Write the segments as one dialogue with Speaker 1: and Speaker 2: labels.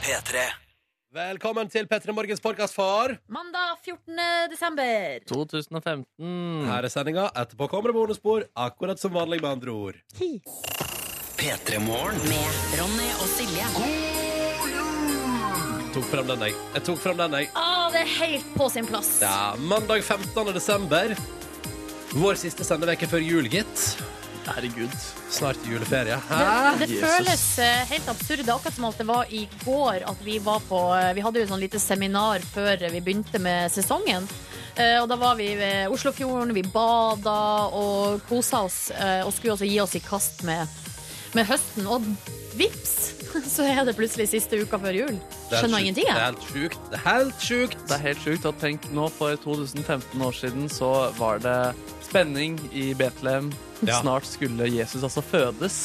Speaker 1: P3.
Speaker 2: Velkommen til P3 Morgens podkast for
Speaker 3: Mandag 14. desember.
Speaker 4: 2015.
Speaker 3: Mm.
Speaker 2: Her er sendinga. Etterpå kommer det bonusspor, akkurat som vanlig, med andre ord.
Speaker 1: P3 Morgen.
Speaker 5: Med Ronny og Silje.
Speaker 2: Tok frem den, jeg. Jeg tok frem den, jeg.
Speaker 3: Å, det er helt på sin plass.
Speaker 2: Ja, mandag 15. desember. Vår siste sendeveke før jul, gitt.
Speaker 4: Herregud.
Speaker 2: Snart juleferie. Hæ?
Speaker 3: Det, det
Speaker 4: Jesus.
Speaker 3: føles eh, helt absurd. Det er akkurat som at det var i går at vi var på eh, Vi hadde jo et sånn lite seminar før vi begynte med sesongen. Eh, og da var vi ved Oslofjorden, vi bada og kosa oss. eh, og skulle også gi oss i kast med, med høsten. Og vips, så er det plutselig siste uka før jul.
Speaker 2: Det er helt
Speaker 3: Skjønner
Speaker 2: sjukt.
Speaker 3: ingenting,
Speaker 2: Det er
Speaker 3: jeg.
Speaker 2: helt sjukt. Det er helt sjukt.
Speaker 4: Det er helt sjukt. Og tenk nå, for 2015 år siden så var det spenning i Betlehem.
Speaker 2: Ja.
Speaker 4: Snart skulle Jesus altså fødes.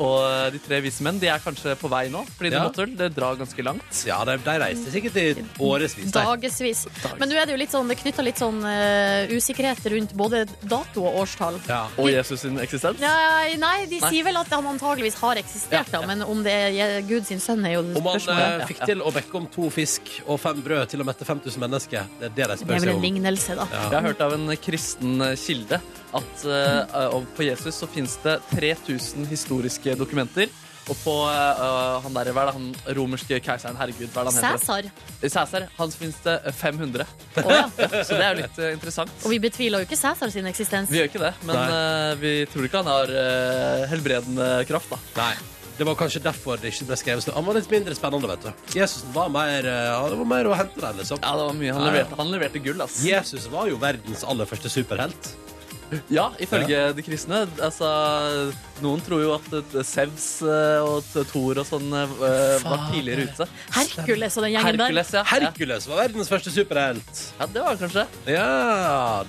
Speaker 4: Og de tre vise menn de er kanskje på vei nå, fordi det
Speaker 2: Ja.
Speaker 4: måtte vel det drar ganske langt.
Speaker 2: Ja, de, de reiste sikkert i årevis. de.
Speaker 3: Dagevis. Men nå er det jo litt sånn, det knytter litt sånn eh, usikkerhet rundt både dato og årstall.
Speaker 2: Ja.
Speaker 4: Og Jesus sin eksistens.
Speaker 3: Ja, nei, de
Speaker 4: Nei.
Speaker 3: sier vel at han antageligvis har eksistert, da, men om det er Gud sin sønn, er jo
Speaker 2: Om han
Speaker 3: spørsmålet.
Speaker 2: eh, fikk til å bekke om to fisk og fem brød til å mette 5000 mennesker, det er det de
Speaker 3: det
Speaker 2: spør
Speaker 3: er
Speaker 2: seg
Speaker 3: vel en
Speaker 2: eh, om.
Speaker 3: lignelse, da.
Speaker 2: Ja.
Speaker 4: Jeg har hørt av en kristen kilde at eh, om- på Jesus så finnes det 3000 historiske dokumenter. Og på eh, han der, hva er det han romerske keiseren, herregud, hva er det han heter?
Speaker 3: Cæsar.
Speaker 4: Cæsar, hans finnes det 500.
Speaker 3: Å, ja.
Speaker 4: Så det er jo litt eh, interessant.
Speaker 3: Og vi betviler jo ikke Cæsar sin eksistens.
Speaker 4: Vi gjør ikke det, men eh, vi tror ikke han har eh, helbredende kraft, da.
Speaker 2: Nei. Det var kanskje derfor det ikke ble skrevet. så- Han var litt mindre spennende, vet du. Jesusen var mer, eh, ja, det var mer å hente der, liksom.
Speaker 4: Ja, det var mye.
Speaker 2: Ja,
Speaker 4: Han
Speaker 2: ja.
Speaker 4: leverte, han leverte gull, ass.
Speaker 2: Jesus var jo verdens aller første superhelt.
Speaker 4: Ja, ifølge de kristne. Altså, noen tror jo at eh, Sevs eh, og Thor og sånn eh, var tidligere ute.
Speaker 3: Herkules og den gjengen der.
Speaker 4: Herkules, ja. ja.
Speaker 2: Herkules var verdens første superhelt.
Speaker 4: Ja, det var det kanskje.
Speaker 2: Ja,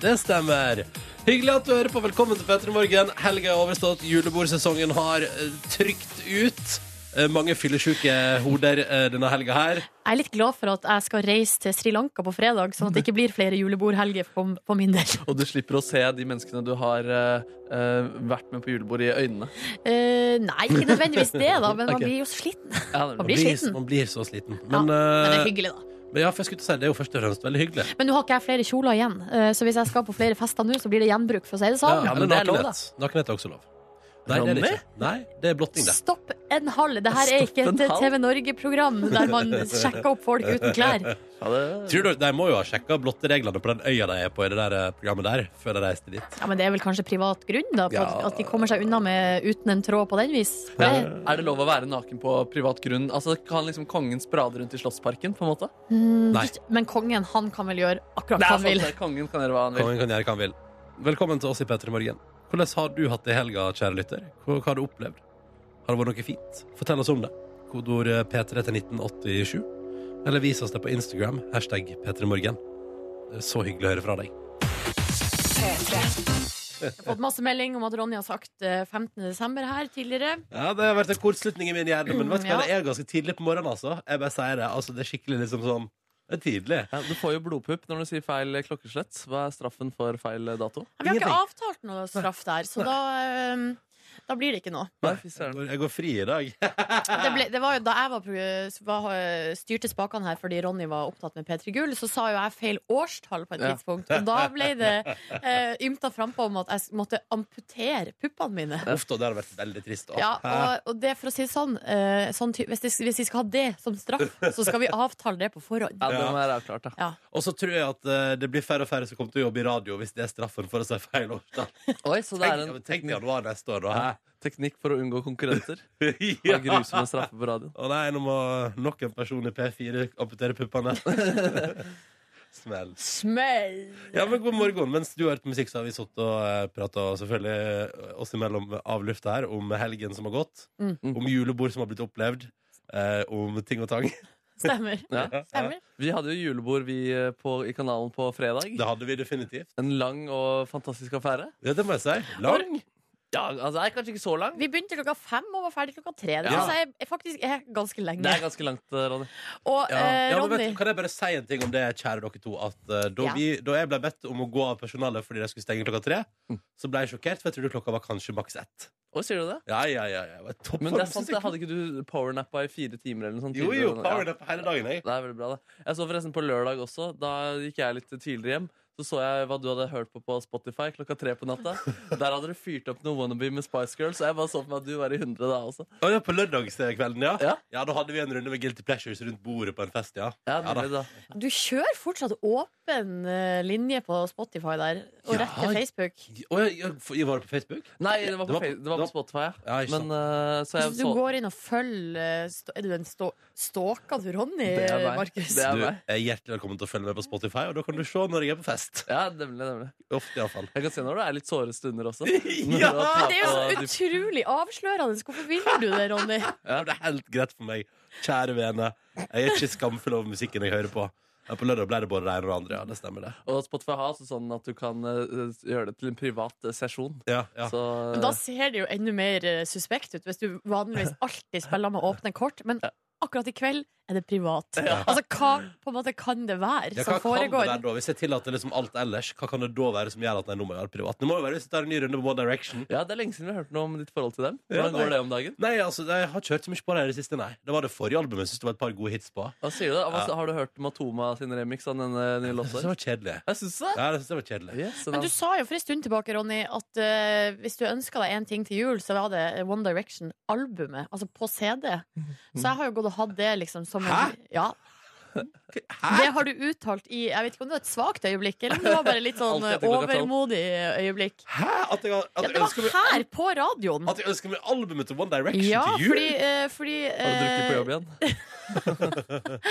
Speaker 2: det stemmer. Hyggelig at du hører på. Velkommen til Petter i morgen. Helga er overstått. Julebordsesongen har eh, trykt ut. Eh, Mange fyllesyke hoder eh, denne helga her.
Speaker 3: Jeg er litt glad for at jeg skal reise til Sri Lanka på fredag, sånn at det ikke blir flere julebordhelger på, på min del.
Speaker 4: Og du slipper å se de menneskene du har eh, eh, vært med på julebord, i øynene.
Speaker 3: Eh, nei, ikke nødvendigvis det, da, men man
Speaker 2: Ok. Eh,
Speaker 3: blir jo sliten.
Speaker 4: Ja, det er
Speaker 3: Man
Speaker 4: bra.
Speaker 3: blir sliten.
Speaker 2: Man blir så sliten.
Speaker 3: Ja,
Speaker 2: Men,
Speaker 3: men
Speaker 2: eh,
Speaker 3: det er hyggelig, da.
Speaker 2: men ja, for jeg skulle til å si, det er jo først og fremst veldig hyggelig.
Speaker 3: Men nå har ikke jeg flere kjoler igjen, eh, så hvis jeg skal på flere fester nå, så blir det gjenbruk, for å si det sånn.
Speaker 4: Ja, men det er lov,
Speaker 2: nakenhet. Nakenhet er også lov. Nei, det er det
Speaker 4: Ronny?
Speaker 2: ikke. Nei, det er blotting, det.
Speaker 3: Stopp en hall. Det her er
Speaker 4: Stopp
Speaker 3: ikke
Speaker 4: en
Speaker 3: et
Speaker 4: hall.
Speaker 3: TV Norge-program der man sjekker opp folk uten klær.
Speaker 4: Ja, det...
Speaker 2: Tror du, De må jo ha sjekka blottereglene på den øya de er på i det der eh, programmet der, før de reiste dit.
Speaker 3: Ja, Men det er vel kanskje privat grunn, da? På
Speaker 2: Ja.
Speaker 3: At de kommer seg unna med uten en tråd på den vis? For
Speaker 4: Er,
Speaker 3: det-
Speaker 4: er det lov å være naken på privat grunn? Altså, Kan liksom kongen sprade rundt i Slottsparken? på en måte?
Speaker 3: Mm,
Speaker 2: Nei.
Speaker 3: Men kongen, han kan vel gjøre akkurat
Speaker 4: Det
Speaker 3: hva
Speaker 4: er
Speaker 3: han
Speaker 4: sant,
Speaker 3: vil.
Speaker 4: det. Kongen kan gjøre hva han vil.
Speaker 2: Kongen kan gjøre hva han vil. Velkommen til oss i P3 Morgen. Hvordan har du hatt det i helga, kjære lytter? Hva, hva har du opplevd? Har det vært noe fint? Fortell oss om det. Kodord eh, P3 til 1987. Eller vis oss det på Instagram. Hashtag P3morgen. Det er Så hyggelig å høre fra deg.
Speaker 3: Jeg har fått masse melding om at Ronny har sagt eh, 15. desember her tidligere.
Speaker 2: Ja, Det har vært en kortslutning i min hjerne, men vet du hva,
Speaker 3: Ja.
Speaker 4: Mm,
Speaker 2: det er ganske tidlig på morgenen. altså. Jeg bare sier Det altså, det er skikkelig liksom sånn Det er tidlig.
Speaker 4: Ja, du får jo blodpupp når du sier feil klokkeslett. Hva er straffen for feil dato?
Speaker 3: Vi har ikke
Speaker 2: Ingenting.
Speaker 3: avtalt noe straff der, så da, eh, da blir det ikke noe.
Speaker 4: Nei, fy
Speaker 2: Jeg
Speaker 4: søren.
Speaker 2: går, jeg går fri i dag.
Speaker 3: Det, ble, det var jo da jeg var, pro- var, styrte spakene her fordi Ronny var opptatt med P3 Gull, så sa jo jeg feil årstall på et
Speaker 4: Ja.
Speaker 3: tidspunkt. Og da ble det eh, ymta frampå om at jeg s- måtte amputere puppene mine.
Speaker 2: Uff da, det hadde vært veldig trist. da.
Speaker 3: Ja,
Speaker 2: Hæ?
Speaker 3: og, og det for å si det sånn, eh, sånn ty hvis, det, hvis vi skal ha det som straff, så skal vi avtale det på forhånd.
Speaker 4: Ja, det må være avklart, da.
Speaker 3: Ja.
Speaker 2: og så tror jeg at eh, det blir færre og færre som kommer til å jobbe i radio hvis det er straffen for å si feil årstall.
Speaker 4: Oi, så det er
Speaker 2: Tenk,
Speaker 4: en
Speaker 2: tenk i
Speaker 4: teknikk,
Speaker 2: januar neste år, da.
Speaker 4: teknikk for å unngå konkurrenter.
Speaker 2: Hæ?
Speaker 4: Ha grusomme straffer på radioen.
Speaker 2: Å nei, nå må nok en person i P4 amputere puppene. Smell.
Speaker 3: Smell!
Speaker 2: Ja, men god morgen. Mens du har hørt musikk, så har vi sittet og prata selvfølgelig eh, oss imellom av lufta her om helgen som har gått,
Speaker 3: Mm.
Speaker 2: om julebord som har blitt opplevd, eh, om ting og tang.
Speaker 3: Stemmer.
Speaker 4: Ja.
Speaker 3: Stemmer.
Speaker 4: Vi hadde jo julebord vi eh, på, i kanalen på fredag.
Speaker 2: Det hadde vi definitivt.
Speaker 4: En lang og fantastisk affære.
Speaker 2: Ja, det må jeg si. Lang.
Speaker 4: Ja, altså, det er kanskje ikke så lang.
Speaker 3: Vi begynte klokka fem og var ferdig klokka tre. Det
Speaker 4: Ja.
Speaker 3: synes jeg er- er faktisk er ganske lenge.
Speaker 4: Det er ganske langt, eh, Ronny.
Speaker 3: Og
Speaker 2: Ja.
Speaker 3: eh,
Speaker 2: ja, men
Speaker 3: Ronny
Speaker 2: vet, du, kan jeg bare si en ting om det, kjære dere to? At eh, da,
Speaker 3: Ja.
Speaker 2: vi, da jeg ble bedt om å gå av personalet fordi de skulle stenge klokka tre,
Speaker 4: Mm.
Speaker 2: så ble jeg sjokkert, for jeg trodde klokka var kanskje maks ett.
Speaker 4: Å, sier du det?
Speaker 2: Ja, ja, ja, ja. jeg var i toppform,
Speaker 4: Men det er
Speaker 2: synes
Speaker 4: sant,
Speaker 2: jeg.
Speaker 4: det hadde ikke du powernappa i fire timer eller noe sånt?
Speaker 2: Jo,
Speaker 4: tidligere,
Speaker 2: jo,
Speaker 4: Ronny? Ja.
Speaker 2: powernap hele dagen, jeg.
Speaker 4: Det er veldig bra, det. Jeg så forresten på lørdag også. Da gikk jeg litt tidligere hjem. Så så jeg hva du hadde hørt på på Spotify klokka tre på natta. Der hadde du fyrt opp noe wannabe med Spice Girls. Og jeg bare så for meg at du var i 100 da også.
Speaker 2: Å, ja, på lørdagskvelden, ja.
Speaker 4: Ja.
Speaker 2: Da hadde vi en runde med Guilty Pleasures rundt bordet på en fest, ja.
Speaker 4: Ja,
Speaker 2: Ja da.
Speaker 4: nydelig, da.
Speaker 3: Du kjører fortsatt åpen eh, linje på Spotify der, og rett til
Speaker 2: Ja.
Speaker 3: Facebook.
Speaker 2: Å, ja, ja, for- var det på Facebook?
Speaker 4: Nei, det var
Speaker 2: Det var
Speaker 4: på,
Speaker 2: på-
Speaker 4: Fa- det var på Spotify, ja.
Speaker 2: Ja, ikke sant.
Speaker 4: Men, eh, så jeg
Speaker 3: Så du
Speaker 4: så
Speaker 3: går inn og følger eh, stå- Er du en stå, stalker du, Ronny,
Speaker 4: Det er meg.
Speaker 3: Markus?
Speaker 4: Det er-
Speaker 2: Du
Speaker 4: meg.
Speaker 2: er hjertelig velkommen til å følge med på Spotify, og da kan du se når jeg er på fest.
Speaker 4: Ja, nemlig, nemlig.
Speaker 2: Ofte, iallfall.
Speaker 4: Jeg kan se når det er litt såre stunder også.
Speaker 2: Ja!
Speaker 3: Men det er jo så utrolig avslørende! Hvorfor vil du det, Ronny?
Speaker 2: Ja, det er helt greit for meg, kjære vene. Jeg er ikke skamfull over musikken jeg hører på. Ja, På lørdag ble det både det ene og det andre, ja. Det stemmer, det.
Speaker 4: Og Spotify har altså sånn at du kan eh, gjøre det til en privat eh, sesjon.
Speaker 2: Ja, ja.
Speaker 4: Så
Speaker 3: Men da ser det jo enda mer eh, suspekt ut, hvis du vanligvis alltid spiller med åpne kort. Men akkurat i kveld er det privat. Altså, hva på en måte kan det være
Speaker 2: Ja, hva
Speaker 3: som
Speaker 2: kan det være
Speaker 3: foregår?
Speaker 2: da? Hvis jeg tillater liksom alt ellers, hva kan det da være som gjør at nei, nå må jeg være privat? Det må jo være hvis jeg tar en ny runde med One Direction.
Speaker 4: Ja, det er lenge siden vi har hørt noe om ditt forhold til dem.
Speaker 2: Ja,
Speaker 4: Hvordan
Speaker 2: nei.
Speaker 4: går det om dagen?
Speaker 2: Nei, altså, jeg har ikke hørt så mye på det i det siste, nei. Det var det forrige albumet jeg synes det var et par gode hits på.
Speaker 4: Hva sier du? da? Hva, Har du hørt Matoma sin remix av denne nye
Speaker 2: Jeg synes
Speaker 4: låta?
Speaker 2: det var kjedelig.
Speaker 4: Jeg syns det.
Speaker 2: Ja, jeg synes det var kjedelig.
Speaker 4: Yes,
Speaker 3: Men du
Speaker 4: den-
Speaker 3: sa jo for en stund tilbake, Ronny, at eh, hvis du ønska deg én ting til jul, så var det One Direction-albumet. Altså på CD. Så jeg har jo gått og hatt det liksom som en ja. Det har du uttalt i Jeg vet ikke om det var et svakt øyeblikk, eller om det var bare litt sånn
Speaker 4: Alt
Speaker 3: eh,
Speaker 4: etter klokka tolv.
Speaker 3: overmodig øyeblikk.
Speaker 2: Hæ? At jeg, at
Speaker 3: Ja,
Speaker 2: jeg
Speaker 3: det
Speaker 2: ønsker
Speaker 3: var
Speaker 2: meg,
Speaker 3: her, på radioen.
Speaker 2: at jeg ønsker meg albumet til One Direction
Speaker 3: Ja,
Speaker 2: til jul?
Speaker 3: fordi, eh, fordi
Speaker 4: Har du drukket på
Speaker 3: eh,
Speaker 4: jobb igjen?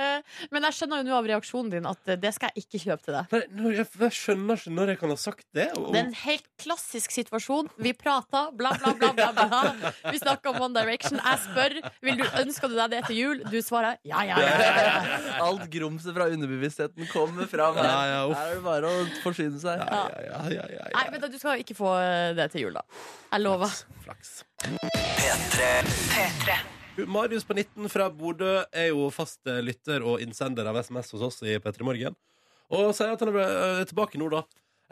Speaker 3: eh, Men jeg skjønner jo nå av reaksjonen din at eh, det skal jeg ikke kjøpe til deg.
Speaker 2: Nei, nå- jeg, jeg skjønner ikke når jeg kan ha sagt det. og-
Speaker 3: Det er en helt klassisk situasjon. Vi prata, bla, bla, bla. bla, bla. Vi snakka om One Direction. Jeg spør vil du ønsker du deg det til jul. Du svarer ja, ja, ja. ja, ja.
Speaker 4: Alt grumset fra underbevisstheten kommer fram. Her.
Speaker 2: Ja, ja, uff.
Speaker 4: her er det bare å forsyne seg.
Speaker 2: ja, ja, ja, ja,
Speaker 3: Nei,
Speaker 2: ja.
Speaker 3: men da, du skal ikke få eh, det til jul, da. Jeg lover.
Speaker 2: Flaks. Du, Marius på 19 fra Bodø er jo fast eh, lytter og innsender av SMS hos oss i P3 Morgen. Og sier at han er eh, tilbake nå, da.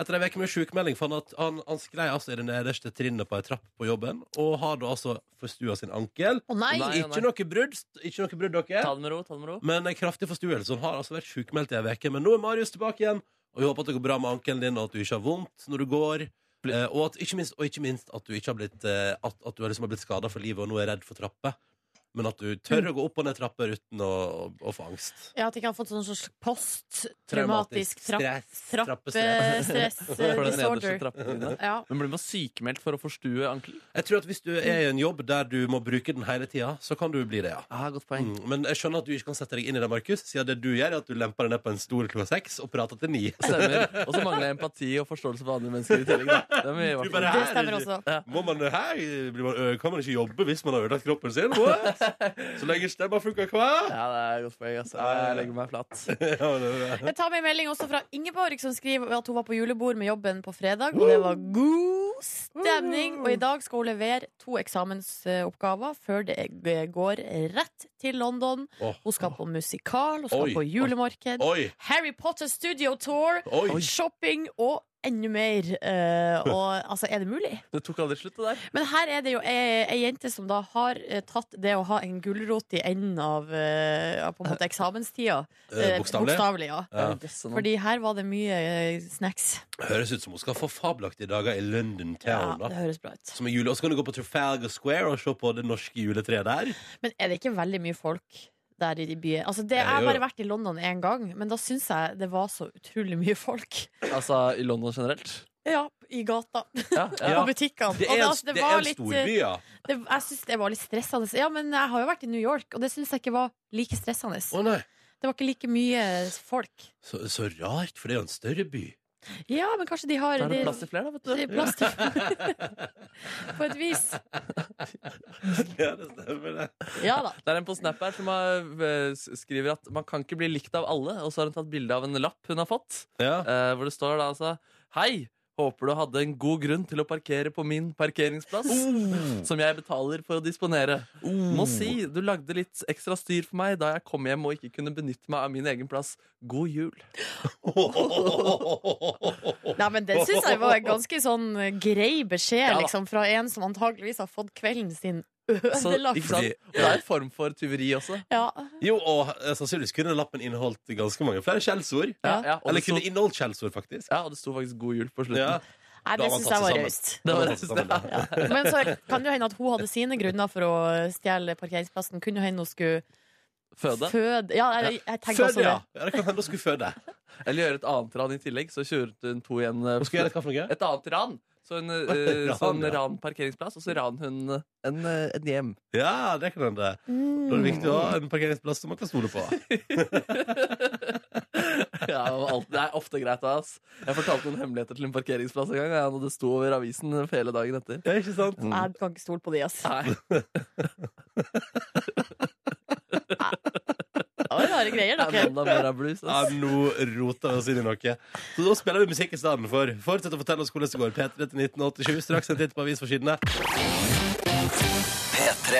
Speaker 2: Etter ei uke med sjukmelding fant han at han, han sklei altså i det nederste trinnet på ei trapp på jobben, og har da altså forstua sin ankel.
Speaker 3: Å nei!
Speaker 4: Nei.
Speaker 2: Ikke noe brudd, st- ikke noe brudd dere.
Speaker 4: Ta det med ro. ta det med ro
Speaker 2: Men en kraftig forstuelse. Hun har altså vært sjukmeldt i ei uke. Men nå er Marius tilbake igjen, og vi håper at det går bra med ankelen din, og at du ikke har vondt når du går. Eh, og, at, ikke minst, og ikke minst at du ikke har blitt eh, At, at du har liksom har blitt skada for livet og nå er redd for trapper. Men at du tør å gå opp og ned trapper uten å, å få angst.
Speaker 3: Ja, at jeg ikke har fått sånn slags posttraumatisk trapp,
Speaker 2: stress. Trappestress.
Speaker 3: trappestress eh,
Speaker 4: For den nederste
Speaker 3: disorder.
Speaker 4: trappen din, da.
Speaker 3: Ja.
Speaker 4: Men blir man sykemeldt for å forstue ankelen?
Speaker 2: Jeg tror at hvis du er i en jobb der du må bruke den hele tida, så kan du bli det, ja.
Speaker 4: Ah, godt poeng.
Speaker 2: Mm, Men jeg skjønner at du ikke kan sette deg inn i det, Markus, siden det du gjør, er at du lemper deg ned på en stol klokka seks og prater til ni.
Speaker 4: Stemmer. Og så mangler jeg empati og forståelse for andre mennesker i tillegg. Da. Det må vi i hvert
Speaker 2: Du bare-
Speaker 4: fall.
Speaker 3: Det stemmer også.
Speaker 2: Må man, her blir man, ø, kan man ikke jobbe hvis man har ødelagt kroppen sin? What? Så lenge stemma funker hver.
Speaker 4: Ja, det er godt poeng. Altså. Jeg legger meg flat.
Speaker 3: Jeg tar med en melding også fra Ingeborg, som skriver at hun var på julebord med jobben på fredag. Og det var god stemning. Og i dag skal hun levere to eksamensoppgaver før det g- går rett til London.
Speaker 2: Åh.
Speaker 3: Hun skal på musikal, hun skal
Speaker 2: Oi.
Speaker 3: på julemarked,
Speaker 2: Oi,
Speaker 3: Harry Potter Studio Tour,
Speaker 2: oi.
Speaker 3: shopping og Enda mer. eh, og altså, er det mulig?
Speaker 4: Det tok aldri slutt, det der.
Speaker 3: Men her er det jo ei, ei jente som da har eh, tatt det å ha en gulrot i enden av eh, ja, på en måte eksamenstida.
Speaker 2: Eh, bokstavelig.
Speaker 3: ja.
Speaker 4: Jeg vil disse noen.
Speaker 3: Fordi her var det mye eh, snacks.
Speaker 2: Høres ut som hun skal få fabelaktige dager i London
Speaker 3: Ja,
Speaker 2: Town.
Speaker 3: det
Speaker 2: da.
Speaker 3: høres bra ut.
Speaker 2: Som er jule. Og så kan du gå på Trafalgar Square og se på det norske juletreet der.
Speaker 3: Men er det ikke veldig mye folk der i de byen? Altså, det,
Speaker 2: Ja,
Speaker 3: jeg har
Speaker 2: jo.
Speaker 3: bare vært i London én gang, men da syns jeg det var så utrolig mye folk.
Speaker 4: Altså, I London generelt.
Speaker 3: Ja, i gata.
Speaker 4: Ja,
Speaker 3: På
Speaker 4: ja.
Speaker 3: butikkene.
Speaker 2: Det er,
Speaker 3: Og da-
Speaker 2: en-
Speaker 3: altså, det
Speaker 2: det
Speaker 3: var
Speaker 2: er en
Speaker 3: litt,
Speaker 2: stor by, ja.
Speaker 3: Det, jeg syns det var litt stressende. Ja, men jeg har jo vært i New York, og det syns jeg ikke var like stressende.
Speaker 2: Å nei.
Speaker 3: Det var ikke like mye folk.
Speaker 2: Så, så rart, for det er jo en større by.
Speaker 3: Ja, men kanskje de har
Speaker 4: Da er det
Speaker 3: de-
Speaker 4: plass til flere, da.
Speaker 3: det
Speaker 4: vet
Speaker 3: er plass til På et vis.
Speaker 2: Ja, det stemmer, det.
Speaker 3: Ja da.
Speaker 4: Det er en på Snap her som har, eh, s- skriver at man kan ikke bli likt av alle. Og så har hun tatt bilde av en lapp hun har fått,
Speaker 2: Ja.
Speaker 4: eh, hvor det står da altså Hei! Håper du hadde en god grunn til å parkere på min parkeringsplass,
Speaker 2: Oh.
Speaker 4: som jeg betaler for å disponere. Må si du lagde litt ekstra styr for meg da jeg kom hjem og ikke kunne benytte meg av min egen plass. God jul.
Speaker 3: Nei, men Den syns jeg var en ganske sånn grei beskjed
Speaker 4: Ja da.
Speaker 3: liksom, fra en som antageligvis har fått kvelden sin
Speaker 4: Så, ikke
Speaker 3: ødelagt.
Speaker 4: sant? Og det er en form for tyveri også.
Speaker 3: Ja.
Speaker 2: Jo, og eh, sannsynligvis kunne lappen inneholdt ganske mange flere skjellsord.
Speaker 3: Ja.
Speaker 4: Ja, og
Speaker 2: Eller
Speaker 4: det sto,
Speaker 2: kunne inneholdt skjellsord, faktisk.
Speaker 4: ja, og det sto faktisk 'god jul' på slutten.
Speaker 2: Ja.
Speaker 3: Nei,
Speaker 2: Da har
Speaker 3: det
Speaker 2: man
Speaker 3: syns
Speaker 2: tatt
Speaker 3: jeg
Speaker 2: seg
Speaker 3: var
Speaker 2: sammen.
Speaker 3: raust.
Speaker 2: Da
Speaker 4: Det
Speaker 2: har
Speaker 4: var
Speaker 2: man tatt seg sammen,
Speaker 4: det.
Speaker 2: da.
Speaker 3: Men så kan det jo hende at hun hadde sine grunner for å stjele parkeringsplassen. Kunne jo hende hun skulle
Speaker 4: Føde.
Speaker 3: føde Ja, jeg, jeg tenker
Speaker 2: Føde,
Speaker 3: også det.
Speaker 2: ja. ja. Det kan hende hun skulle føde.
Speaker 4: Eller gjøre et annet ran i tillegg. Så kjørte hun to igjen. eh,
Speaker 2: Hun skulle gjøre hva for noe?
Speaker 4: Et annet ran. Så hun, eh,
Speaker 2: Ran,
Speaker 4: så hun
Speaker 2: ja.
Speaker 4: ran parkeringsplass, og så ran hun eh, en, eh, en hjem.
Speaker 2: Ja, det kan hende. Da er det viktig å ha en parkeringsplass som man kan stole på.
Speaker 4: Ja, og alt, det er ofte greit, ass. Jeg fortalte noen hemmeligheter til en parkeringsplass en gang, ja, og det sto over avisen hele dagen etter.
Speaker 2: Ja, ikke sant?
Speaker 3: Nei, du kan ikke stole på de, altså. ass.
Speaker 4: Nei,
Speaker 3: Det var rare greier, da.
Speaker 4: Amanda Mora Blues,
Speaker 2: Ja,
Speaker 4: ass.
Speaker 2: nå roter vi oss inn i noe. Så da spiller vi musikk i stedet for. Fortsett å fortelle oss hvordan det går. P3 til 1987. Straks en titt på avisforsidene.
Speaker 1: P3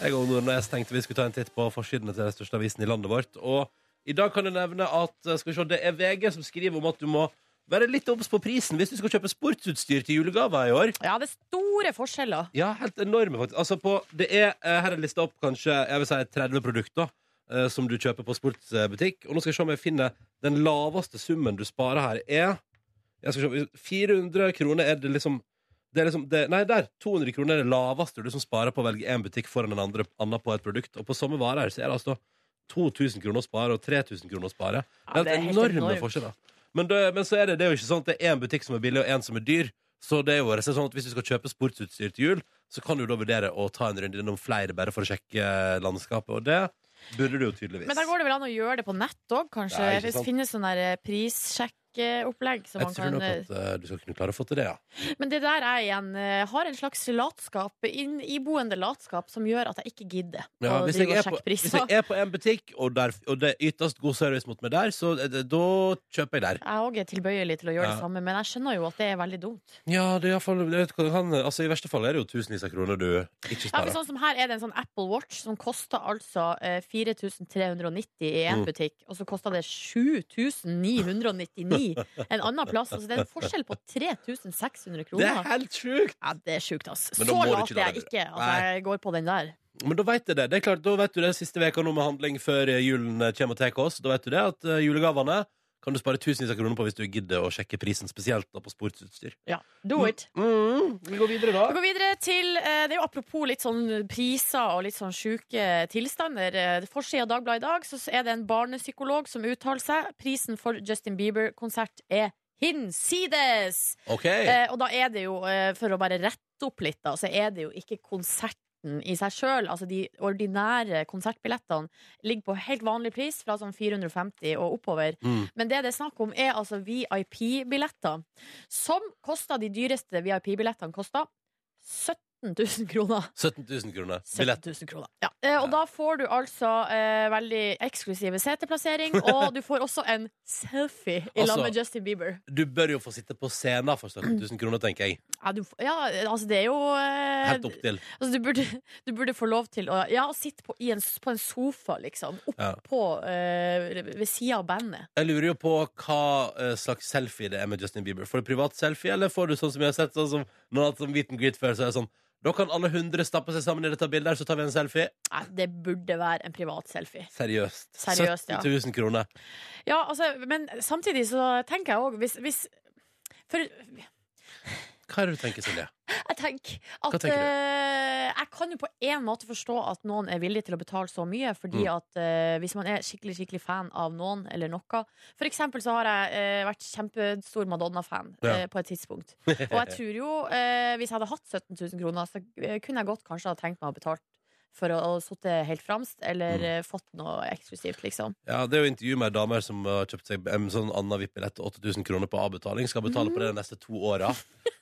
Speaker 2: Jeg og Nordnes tenkte vi skulle ta en titt på forsidene til den største avisen i landet vårt. Og i dag kan jeg nevne at eh, skal vi se, det er VG som skriver om at du må være litt obs på prisen hvis du skal kjøpe sportsutstyr til julegaver i år.
Speaker 3: Ja, det er store forskjeller.
Speaker 2: Ja, helt enorme, faktisk. Altså på, det er, eh, her er lista opp kanskje jeg vil si 30 produkter eh, som du kjøper på sportsbutikk. Og nå skal jeg se om jeg finner den laveste summen du sparer her, er jeg skal se, 400 kroner er det liksom det er liksom, det, nei, der! 200 kroner er det laveste du som sparer på å velge én butikk foran en andre, annen på et produkt. Og på samme vare her så er det altså 2000 kroner å spare og 3000 kroner å spare.
Speaker 3: Ja,
Speaker 2: det er helt enorme forskjeller. Men, det, men så er det, det er jo ikke sånn at det er én butikk som er billig, og én som er dyr. Så det er jo rett og slett sånn at hvis du skal kjøpe sportsutstyr til jul, så kan du da vurdere å ta en runde innom flere bare for å sjekke eh, landskapet, og det burde du jo tydeligvis.
Speaker 3: Men der går det vel an å gjøre det på nett òg, kanskje?
Speaker 2: Ja, ikke
Speaker 3: Hvis
Speaker 2: sant.
Speaker 3: det finnes sånn der, eh, prissjekkeopplegg som
Speaker 2: jeg
Speaker 3: man
Speaker 2: tror
Speaker 3: kan
Speaker 2: nok at eh, du skal kunne klare å få til det, ja.
Speaker 3: Men det der er igjen eh, har en slags latskap, inn- iboende latskap, som gjør at jeg ikke gidder
Speaker 2: ja
Speaker 3: å
Speaker 2: hvis, jeg
Speaker 3: drive og
Speaker 2: er på,
Speaker 3: sjekke
Speaker 2: hvis
Speaker 3: priser.
Speaker 2: jeg
Speaker 3: Jeg
Speaker 2: er på en butikk, og, der, og det er ytterst god service mot meg der, så er det, da kjøper jeg der.
Speaker 3: er òg tilbøyelig til å gjøre
Speaker 2: Ja.
Speaker 3: det samme, men jeg skjønner jo at det er veldig dumt.
Speaker 2: Ja, det er i hvert fall det kan, altså, I verste fall er det jo tusenvis av kroner du ikke
Speaker 3: Ja, for
Speaker 2: sparer.
Speaker 3: sånn som Her er det en sånn Apple Watch som koster altså eh, 4390 i én
Speaker 2: Mm.
Speaker 3: butikk, og så koster det 7999 en annen plass. Altså Det er en forskjell på 3600
Speaker 2: det er
Speaker 3: kroner.
Speaker 2: helt sjukt!
Speaker 3: Ja, det er sjukt, ass.
Speaker 2: Men
Speaker 3: Så
Speaker 2: da må du
Speaker 3: lat
Speaker 2: ikke la
Speaker 3: er jeg
Speaker 2: det-
Speaker 3: ikke at
Speaker 2: Nei.
Speaker 3: jeg går på den der.
Speaker 2: Men da vet jeg det. Det er klart, da vet du det siste veka nå med handling før eh, julen eh, kommer og tar oss. Da vet du det at eh, julegavene kan du spare tusenvis av kroner på hvis du gidder å sjekke prisen, spesielt da på sportsutstyr.
Speaker 3: Ja, do
Speaker 2: Mm.
Speaker 3: it.
Speaker 2: vi går videre
Speaker 3: Vi går videre til eh, Det er jo apropos litt sånn priser og litt sånn sjuke tilstander. Eh, Forsida av Dagbladet i dag så er det en barnepsykolog som uttaler seg. Prisen for Justin Bieber-konsert er hinsides!
Speaker 2: OK.
Speaker 3: Eh, og da er det jo, eh, for å bare rette opp litt, da, så er det jo ikke konserten i seg sjøl. Altså de ordinære konsertbillettene ligger på helt vanlig pris, fra sånn 450 og oppover.
Speaker 2: Mm.
Speaker 3: Men det det er snakk om, er altså VIP-billetter, som koster de dyreste VIP-billettene koster 17 000 kroner.
Speaker 2: 17 000 kroner.
Speaker 3: 17
Speaker 2: Billett.
Speaker 3: 000 kroner. Ja. Eh, og da får du altså eh, veldig eksklusive seteplassering, og du får også en selfie i
Speaker 2: Altså-
Speaker 3: lag med Justin Bieber.
Speaker 2: Du bør jo få sitte på scenen for 17 000 kroner, tenker jeg.
Speaker 3: Ja, du, f- ja, altså det er jo eh,
Speaker 2: Helt opptil.
Speaker 3: altså du, burde, du burde få lov til å ja, å sitte på, i en, s- på en sofa, liksom.
Speaker 2: Ja.
Speaker 3: Oppå eh, ved sida av bandet.
Speaker 2: Jeg lurer jo på hva eh, slags selfie det er med Justin Bieber. Får du privat selfie, eller får du sånn som jeg har sett, sånn som noen har hatt sånn meet and greet før, så er det sånn Da kan alle hundre stappe seg sammen i dette bildet, her, så tar vi en selfie.
Speaker 3: Nei, det burde være en privat selfie.
Speaker 2: Seriøst.
Speaker 3: Seriøst,
Speaker 2: 17
Speaker 3: ja.
Speaker 2: 000 kroner.
Speaker 3: Ja, altså, men samtidig så tenker jeg òg hvis, hvis For jeg
Speaker 2: Hva er det du tenker, Silje?
Speaker 3: tenker
Speaker 2: Hva tenker
Speaker 3: at
Speaker 2: du?
Speaker 3: eh, Jeg kan jo på én måte forstå at noen er villig til å betale så mye, fordi
Speaker 2: Mm.
Speaker 3: at eh, hvis man er skikkelig skikkelig fan av noen eller noe For eksempel så har jeg eh, vært kjempestor Madonna-fan
Speaker 2: Ja.
Speaker 3: eh, på et tidspunkt. Og jeg tror jo, eh, hvis jeg hadde hatt 17 000 kroner, så eh, kunne jeg godt kanskje ha tenkt meg å betale for å, å sitte helt fremst, eller
Speaker 2: Mm.
Speaker 3: eh, fått noe eksklusivt, liksom.
Speaker 2: Ja, Det er jo intervju med damer som har kjøpt seg en sånn annen VIP-billett til 8000 kroner på avbetaling. Skal betale på det de neste to åra.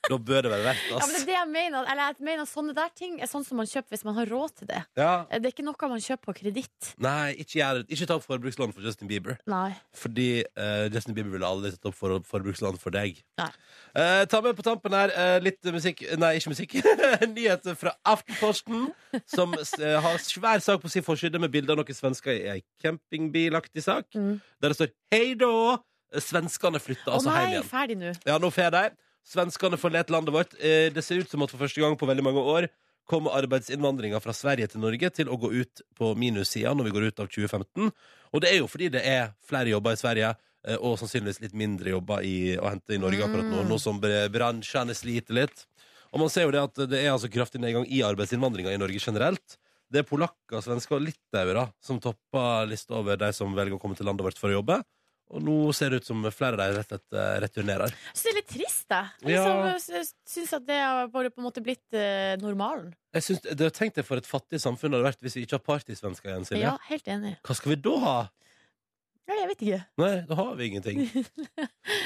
Speaker 2: Da bør det være verdt,
Speaker 3: Mm. Ja, men det
Speaker 2: ass.
Speaker 3: er det jeg mener. Eller jeg mener sånne der ting er sånn som man kjøper hvis man har råd til det.
Speaker 2: Ja.
Speaker 3: Eh, Det er ikke noe man kjøper på kreditt.
Speaker 2: Nei, ikke, gjør det. ikke ta opp forbrukslån for Justin Bieber.
Speaker 3: Nei.
Speaker 2: Fordi eh, Justin Bieber ville aldri tatt opp for, forbrukslån for deg.
Speaker 3: Nei.
Speaker 2: Eh, ta med på tampen her eh, litt musikk Nei, ikke musikk. Nyheter fra Aftenposten, som eh, har svær sak på sin forside med bilde av noen svensker i ei campingbilaktig sak.
Speaker 3: Mm.
Speaker 2: Der det står 'Hei da'! Svenskene flytter
Speaker 3: Å
Speaker 2: altså hjem
Speaker 3: nei,
Speaker 2: igjen.
Speaker 3: ferdig nå.
Speaker 2: Ja, nå får jeg deg. Svenskene forlater landet vårt. Eh, Det ser ut som at for første gang på veldig mange år kommer arbeidsinnvandringa fra Sverige til Norge til å gå ut på minussida når vi går ut av 2015. Og det er jo fordi det er flere jobber i Sverige. eh, Og sannsynligvis litt mindre jobber i, å hente i Norge akkurat nå, nå som bre- bransjene sliter litt. Og man ser jo det at det er altså kraftig nedgang i arbeidsinnvandringa i Norge generelt. Det er polakker, svensker og litauere som topper lista over de som velger å komme til landet vårt for å jobbe. Og nå ser det ut som flere av de rett og slett eh, returnerer.
Speaker 3: Jeg syns det er litt trist, jeg. Jeg
Speaker 2: Ja.
Speaker 3: liksom, jeg syns at det har bare på en måte blitt eh, normalen.
Speaker 2: Jeg synes, det Tenk deg for et fattig samfunn det hadde vært hvis vi ikke har partysvensker igjen, Silje.
Speaker 3: Ja, helt enig.
Speaker 2: Hva skal vi da ha?
Speaker 3: Nei, jeg vet ikke.
Speaker 2: Nei, da har vi ingenting.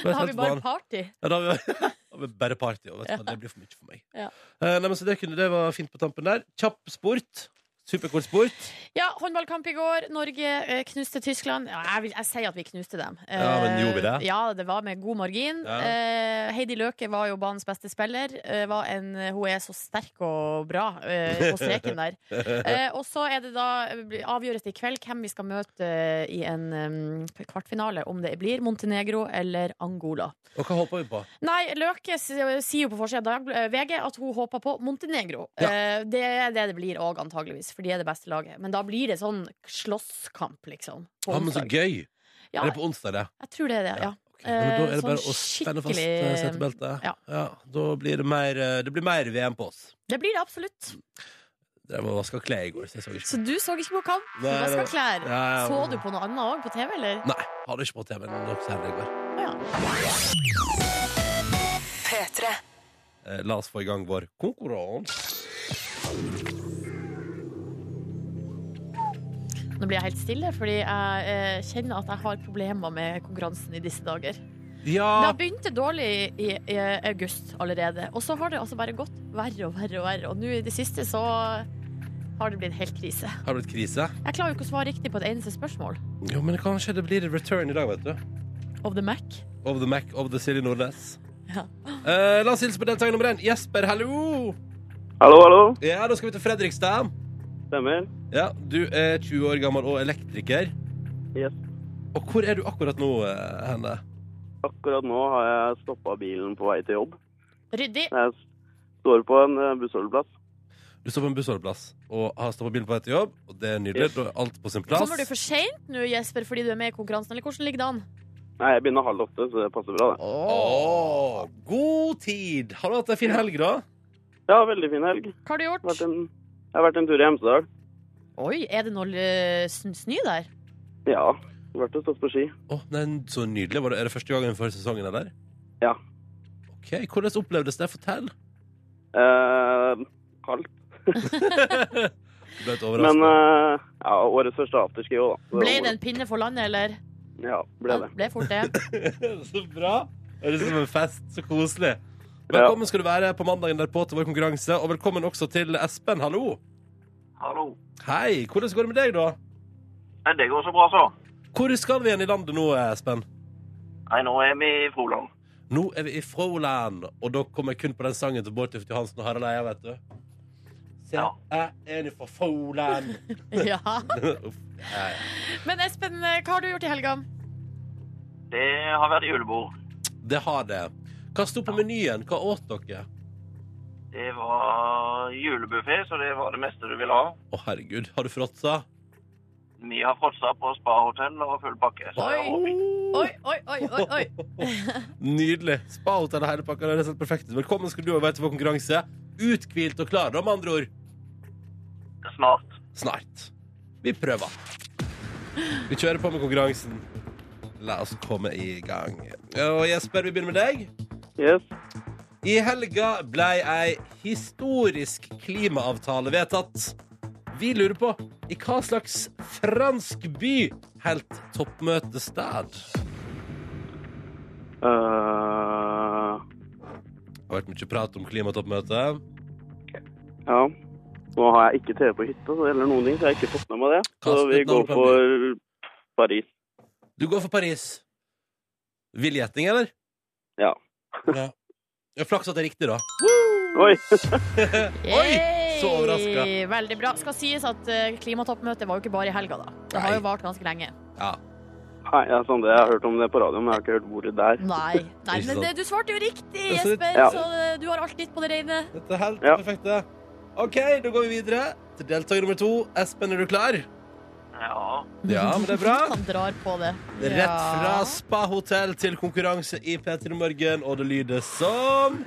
Speaker 3: Da har vi bare party.
Speaker 2: Ja, da har vi, da har vi bare party. Og vet du hva, det blir for mye for meg.
Speaker 3: Ja.
Speaker 2: Eh, nei, men så det, kunne, det var fint på tampen der. Kjapp sport. Superkort sport.
Speaker 3: Ja, håndballkamp i går. Norge eh, knuste Tyskland. Ja, jeg, vil, jeg sier at vi knuste dem. Eh,
Speaker 2: Ja, men gjorde vi det?
Speaker 3: Ja, det var med god margin.
Speaker 2: Ja.
Speaker 3: Eh, Heidi Løke var jo banens beste spiller. Eh, var en, hun er så sterk og bra eh, på streken der. Eh, og så er det da blir- avgjøres det i kveld hvem vi skal møte eh, i en em, kvartfinale, om det blir Montenegro eller Angola.
Speaker 2: Og hva håper vi på?
Speaker 3: Nei, Løke s- sier jo på forsida av Dagbl- eh, VG at hun håper på Montenegro.
Speaker 2: Ja.
Speaker 3: Eh, Det er det det blir òg, antageligvis, for de er det beste laget. Men da blir det sånn slåsskamp, liksom. På
Speaker 2: Ja, men så
Speaker 3: onsdag.
Speaker 2: gøy!
Speaker 3: Ja,
Speaker 2: Er det på onsdag, det?
Speaker 3: jeg tror det er det, ja.
Speaker 2: Ok, men da er det
Speaker 3: Eh,
Speaker 2: bare
Speaker 3: sånn
Speaker 2: å spenne fast
Speaker 3: skikkelig-
Speaker 2: eh, setebeltet.
Speaker 3: Ja.
Speaker 2: da blir det mer, eh, det blir mer VM på oss.
Speaker 3: Det blir det absolutt.
Speaker 2: Drev og vaska klær i går, så jeg så ikke.
Speaker 3: Så du så ikke på kamp? Du
Speaker 2: Nei,
Speaker 3: vaska
Speaker 2: det-
Speaker 3: klær.
Speaker 2: Ja, ja.
Speaker 3: Så du på noe annet òg på TV, eller?
Speaker 2: Nei, hadde ikke på TV-en. nok senere i går.
Speaker 3: Ja.
Speaker 2: Eh, La oss få i gang vår konkurranse.
Speaker 3: Nå blir jeg helt stille, fordi jeg eh, kjenner at jeg har problemer med konkurransen i disse dager. Det
Speaker 2: Ja,
Speaker 3: har begynt dårlig i, i august allerede. Og så har det altså bare gått verre og verre og verre. Og nå i det siste så har det blitt helt krise.
Speaker 2: har det blitt krise?
Speaker 3: Jeg klarer jo ikke å svare riktig på et eneste spørsmål.
Speaker 2: Jo, men kanskje det blir return i dag, vet du.
Speaker 3: Of the Mac.
Speaker 2: Of the Mac, of the Silje Nordnes.
Speaker 3: Ja.
Speaker 2: Eh, la oss hilse på deltaker nummer én. Jesper, hallo!
Speaker 5: Hallo, hallo.
Speaker 2: Ja, da skal vi til Fredrikstad.
Speaker 5: Stemmer.
Speaker 2: Ja, Du er 20 år gammel og elektriker.
Speaker 5: Yes.
Speaker 2: Og hvor er du akkurat nå, eh, henne?
Speaker 5: Akkurat nå har jeg stoppa bilen på vei til jobb.
Speaker 3: Ryddig.
Speaker 5: Jeg s- står på en eh, bussholdeplass.
Speaker 2: Du står på en bussholdeplass og har stoppa bilen på vei til jobb. Og det er nydelig.
Speaker 5: Yes.
Speaker 2: Da er alt på sin plass.
Speaker 3: Kommer du for seint nå, Jesper, fordi du er med i konkurransen, eller hvordan ligger det an?
Speaker 5: Nei, jeg begynner halv åtte, så det passer bra, det.
Speaker 2: Åh, god tid! Har du hatt ei en fin helg, da?
Speaker 5: Ja, veldig fin helg.
Speaker 3: Hva har du
Speaker 5: Vært
Speaker 3: gjort?
Speaker 5: en, jeg har vært en tur i Hemsedal.
Speaker 3: Oi, er det noe eh, sn- snø der?
Speaker 5: Ja. Vært og stått på ski.
Speaker 2: Åh, nei, så nydelig. Var det, er det første gangen før sesongen, eller?
Speaker 5: Ja.
Speaker 2: Ok, Hvordan opplevdes det? Fortell.
Speaker 5: Eh, kaldt.
Speaker 2: Du ble litt overrasket.
Speaker 5: Men eh, ja, årets første afterski òg, da. Så
Speaker 3: Ble
Speaker 5: var-
Speaker 3: det en pinne for landet, eller?
Speaker 5: Ja, ble det.
Speaker 3: Ble fort det.
Speaker 5: eh,
Speaker 2: så bra. Det er som en fest. Så koselig.
Speaker 5: Ja.
Speaker 2: Velkommen skal du være på mandagen derpå til vår konkurranse, og velkommen også til Espen. Hallo.
Speaker 6: Hallo.
Speaker 2: Hei. Hvordan går det med deg, da?
Speaker 6: Nei, det går så bra, så.
Speaker 2: Hvor skal vi igjen i landet nå, Espen?
Speaker 6: Nei, nå er vi i Froland.
Speaker 2: Nå er vi i Froland, og da kommer jeg kun på den sangen til Bård Tufte Johansen og Harald Eia, vet du. Se,
Speaker 6: Ja.
Speaker 2: jeg er nå fra Froland.
Speaker 3: Ja.
Speaker 2: Uff. Ja, ja.
Speaker 3: Men Espen, eh, hva har du gjort i helga?
Speaker 6: Det har vært julebord.
Speaker 2: Det har det. Hva sto på menyen? Hva åt dere?
Speaker 6: Det var julebuffé, så det var det meste du ville ha.
Speaker 2: Å, herregud. Har du fråtsa?
Speaker 6: Vi har fråtsa på spahotell og full pakke. Så det var
Speaker 3: Oi.
Speaker 6: fint.
Speaker 3: Oi, oi, oi, oi. oi.
Speaker 2: Nydelig. Spahotell og hele pakka. Det er helt perfekt. ut. Velkommen skal du være til vår konkurranse. Uthvilt og klar, da, med andre ord.
Speaker 6: Snart.
Speaker 2: Snart. Vi prøver. Vi kjører på med konkurransen. La oss komme i gang. Og Jesper, vi begynner med deg.
Speaker 5: Yes.
Speaker 2: I helga blei ei historisk klimaavtale vedtatt. Vi lurer på i hva slags fransk by helt toppmøtested?
Speaker 5: Eh,
Speaker 2: Det har vært mye prat om klimatoppmøtet.
Speaker 5: Ja. Nå har jeg ikke TV på hytta, så det gjelder noen ting, så jeg har ikke fått med meg det. Så
Speaker 2: Kast
Speaker 5: vi
Speaker 2: ut
Speaker 5: går
Speaker 2: navneplan
Speaker 5: for Paris.
Speaker 2: Du går for Paris. Vill gjetning, eller?
Speaker 5: Ja.
Speaker 2: ja. Ja, Flaks at det er riktig, da.
Speaker 5: Oi!
Speaker 3: Yay!
Speaker 2: så overrasket.
Speaker 3: Veldig bra. Skal sies at eh, klimatoppmøtet var jo ikke bare i helga, da. Det har
Speaker 2: Nei.
Speaker 3: jo vart ganske lenge.
Speaker 2: Ja.
Speaker 5: Nei, jeg, sånn, det, jeg har hørt om det på radioen, men jeg har ikke hørt ordet der.
Speaker 3: Nei, Nei
Speaker 2: Ikke
Speaker 3: men
Speaker 2: sant.
Speaker 3: det, du svarte jo riktig,
Speaker 2: Ja, så det-
Speaker 3: Jesper,
Speaker 5: Ja.
Speaker 3: så eh, du har alt nytt på det rene.
Speaker 2: Dette er helt
Speaker 5: Ja.
Speaker 2: perfekt, det. OK, da går vi videre til deltaker nummer to. Espen, er du klar?
Speaker 6: Ja.
Speaker 2: Ja, men det er bra.
Speaker 3: Han drar på det.
Speaker 2: Rett fra spa-hotell til konkurranse i P3 Morgen, og det lyder som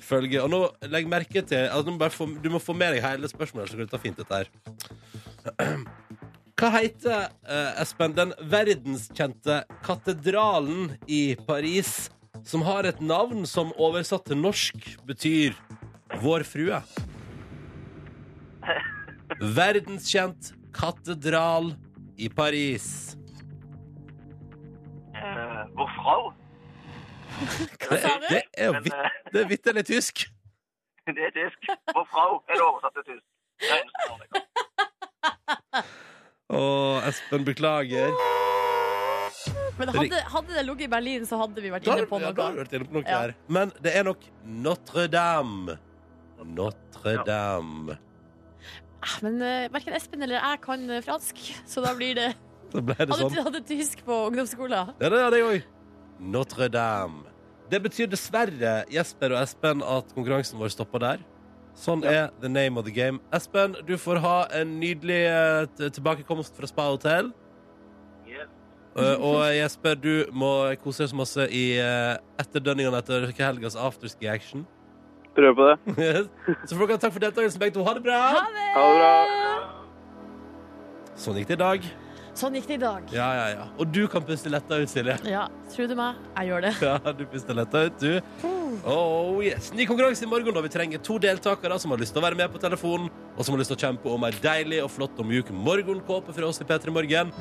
Speaker 2: følger. Og nå legg merke til altså, du, må bare få, du må få med deg hele spørsmålet, så kan du ta fint dette her. Hva heter, eh, Espen, den verdenskjente katedralen i Paris som har et navn som oversatt til norsk betyr Vår frue? Verdenskjent katedral i Paris.
Speaker 6: Eh, Hvorfra?
Speaker 2: Det
Speaker 3: sa
Speaker 2: er,
Speaker 3: du?
Speaker 2: det er jo
Speaker 6: Men
Speaker 2: vitt,
Speaker 6: eh,
Speaker 2: det er vitt eller tysk.
Speaker 6: det er tysk. Hvorfra er det oversatt til tysk. Det er eneste ordet jeg kan.
Speaker 2: Å, Espen, beklager.
Speaker 3: Men hadde, hadde det ligget i Berlin, så hadde vi vært
Speaker 2: Da har
Speaker 3: inne
Speaker 2: du
Speaker 3: på
Speaker 2: ja, da har du
Speaker 3: noe.
Speaker 2: vært inne på noe
Speaker 3: Ja.
Speaker 2: her. Men det er nok Notre-Dame. Notre-Dame.
Speaker 3: Ah, Men uh, verken Espen eller jeg kan eh, fransk, så da blir det
Speaker 2: Da ble det
Speaker 3: Hadde,
Speaker 2: sånn.
Speaker 3: hadde tysk på ungdomsskolen.
Speaker 2: Ja, det er det òg. Notre-Dame. Det betyr dessverre, Jesper og Espen, at konkurransen vår stopper der. Sånn er the name of the game. Espen, du får ha en nydelig eh, t- tilbakekomst fra Spa Hotel.
Speaker 6: Yes.
Speaker 2: Eh, og Jesper, du må kose deg så masse i eh, etterdønningene etter helgas afterski action.
Speaker 5: Prøv på det.
Speaker 2: Yes. Så får dere ha takk for deltakelsen, begge to. Ha det bra!
Speaker 3: Ha
Speaker 5: Ha det
Speaker 3: det!
Speaker 2: Sånn gikk det i dag.
Speaker 3: Sånn gikk det i dag.
Speaker 2: Ja, ja, ja. Og du kan puste letta ut, Silje.
Speaker 3: Ja, tror du meg? Jeg gjør det.
Speaker 2: Ja, du puster letta ut, du. Oh, yes. Ny konkurranse i morgen, da vi trenger to deltakere som har lyst til å være med på telefonen, og som har lyst til å kjempe om ei deilig og flott og mjuk morgenkåpe fra oss i P3 Morgen.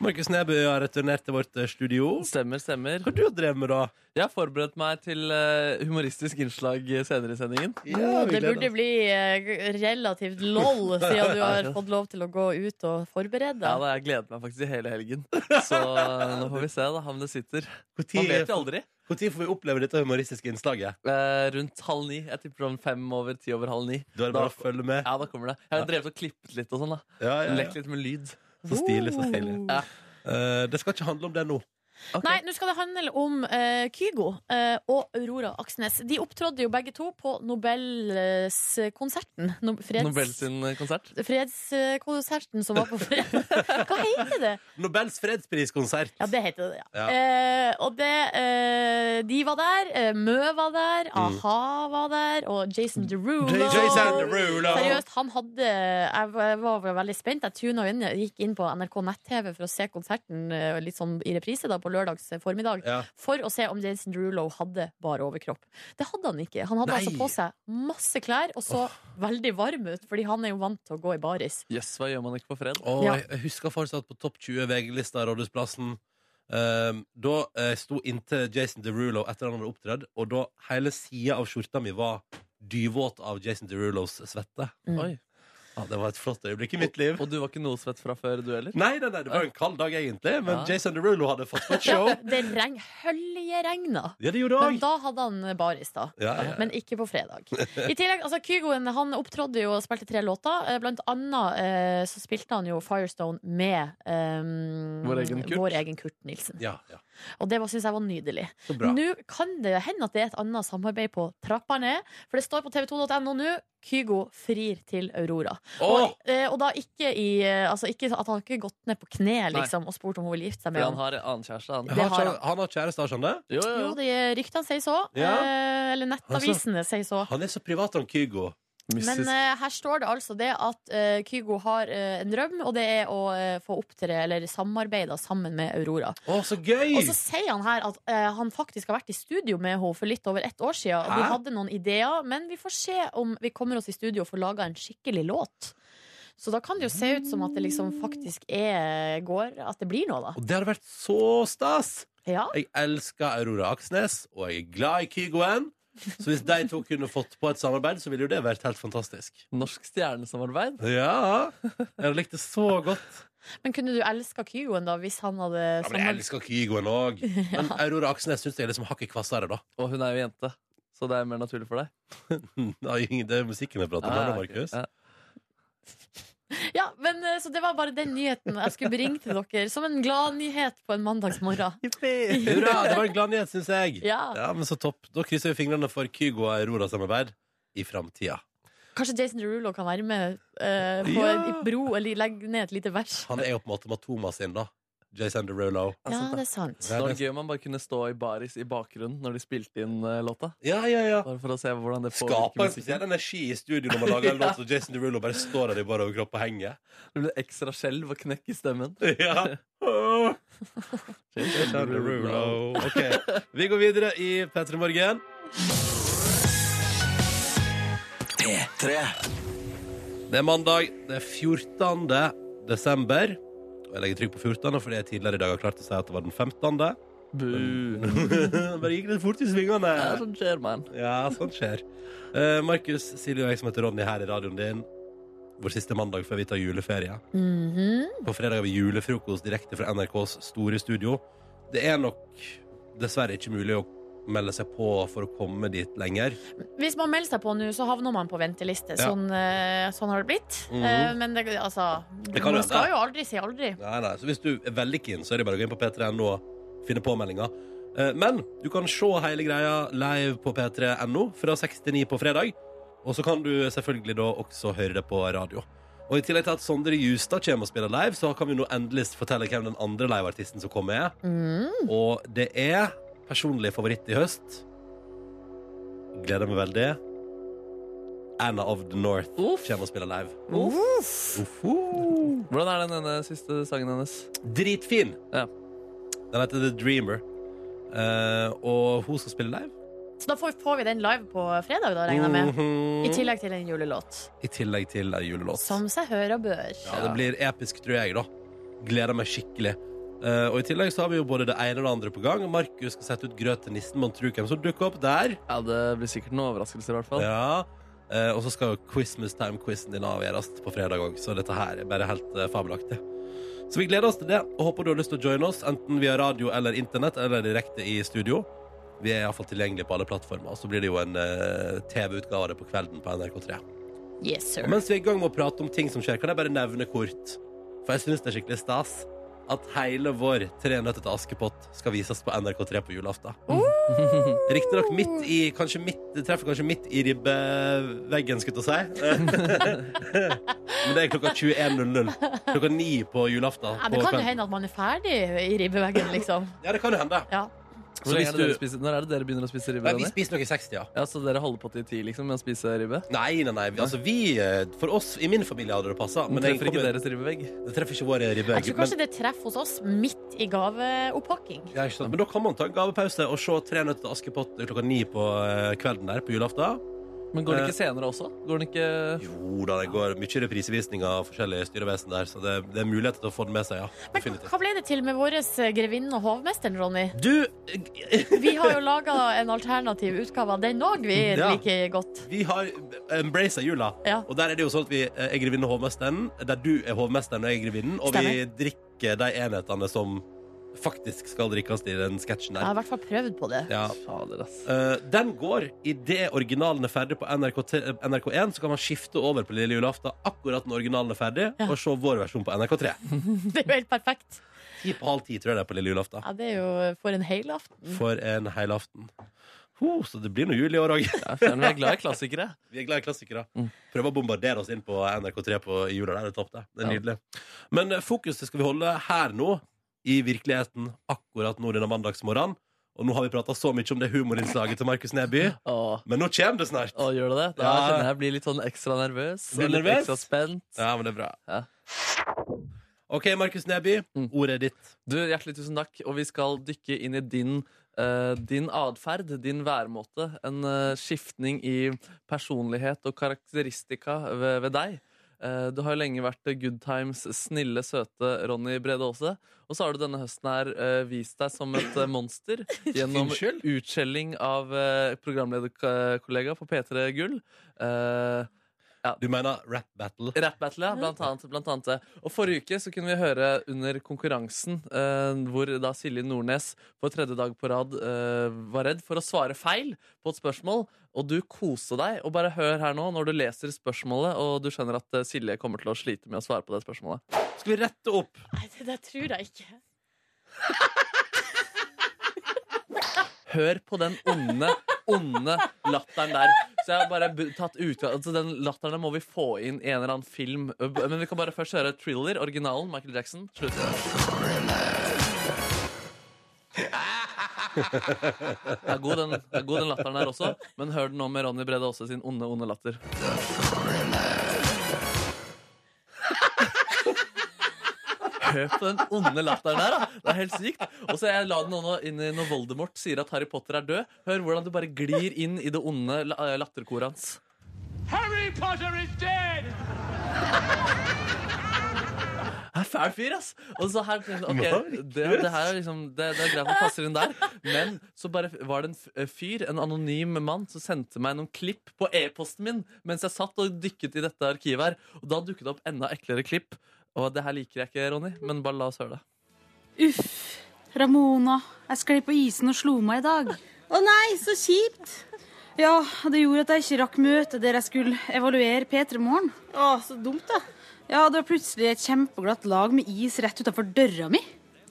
Speaker 2: Markus Neby har returnert til vårt eh, studio.
Speaker 4: Stemmer, stemmer.
Speaker 2: Hva har du drevet med, da?
Speaker 4: Jeg har forberedt meg til eh, humoristisk innslag senere i sendingen.
Speaker 2: Ja, vi
Speaker 3: det
Speaker 2: gleder
Speaker 3: burde
Speaker 2: oss.
Speaker 3: bli eh, relativt lol, siden du har fått lov til å gå ut og forberede
Speaker 4: Ja,
Speaker 3: deg.
Speaker 4: da, Jeg gleder meg faktisk i hele helgen. Så eh, nå får vi se da, om det sitter.
Speaker 2: Hvor
Speaker 4: Man vet
Speaker 2: tid-
Speaker 4: jo aldri.
Speaker 2: Hvor tid får vi oppleve dette humoristiske innslaget?
Speaker 4: Eh, rundt halv ni. Jeg tipper om fem over ti over halv ni.
Speaker 2: Da er det bare å følge med.
Speaker 4: Ja, da kommer det. Jeg har drevet og klippet litt og sånn. da
Speaker 2: Ja, ja,
Speaker 4: Lekt
Speaker 2: ja.
Speaker 4: litt med lyd.
Speaker 2: Så stilig, så deilig.
Speaker 4: Ja.
Speaker 2: Eh, det skal ikke handle om det nå.
Speaker 4: Ok.
Speaker 3: Oh. Nei, nå skal det handle om eh, Kygo eh, og Aurora Aksnes. De opptrådte jo begge to på Nobelskonserten. No freds
Speaker 4: Nobel sin konsert.
Speaker 3: Fredskonserten som var på fred... Hva heter det?
Speaker 2: Nobels fredspriskonsert.
Speaker 3: Ja, det heter det, ja.
Speaker 2: Ja.
Speaker 3: Eh, og det eh, De var der. eh, Mø var der. A-ha var der. Og Jason Derulo.
Speaker 2: Mm. Jason Derulo.
Speaker 3: Seriøst, han hadde Jeg var- jeg var vel veldig spent. Jeg tuna inn, jeg gikk inn på NRK nett-TV for å se konserten eh, litt sånn i reprise da, på lørdags eh, formiddag.
Speaker 2: Ja.
Speaker 3: For å se om Jason Derulo hadde bare overkropp. Det hadde han ikke. Han hadde
Speaker 2: Nei.
Speaker 3: altså på seg masse klær og så veldig varm ut, fordi han er jo vant til å gå i baris.
Speaker 4: Jøss, hva gjør man ikke på fred?
Speaker 2: Å,
Speaker 3: Ja.
Speaker 2: jeg, jeg husker fortsatt på topp 20 VG-lista i Rådhusplassen. Ehm, da eh, sto inntil Jason Derulo etter han hadde opptredd, og da hele sida av skjorta mi var dyvåt av Jason Derulos svette.
Speaker 3: Mm.
Speaker 4: Oi.
Speaker 2: Ja, det var et flott øyeblikk i mitt liv.
Speaker 4: Og du var ikke noe svett fra før, du heller?
Speaker 2: Nei, nei, nei, det var jo en kald dag, egentlig, men
Speaker 4: Ja.
Speaker 2: Jason Derulo hadde fått på et show.
Speaker 3: Ja, det regn, hølje regna.
Speaker 2: Ja, det gjorde
Speaker 3: Men
Speaker 2: òg.
Speaker 3: da hadde han baris, da.
Speaker 2: Ja, ja, ja.
Speaker 3: Men ikke på fredag. I tillegg, altså Kygoen han opptrådde jo og spilte tre låter. Eh, Blant annet eh, så spilte han jo Firestone med eh,
Speaker 4: Vår egen Kurt.
Speaker 3: vår egen Kurt Nilsen.
Speaker 2: Ja, ja.
Speaker 3: Og det syns jeg var nydelig.
Speaker 2: Så bra.
Speaker 3: Nå kan det hende at det er et annet samarbeid på trappene, for det står på tv2.no nå. Kygo frir til Aurora.
Speaker 2: Åh!
Speaker 3: Og, eh, og da ikke i eh, Altså ikke at han har ikke gått ned på kne
Speaker 4: Nei.
Speaker 3: liksom, og spurt om hun vil gifte seg
Speaker 4: For
Speaker 3: med
Speaker 4: han
Speaker 3: ham.
Speaker 4: har en annen kjæreste, han.
Speaker 3: det
Speaker 2: har
Speaker 3: har
Speaker 2: ikke- han har kjæreste, har ikke han det?
Speaker 4: Jo, jo,
Speaker 3: Jo,
Speaker 4: jo.
Speaker 3: de eh, ryktene sier så.
Speaker 2: Ja.
Speaker 3: Eh, eller nettavisene sier så.
Speaker 2: Han er så privat, han Kygo.
Speaker 3: Men
Speaker 4: Mystisk.
Speaker 3: eh, her står det altså det at eh, Kygo har eh, en drøm, og det er å eh, få opptre eller samarbeide sammen med Aurora.
Speaker 2: Å, så gøy!
Speaker 3: Og så sier han her at eh, han faktisk har vært i studio med henne for litt over ett år siden. Og de
Speaker 2: Hæ?
Speaker 3: hadde noen ideer, men vi får se om vi kommer oss i studio og får laga en skikkelig låt. Så da kan det jo se ut som at det liksom faktisk er eh, går At det blir noe, da.
Speaker 2: Og det hadde vært så stas!
Speaker 3: Ja.
Speaker 2: Jeg elsker Aurora Aksnes, og jeg er glad i Kygoen. Så hvis de to kunne fått på et samarbeid, så ville jo det vært helt fantastisk.
Speaker 4: Norsk stjernesamarbeid.
Speaker 2: Ja, Jeg likte det så godt.
Speaker 3: Men kunne du elska Kygoen da, hvis han hadde
Speaker 2: Ja, men jeg
Speaker 3: samarbeidet?
Speaker 2: elsker Kygoen òg. Men Aurora Aksnes syns jeg er liksom hakket kvassere, da.
Speaker 4: Og hun er jo jente, så det er mer naturlig for deg.
Speaker 2: Nei, det er musikken jeg prater om, da,
Speaker 4: Ah, ok.
Speaker 2: Markus.
Speaker 4: Ja.
Speaker 3: Ja, men eh, Så det var bare den nyheten jeg skulle bringe til dere. Som en gladnyhet på en mandagsmorgen.
Speaker 2: Hurra, det var en glad nyhet, syns jeg.
Speaker 3: Ja.
Speaker 2: Ja, men så topp. Da krysser vi fingrene for Kygo og Aurora-samarbeid i framtida.
Speaker 3: Kanskje Jason Derulo kan være med eh, på
Speaker 2: Ja.
Speaker 3: en bro, eller legge ned et lite vers.
Speaker 2: Han er jo på en måte Matoma sin, da. Jason Derulo.
Speaker 3: Ja, det er sant.
Speaker 4: Så det var gøy om man bare kunne stå i baris i bakgrunnen når de spilte inn eh, låta.
Speaker 2: Ja, ja, ja.
Speaker 4: Bare for å se hvordan det påvirker
Speaker 2: Skaper en
Speaker 4: musikken.
Speaker 2: spesiell energi i studio når man lager en låt, og Jason Derulo bare står der i bare overkropp og henger.
Speaker 4: Det blir ekstra skjelv og knekk i stemmen.
Speaker 2: Ja. Jason Derulo. Ok, vi går videre i P3 Morgen.
Speaker 1: P3
Speaker 2: Det er mandag, det er 14. desember. Og jeg legger trykk på 14. fordi jeg tidligere i dag har klart å si at det var den 15.
Speaker 4: Bu.
Speaker 2: Bare gikk litt fort i svingene.
Speaker 4: Det er sånn skjer, man.
Speaker 2: Ja, sånt skjer. Eh, Markus, Silje og jeg som heter Ronny her i radioen din. Vår siste mandag før vi tar juleferie.
Speaker 3: Mhm.
Speaker 2: På fredag har vi julefrokost direkte fra NRKs store studio. Det er nok dessverre ikke mulig å melde seg på for å komme dit lenger.
Speaker 3: Hvis man melder seg på nå, så havner man på venteliste.
Speaker 2: Ja.
Speaker 3: Sånn, eh, sånn har det blitt.
Speaker 2: Mhm.
Speaker 3: Eh, men det, altså,
Speaker 2: Det kan
Speaker 3: man
Speaker 2: hende.
Speaker 3: skal jo aldri si aldri.
Speaker 2: Nei, nei, så Hvis du er veldig keen, så er det bare å gå inn på p3.no og finne påmeldinga. Eh, Men du kan se hele greia live på p3.no fra 6 til 9 på fredag. Og så kan du selvfølgelig da også høre det på radio. Og i tillegg til at Sondre Justad kommer og spiller live, så kan vi nå endelig fortelle hvem den andre liveartisten som kommer, er.
Speaker 3: Mhm.
Speaker 2: Og det er personlig favoritt i høst. Gleder meg veldig. Anna of the North kommer og spiller live. Uff. Uff.
Speaker 4: Hvordan er den ene siste sangen hennes?
Speaker 2: Dritfin.
Speaker 4: Ja.
Speaker 2: Den heter The Dreamer. Eh, og hun skal spille live.
Speaker 3: Så da får, får vi den live på fredag, da, regner jeg med.
Speaker 2: Mhm.
Speaker 3: I tillegg til en julelåt.
Speaker 2: I tillegg til ei julelåt.
Speaker 3: Som seg hør og bør.
Speaker 2: Ja, det blir episk, tror jeg. da Gleder meg skikkelig. Eh, og I tillegg så har vi jo både det ene og det andre på gang. Markus skal sette ut grøt til nissen. Man tror hvem som dukker opp der.
Speaker 4: Ja, Det blir sikkert noen overraskelser, i hvert fall.
Speaker 2: Ja Eh, Og så skal jo Christmas Time-quizen din avgjøres på fredag òg, så dette her er bare helt eh, fabelaktig. Så vi gleder oss til det, og håper du har lyst til å joine oss, enten via radio eller internett, eller direkte i studio. Vi er iallfall tilgjengelige på alle plattformer, og så blir det jo en eh, TV-utgave av det på kvelden på NRK3.
Speaker 3: Yes, sir.
Speaker 2: Og mens vi er i gang med å prate om ting som skjer, kan jeg bare nevne kort, for jeg syns det er skikkelig stas, at hele vår Tre nøtter til Askepott skal vises på NRK3 på julaften. Riktignok midt i Kanskje midt, det treffer kanskje midt i ribbeveggen, skulle jeg til å si. Men det er klokka 21.00. Klokka 9 på julaften.
Speaker 3: Ja,
Speaker 2: på
Speaker 3: det kan jo
Speaker 2: kvelden.
Speaker 3: hende at man er ferdig i ribbeveggen, liksom.
Speaker 2: Ja, det kan jo hende.
Speaker 3: Ja.
Speaker 2: Så
Speaker 4: Så lenge
Speaker 2: hvis
Speaker 4: er det
Speaker 2: du
Speaker 4: dere spiser, når er det dere begynner å spise ribbe?
Speaker 2: Nei, vi
Speaker 4: Ronny?
Speaker 2: spiser noe i 60, ja.
Speaker 4: Ja, Så dere holder på til ti liksom, med å spise ribbe?
Speaker 2: Nei, nei, nei. vi- Altså, vi, eh, for oss i min familie hadde det passa. Men
Speaker 4: Men
Speaker 2: jeg
Speaker 4: treffer ikke
Speaker 2: kommer-
Speaker 4: deres ribbevegg?
Speaker 2: det treffer ikke vår
Speaker 3: Jeg tror
Speaker 2: ribbevegg.
Speaker 3: kanskje det treffer hos oss midt i gaveoppakking.
Speaker 2: Ja, ikke sant. Men da kan man ta en gavepause og se Tre nøtter til Askepott klokka ni på eh, kvelden der på julaften.
Speaker 4: Men går den
Speaker 2: Eh.
Speaker 4: ikke senere også? Går den ikke
Speaker 2: Jo da, det går mye reprisevisninger av forskjellige styrevesen der, så det, det er muligheter til å få den med seg, ja.
Speaker 3: Men
Speaker 2: Definitivt.
Speaker 3: hva ble det til med vår grevinne og hovmesteren, Ronny?
Speaker 2: Du,
Speaker 3: Vi har jo laga en alternativ utgave av den òg, vi
Speaker 2: Ja.
Speaker 3: liker godt.
Speaker 2: vi har embracet jula,
Speaker 3: Ja.
Speaker 2: og der er det jo sånn at vi eh, er grevinnen og hovmesteren, der du er hovmesteren og jeg er grevinnen, og vi
Speaker 3: Stemmer.
Speaker 2: drikker de enhetene som faktisk skal drikkes i den sketsjen
Speaker 3: Jeg har i
Speaker 2: her.
Speaker 3: hvert fall prøvd på det.
Speaker 2: Ja.
Speaker 4: Fader, ass.
Speaker 2: Eh, den går i det originalen er ferdig på NRK, eh, NRK1, så kan man skifte over på lille julaften akkurat når originalen er ferdig,
Speaker 3: Ja.
Speaker 2: og se vår versjon på NRK3.
Speaker 3: Det er jo helt perfekt.
Speaker 2: Ti på halv ti, tror jeg det er på lille julaften.
Speaker 3: Ja, det er jo for en helaften.
Speaker 2: For en helaften. Ho, så det blir nå jul i år òg.
Speaker 4: Ja, fjern, vi er glad i klassikere.
Speaker 2: Vi er glad i klassikere. Prøver å bombardere oss inn på NRK3 på i jula. Der, det, er topp, det. det er nydelig. Men eh, fokuset skal vi holde her nå, i virkeligheten, akkurat nå denne mandagsmorgenen. Og nå har vi prata så mye om det humorinnslaget til Markus Neby,
Speaker 4: Åh.
Speaker 2: men nå kommer det snart.
Speaker 4: Åh, gjør det det? Da
Speaker 2: Ja.
Speaker 4: kjenner jeg jeg blir litt sånn ekstra nervøs.
Speaker 2: Blir
Speaker 4: og
Speaker 2: du
Speaker 4: litt
Speaker 2: nervøs?
Speaker 4: ekstra spent.
Speaker 2: Ja, men det er bra.
Speaker 4: Ja.
Speaker 2: OK, Markus Neby,
Speaker 4: Mm.
Speaker 2: ordet er ditt.
Speaker 4: Du, Hjertelig tusen takk. Og vi skal dykke inn i din, uh, din atferd, din væremåte. En eh, skiftning i personlighet og karakteristika ved, ved deg. Eh, Det har jo lenge vært Good Times snille, søte Ronny Brede Aase. Og så har du denne høsten her eh, vist deg som et eh, monster gjennom
Speaker 2: Unnskyld?
Speaker 4: utskjelling av eh, programlederkollega på P3 Gull. Eh,
Speaker 2: Du mener rap battle?
Speaker 4: Rap-battle, ja. Blant annet, blant annet det. Og forrige uke så kunne vi høre under konkurransen eh, hvor da Silje Nordnes på tredje dag på rad eh, var redd for å svare feil på et spørsmål, og du koste deg. Og bare hør her nå når du leser spørsmålet, og du skjønner at eh, Silje kommer til å slite med å svare på det spørsmålet.
Speaker 2: Skal vi rette opp?
Speaker 3: Nei, det der tror jeg ikke.
Speaker 4: Hør på den onde, onde latteren der. Så jeg har bare bu- tatt ut altså Den latteren der må vi få inn i en eller annen film. Men vi kan bare først høre Thriller, originalen. Michael Jackson. Slutt. Det er god den, det er god den latteren der også, men hør den nå med Ronny Brede Aase sin onde, onde latter. Hør på den onde latteren der, da! Det er helt sykt. Og så jeg la den nå inn i når Voldemort sier at Harry Potter er død. Hør hvordan du bare glir inn i det onde la- eh, latterkoret hans. Harry Potter is dead! Det er fæl fyr, ass! Og så her, tenkte jeg, ok, det, det her er liksom det, det er greit at passer inn der, men så bare var det en f- eh, fyr, en anonym mann, som sendte meg noen klipp på e-posten min mens jeg satt og dykket i dette arkivet her, og da dukket det opp enda eklere klipp. Og det her liker jeg ikke, Ronny, men bare la oss høre det.
Speaker 7: Uff, Ramona. Jeg sklei på isen og slo meg i dag. Å nei, så kjipt. Ja, det gjorde at jeg ikke rakk møtet der jeg skulle evaluere P3 Morgen. Å, så dumt, da. Ja, det var plutselig et kjempeglatt lag med is rett utafor døra mi.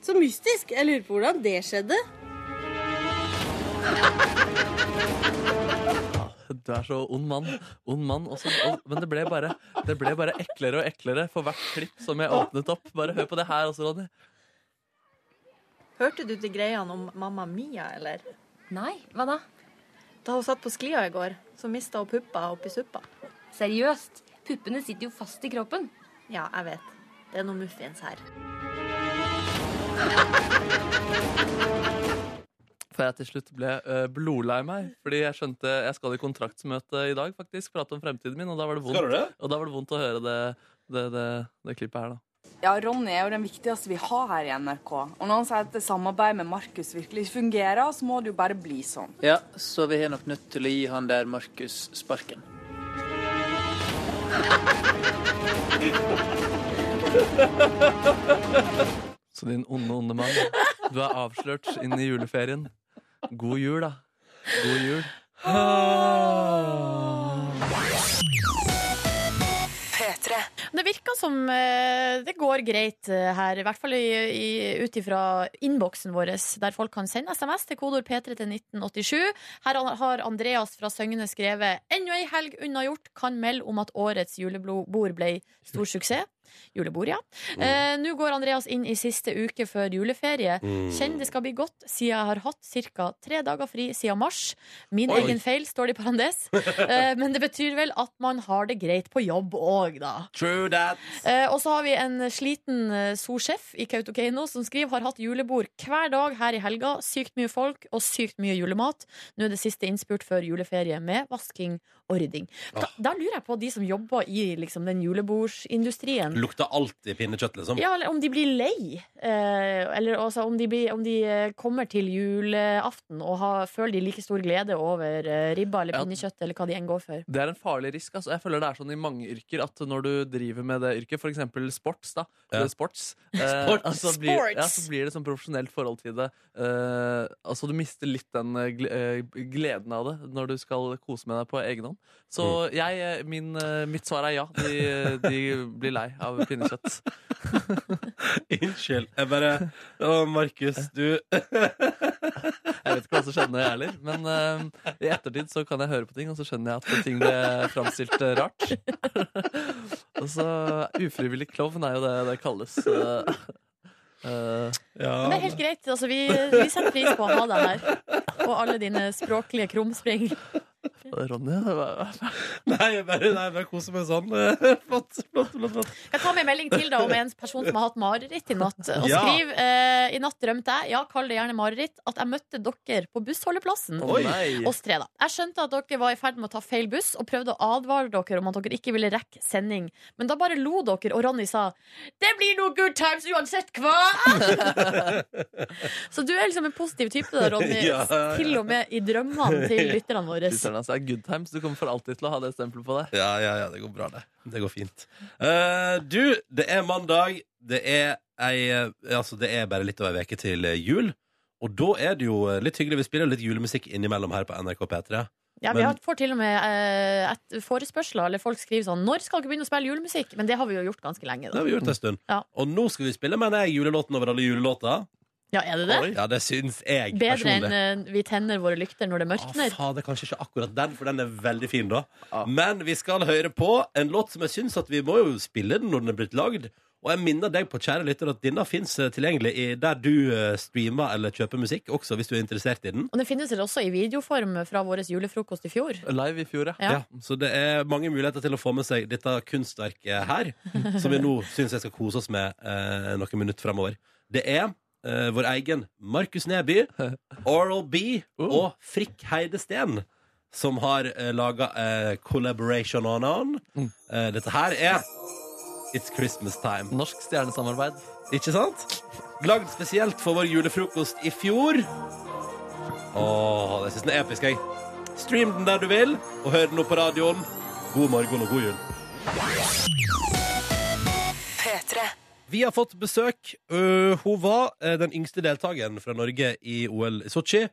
Speaker 7: Så mystisk. Jeg lurer på hvordan det skjedde.
Speaker 4: Du er så ond mann. Ond mann og så- og, men det ble, bare, det ble bare eklere og eklere for hvert klipp som jeg åpnet opp. Bare hør på det her også, Ronny.
Speaker 8: Hørte du til greiene om Mamma Mia, eller?
Speaker 9: Nei, hva da?
Speaker 8: Da hun satt på sklia i går, så mista hun puppa oppi suppa.
Speaker 9: Seriøst? Puppene sitter jo fast i kroppen.
Speaker 8: Ja, jeg vet. Det er noe muffins her.
Speaker 4: For jeg til slutt ble eh, blodlei meg. Fordi jeg skjønte jeg skal i kontraktsmøte i dag, faktisk. Prate om fremtiden min, og da var det
Speaker 2: Skal du
Speaker 4: vondt,
Speaker 2: det?
Speaker 4: og da var det vondt å høre det, det, det, det klippet her, da.
Speaker 10: Ja, Ronny er jo den viktigste vi har her i NRK. Og når han sier at samarbeid med Markus virkelig ikke fungerer, så må det jo bare bli sånn.
Speaker 11: Ja, så vi er nok nødt til å gi han der Markus sparken.
Speaker 4: Så din onde, onde mann, du er avslørt inn i juleferien. God jul, da. God jul.
Speaker 3: Det virker som eh, det går greit eh, her, i hvert fall i, i, ut ifra innboksen vår, der folk kan sende SMS til kodeord P3 til 1987. Her an- har Andreas fra Søgne skrevet Enda ei helg unnagjort, kan melde om at årets julebord ble stor suksess. Julebord, ja. Eh, Nå går Andreas inn i siste uke før juleferie.
Speaker 2: Mm.
Speaker 3: Kjenn det skal bli godt, siden jeg har hatt ca. tre dager fri siden mars. Min
Speaker 2: Oi.
Speaker 3: egen feil, står det i parentes. Eh, men det betyr vel at man har det greit på jobb òg, da.
Speaker 2: True that!
Speaker 3: Eh, og så har vi en sliten eh, sosjef i Kautokeino som skriver har hatt julebord hver dag her i helga. Sykt mye folk og sykt mye julemat. Nå er det siste innspurt før juleferie med vasking og rydding. Da, da lurer jeg på de som jobber i liksom, den julebordsindustrien.
Speaker 2: Lukter alltid pinnekjøtt, liksom.
Speaker 3: Ja, eller om de blir lei. Eh, eller også om de, blir, om de eh, kommer til julaften og har, føler de like stor glede over eh, ribba eller
Speaker 4: Ja.
Speaker 3: pinnekjøtt eller hva de enn går for.
Speaker 4: Det er en farlig risk. Altså. Jeg føler det er sånn i mange yrker at når du driver med det yrket, f.eks. sports, da,
Speaker 2: Ja.
Speaker 4: eller sports, eh,
Speaker 2: Sports.
Speaker 4: altså blir,
Speaker 3: Sports.
Speaker 4: Ja, så blir det sånn profesjonelt forhold til det. Eh, altså Du mister litt den eh, gle- eh, gleden av det når du skal kose med deg på egen hånd. Så
Speaker 2: Mm.
Speaker 4: jeg, eh, min, eh, mitt svar er ja. De, eh, de blir lei av pinnekjøtt.
Speaker 2: Unnskyld. Jeg bare Å, Markus, du
Speaker 4: Jeg vet ikke hva som skjedde når jeg heller, men eh, i ettertid så kan jeg høre på ting, og så skjønner jeg at ting ble framstilt eh, rart. og så ufrivillig klovn er jo det det kalles. eh, eh,
Speaker 3: Men det er
Speaker 2: Ja.
Speaker 3: helt greit. Altså, vi, vi setter pris på å ha deg her. Og alle dine språklige krumspring.
Speaker 4: Ronny, hva- hva-
Speaker 2: Nei, jeg bare, nei, jeg bare koser meg sånn. Flott, flott, flott. flott.
Speaker 3: Jeg tar med en melding til da om en person som har hatt mareritt i natt. Og
Speaker 2: Ja.
Speaker 3: skriv eh, I natt drømte jeg, ja, kall det gjerne mareritt, at jeg møtte dere på bussholdeplassen.
Speaker 12: Å, nei.
Speaker 3: Oss tre, da. Jeg skjønte at dere var i ferd med å ta feil buss, og prøvde å advare dere om at dere ikke ville rekke sending. Men da bare lo dere, og Ronny sa 'Det blir noe good times uansett hva'. Så du er liksom en positiv type, da, Ronny.
Speaker 4: Ja, ja, ja.
Speaker 3: Til og med i drømmene til lytterne våre.
Speaker 4: Fy søren, altså, det er good times. Du kommer for alltid til å ha det stempelet på deg.
Speaker 2: Ja, ja, ja, det går bra, det. Det går fint. Eh, du, det er mandag. Det er, ei, eh, altså, det er bare litt over ei uke til eh, jul. Og da er det jo eh, litt hyggelig. Vi spiller litt julemusikk innimellom her på NRK P3.
Speaker 3: Ja, Vi
Speaker 2: Men-
Speaker 3: har, får til og med eh, et forespørsler, eller folk skriver sånn 'Når skal dere begynne å spille julemusikk?' Men det har vi jo gjort ganske lenge.
Speaker 2: det har vi gjort en stund.
Speaker 3: Ja.
Speaker 2: Og nå skal vi spille, mener jeg, julelåten over alle julelåter.
Speaker 3: Ja, er det det?
Speaker 2: Ja, det syns jeg
Speaker 3: Bedre enn
Speaker 2: personlig.
Speaker 3: eh, vi tenner våre lykter når det mørkner.
Speaker 2: Faen, det er kanskje ikke akkurat den, for den er veldig fin, da. Men vi skal høre på en låt som jeg syns at vi må jo spille den når den er blitt lagd. Og jeg minner deg på, kjære lytter, at denne fins tilgjengelig i der du eh, streamer eller kjøper musikk, også hvis du er interessert i den.
Speaker 3: Og den finnes vel også i videoform fra vår julefrokost i fjor.
Speaker 4: Live i fjor,
Speaker 3: Ja.
Speaker 2: Ja, så det er mange muligheter til å få med seg dette kunstverket her, som vi nå syns jeg skal kose oss med eh, noen minutter fremover. Det er eh, vår egen Markus Neby, Oral B og Frikk Heidesteen som har eh, laga eh, Collaboration On On. Eh, dette her er It's Christmas Time.
Speaker 4: Norsk stjernesamarbeid.
Speaker 2: Ikke sant? Lagd spesielt for vår julefrokost i fjor. Åh, jeg synes den er episk, jeg. Stream den der du vil, og hør den opp på radioen. God morgen og god jul. Vi har fått besøk. Uh, hun var eh, den yngste deltakeren fra Norge i OL i Sotsji.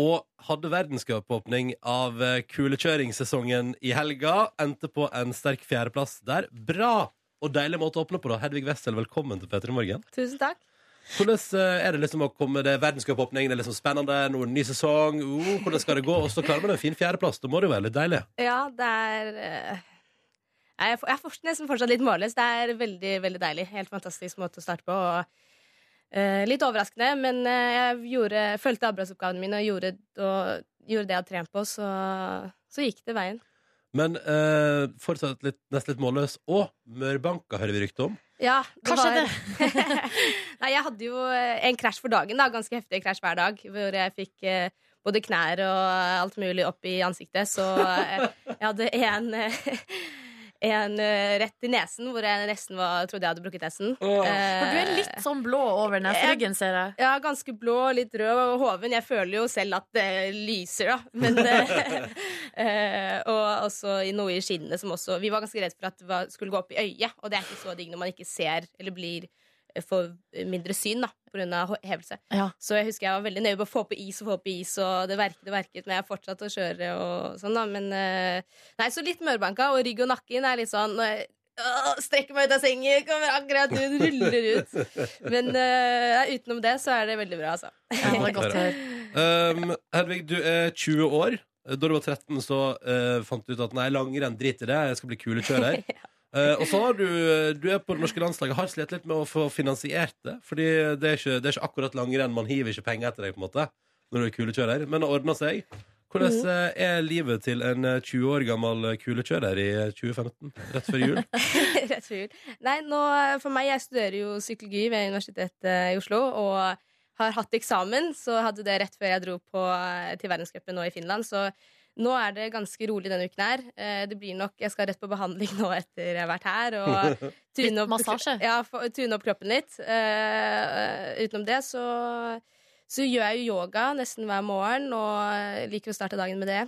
Speaker 2: Og hadde verdenscupåpning av eh, kulekjøringssesongen i helga. Endte på en sterk fjerdeplass der. Bra og deilig måte å åpne på, da. Hedvig Wessel, velkommen til P3 Morgen.
Speaker 13: Tusen takk.
Speaker 2: Hvordan eh, er det liksom å komme det er verdenscupåpning? Det er liksom spennende, nå er det ny sesong. Uh, hvordan skal det gå? Og så klarer man en fin fjerdeplass. Da må det jo være litt deilig.
Speaker 13: Ja, det er eh, Jeg er for- jeg er fortsatt- nesten fortsatt litt målløs. Det er veldig, veldig deilig. Helt fantastisk måte å starte på. Og, eh, litt overraskende, men eh, jeg gjorde, fulgte avbrudsoppgavene mine og gjorde, og gjorde det jeg hadde trent på, så, så gikk det veien.
Speaker 2: Men eh, fortsatt litt, nesten litt målløs. Og Mørbanka hører vi rykte om.
Speaker 13: Ja, det
Speaker 3: Hva skjedde?
Speaker 13: var- Nei, jeg hadde jo eh, en krasj for dagen, da. Ganske heftig krasj hver dag. Hvor jeg fikk eh, både knær og alt mulig opp i ansiktet. Så eh, jeg hadde en eh, En eh, rett i nesen, hvor jeg nesten var, trodde jeg hadde brukket nesen. Eh,
Speaker 3: For du er litt sånn blå over neseryggen, ser jeg.
Speaker 13: Ja, ganske blå, litt rød og hoven. Jeg føler jo selv at det lyser, da. Men, eh, eh, og også i noe i skinnene som også Vi var ganske redd for at det var- skulle gå opp i øyet, og det er ikke så digg når man ikke ser eller blir får mindre syn da, pga. hevelse.
Speaker 3: Ja.
Speaker 13: Så jeg husker jeg var veldig nøye på å få på is og få på is, og det verket og verket, men jeg fortsatte å kjøre og sånn, da. Men eh, Nei, så litt mørbanka, og rygg og nakken er litt sånn eh, «Åh, Strekker meg ut av sengen, kommer akkurat ut, ruller ut. Men eh, nei, utenom det så er det veldig bra, altså.
Speaker 2: Um, Hedvig, du er 20 år. Da du var 13, så eh, fant du ut at nei, langrenn, drit i det, jeg skal bli kulekjører. Eh, og så har du Du er på det norske landslaget, har slitt litt med å få finansiert det. Fordi det er ikke, det er ikke akkurat langrenn, man hiver ikke penger etter deg, på en måte, når du er kulekjører. Men det ordna seg. Hvordan eh, er livet til en eh, 20 år gammel kulekjører i 2015, rett før jul?
Speaker 13: Rett før jul. Nei, nå, for meg, jeg studerer jo psykologi ved Universitetet eh, i Oslo, og har hatt eksamen, så jeg hadde det rett før jeg dro på, eh, til verdenscupen nå i Finland, så nå er det ganske rolig denne uken her. Eh, Det blir nok, Jeg skal rett på behandling nå etter jeg har vært her. Og tune opp, Ja, få- tune opp kroppen litt. Eh, utenom det så, så gjør jeg jo yoga nesten hver morgen, og liker å starte dagen med det.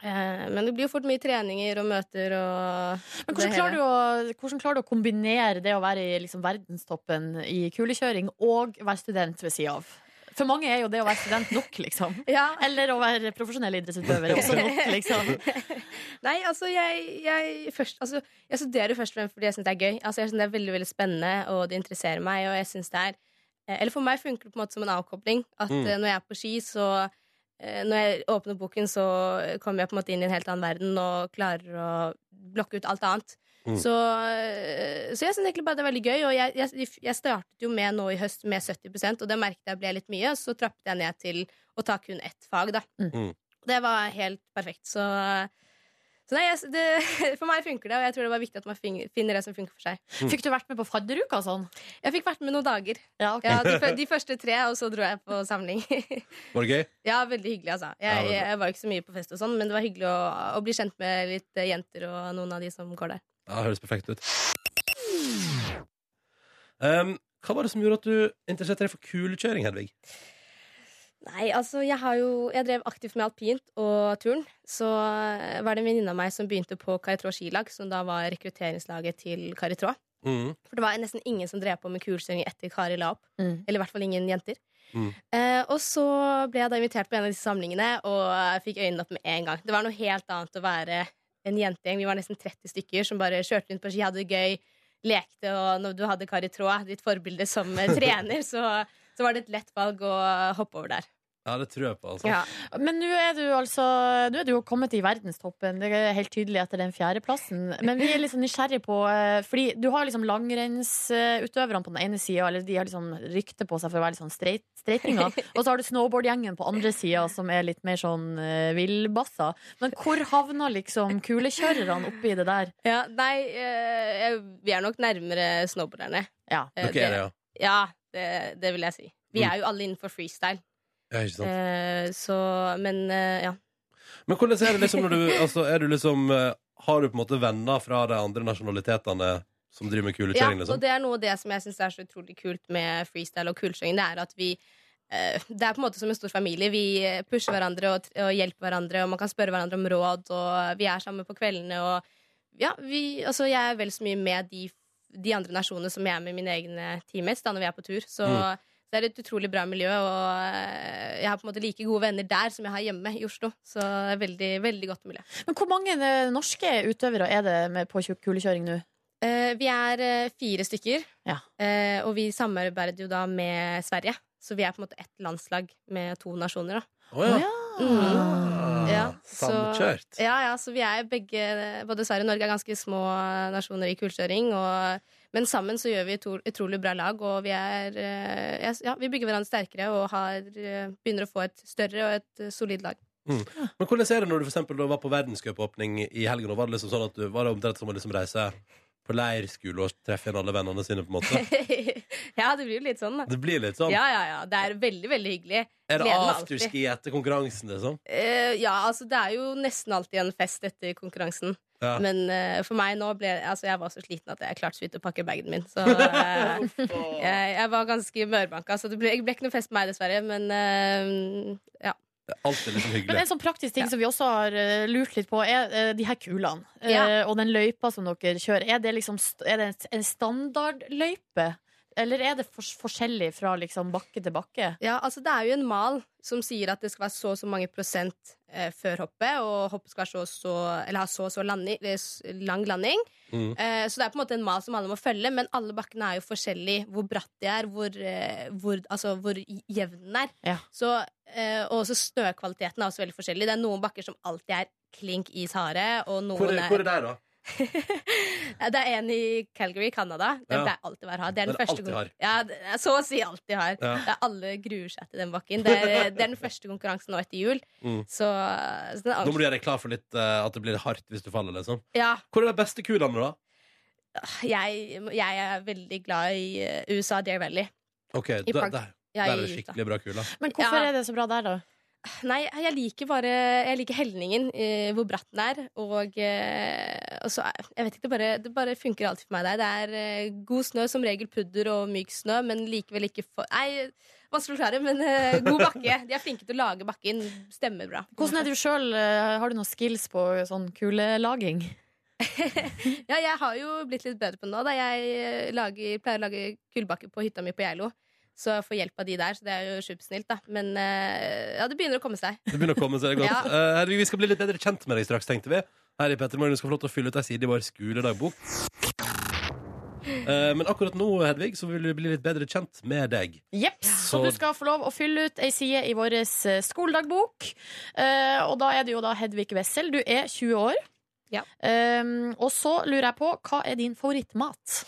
Speaker 13: Eh, men det blir jo fort mye treninger og møter og
Speaker 3: Men hvordan klarer, du å, hvordan klarer du å kombinere det å være i liksom, verdenstoppen i kulekjøring og være student ved sida av? For mange er jo det å være student nok, liksom. Eller å være profesjonell idrettsutøver. Også nok, liksom.
Speaker 13: Nei, altså jeg, jeg, først, altså jeg studerer først og fremst fordi jeg syns det er gøy. Altså jeg synes Det er veldig veldig spennende, og det interesserer meg. Og jeg synes det er eh, Eller for meg funker det på en måte som en avkobling. At
Speaker 12: Mm.
Speaker 13: eh, når jeg er på ski, så eh, Når jeg åpner boken, så kommer jeg på en måte inn i en helt annen verden og klarer å blokke ut alt annet.
Speaker 12: Mm.
Speaker 13: Så, eh, så jeg syns egentlig bare det er veldig gøy. Og jeg, jeg, jeg startet jo med nå i høst
Speaker 12: Mm.
Speaker 13: med 70 og det merket jeg ble litt mye. Så trappet jeg ned til å ta kun ett fag, da. Det var helt perfekt. Så, så nei, jeg, det, for meg funker det, og jeg tror det var viktig at man fin- finner det som funker for seg.
Speaker 2: Mm. Fikk
Speaker 13: du vært med på fadderuka og sånn? Jeg fikk vært med noen dager. Ja, de, fø- de første tre, og så dro jeg på samling.
Speaker 2: Var det gøy?
Speaker 13: ja, veldig hyggelig, altså.
Speaker 2: Ja,
Speaker 13: Jeg,
Speaker 2: det er
Speaker 13: jeg, var ikke så mye på fest og sånn, men det var hyggelig å, å bli kjent med litt eh, jenter og noen av de som går der.
Speaker 2: Ja, det høres perfekt ut. Um, hva var det som gjorde at du interesserte deg for kulekjøring, Hedvig?
Speaker 13: Nei, altså jeg har jo Jeg drev aktivt med alpint og turn. Så eh, var det en venninne av meg som begynte på Caritrå skilag, som da var rekrutteringslaget til Caritrå.
Speaker 2: Mm.
Speaker 13: For det var nesten ingen som drev på med kulekjøring etter Kari la opp.
Speaker 3: Mm.
Speaker 13: Eller i hvert fall ingen jenter.
Speaker 2: Mm.
Speaker 13: Eh, og så ble jeg da invitert på en av disse samlingene, og jeg fikk øynene opp med en gang. Det var noe helt annet å være en jentegjeng. Vi var nesten 30 stykker som bare kjørte rundt på ski, hadde det gøy, lekte, og når du hadde Kari Traa, ditt forbilde som eh, trener, så, så var det et lett valg å hoppe over der.
Speaker 2: Ja, det tror jeg på, altså.
Speaker 3: Men nå er du altså Nå er du jo kommet i verdenstoppen, det er helt tydelig etter den fjerdeplassen. Men vi er litt sånn nysgjerrige på eh, Fordi du har liksom langrennsutøverne på den ene sida, eller de har liksom rykte på seg for å være litt sånn streit, streitinger. Og så har du snowboardgjengen på andre sida, som er litt mer sånn uh, villbassa. Men hvor havna liksom kulekjørerne oppi det der?
Speaker 13: Ja, nei, eh, jeg- vi er nok nærmere snowboarderne.
Speaker 3: Ja.
Speaker 13: Eh,
Speaker 2: Dere er det, ja.
Speaker 13: Ja, det, det vil jeg si.
Speaker 2: Mm.
Speaker 13: Vi
Speaker 2: Sånn.
Speaker 13: er jo alle innenfor freestyle.
Speaker 2: Ja, ikke sant?
Speaker 13: Eh, så, men eh, ja.
Speaker 2: Men hvordan er det liksom når du Altså, er du liksom eh, Har du på en måte venner fra de andre nasjonalitetene som driver med
Speaker 13: ja.
Speaker 2: kulekjøring,
Speaker 13: Og
Speaker 2: liksom?
Speaker 13: det er noe av det som jeg syns er så utrolig kult med freestyle og kulekjøring, det er at vi eh, det er på en måte som en stor familie. Vi eh, pusher hverandre og, og hjelper hverandre. Og Man kan spørre hverandre om råd, og vi er sammen på kveldene. Og ja, vi, altså jeg er vel så mye med de, de andre nasjonene som jeg er med mine egne teammates da når vi er på tur. Så
Speaker 2: Mm.
Speaker 13: det er et utrolig bra miljø, og eh, jeg har på en måte like gode venner der som jeg har hjemme i Oslo. Så det er veldig, veldig godt miljø.
Speaker 3: Men hvor mange eh, norske utøvere er det med på kulekjøring nå?
Speaker 13: Eh, vi er eh, fire stykker,
Speaker 3: Ja.
Speaker 13: eh, og vi samarbeider jo da med Sverige. Så vi er på en måte ett landslag med to nasjoner, da.
Speaker 2: Å ja.
Speaker 13: Mm. Ja, så,
Speaker 2: Ah, Samkjørt.
Speaker 13: ja, ja, så vi er begge Både Sverige og Norge er ganske små nasjoner i kulekjøring. og- Men sammen så gjør vi et to- utrolig bra lag, og vi er eh, jeg s- Ja, vi bygger hverandre sterkere og har, eh, begynner å få et større og et eh, solid lag.
Speaker 2: Mm. Men hvordan er det når du for eksempel da var på verdenscupåpning i helgen? Og var det liksom sånn at du var det omtrent som å liksom reise på leirskole og treffe igjen alle vennene sine? på en måte
Speaker 13: ja, det blir jo litt sånn, da.
Speaker 2: Det blir litt sånn.
Speaker 13: Ja, ja, ja. Det er veldig, veldig hyggelig.
Speaker 2: Er det
Speaker 13: Gleder meg alltid.
Speaker 2: afterski etter konkurransen, liksom?
Speaker 13: Eh, ja, altså det er jo nesten alltid en fest etter konkurransen.
Speaker 2: Ja.
Speaker 13: Men eh, for meg nå ble Altså jeg var så sliten at jeg klarte så vidt å pakke bagen min. Så eh, jeg, jeg var ganske mørbanka, så det ble, det ble ikke noe fest med meg, dessverre. Men eh, ja.
Speaker 2: Alt er liksom
Speaker 3: Men
Speaker 2: hyggelig.
Speaker 3: en sånn praktisk ting som vi også har eh, lurt litt på, er eh, de her kulene. Eh,
Speaker 13: Ja.
Speaker 3: og den løypa som dere kjører, er det liksom st er det en s- en standardløype? Eller er det fors forskjellig fra liksom bakke til bakke?
Speaker 13: Ja, altså Det er jo en mal som sier at det skal være så og så mange prosent eh, før hoppet, og hoppet skal være så og så Eller ha så og så landing, eh, s- lang landing.
Speaker 2: Mm.
Speaker 13: Eh, så det er på en måte en mal som alle må følge, men alle bakkene er jo forskjellige hvor bratt de er, hvor, eh, hvor, altså, hvor i- jevn den er.
Speaker 3: Ja.
Speaker 13: Så, eh, og også snøkvaliteten er også veldig forskjellig. Det er noen bakker som alltid er klink isharde, og noen
Speaker 2: Hvor er, hvor er det, da?
Speaker 13: Eh, Det er en i Calgary, Canada. Den
Speaker 2: Ja.
Speaker 13: pleier alltid å være hard. Det er
Speaker 2: Den
Speaker 13: den,
Speaker 2: er
Speaker 13: første
Speaker 2: alltid
Speaker 13: kon-
Speaker 2: hard.
Speaker 13: Ja, det er så å si alltid hard.
Speaker 2: Ja.
Speaker 13: Det er alle gruer seg til den bakken. Det er, det er den første konkurransen nå etter jul.
Speaker 2: Mm.
Speaker 13: Så, så den
Speaker 2: Da
Speaker 13: er
Speaker 2: må du gjøre deg klar for litt eh, at det blir hardt hvis du faller, liksom.
Speaker 13: Ja,
Speaker 2: Hvor er de beste kulene, da?
Speaker 13: jeg, jeg er veldig glad i eh, USA Dear Valley.
Speaker 2: Ok,
Speaker 13: I
Speaker 2: der,
Speaker 13: Park-
Speaker 2: der,
Speaker 13: Ja,
Speaker 2: der er
Speaker 13: i
Speaker 2: det
Speaker 13: Utah.
Speaker 2: skikkelig bra kuler.
Speaker 3: Men hvorfor er det så bra der, da?
Speaker 13: Nei, jeg liker bare Jeg liker helningen, eh, hvor bratt den er. Og, eh, og så er- Jeg vet ikke, det bare, det bare funker alltid for meg der. Det er eh, god snø, som regel pudder og myk snø, men likevel ikke for Nei, vanskelig å forklare, men eh, god bakke. De er flinke til å lage bakken. Stemmer bra.
Speaker 3: Hvordan er du sjøl? Har du noen skills på sånn kulelaging?
Speaker 13: Ja, jeg har jo blitt litt bedre på det nå. Da. Jeg eh, lager, pleier å lage kullbakke på hytta mi på Geilo. Så jeg får hjelp av de der, så det er jo supersnilt, da. Men eh, ja, det begynner å komme seg.
Speaker 2: Det begynner å komme seg godt.
Speaker 13: Ja.
Speaker 2: Eh, Hedvig, vi skal bli litt bedre kjent med deg straks, tenkte vi. Her i Petter Morgen du skal få lov til å fylle ut ei side i vår skoledagbok. Eh, men akkurat nå, Hedvig, så vil vi bli litt bedre kjent med deg.
Speaker 3: Jepp.
Speaker 2: Så-
Speaker 3: Så du skal få lov å fylle ut ei side i vår skoledagbok. Eh, og da er det jo da Hedvig Wessel. Du er 20 år. Eh, og så lurer jeg på, hva er din favorittmat?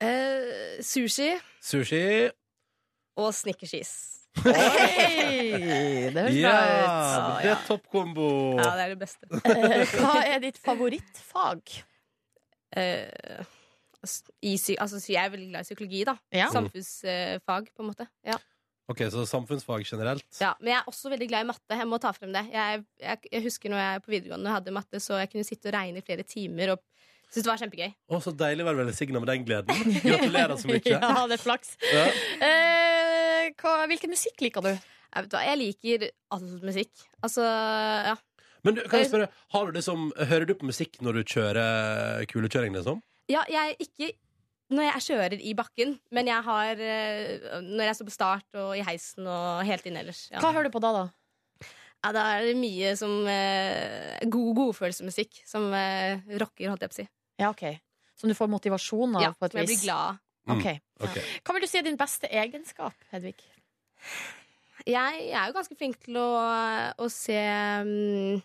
Speaker 13: Eh, sushi
Speaker 2: Sushi
Speaker 13: og snickerskis.
Speaker 3: Hei! Det høres bra
Speaker 2: Ja,
Speaker 3: ut.
Speaker 2: det er topp kombo.
Speaker 13: Ja, det er det beste.
Speaker 3: Eh, Hva er ditt favorittfag?
Speaker 13: Eh, s- i psy altså, så jeg er veldig glad i psykologi, da.
Speaker 3: Mm.
Speaker 2: Ja.
Speaker 13: Samfunnsfag, på en måte. Ja.
Speaker 2: Ok, så samfunnsfag generelt.
Speaker 13: Ja, men jeg er også veldig glad i matte. Jeg må ta frem det. Jeg, jeg, jeg husker når jeg på videregående hadde matte, så jeg kunne sitte og regne i flere timer. Og syntes det var kjempegøy.
Speaker 2: Å, så deilig å være velsigna med den gleden. Gratulerer så mye.
Speaker 13: Ja, det er flaks.
Speaker 2: Ja.
Speaker 13: Eh, hva, hvilken musikk liker du? Jeg, vet hva, jeg liker all musikk. Altså, ja.
Speaker 2: Men du, kan jeg spørre, har du liksom, hører du på musikk når du kjører kulekjøring, liksom?
Speaker 13: ja jeg er ikke når jeg kjører i bakken, men jeg har eh, Når jeg står på start og i heisen og helt inn ellers. Ja.
Speaker 3: Hva hører du på da, da?
Speaker 13: Ja, da er det mye som eh, god godfølelsesmusikk. Som eh, rocker, holdt jeg på å si.
Speaker 3: Ja, ok Som du får motivasjon av
Speaker 13: Ja,
Speaker 3: på et
Speaker 13: som jeg
Speaker 3: vis?
Speaker 13: blir glad av.
Speaker 3: Ok.
Speaker 2: Ok.
Speaker 3: Hva vil du si er din beste egenskap, Hedvig?
Speaker 13: Jeg, jeg er jo ganske flink til å, å se mm,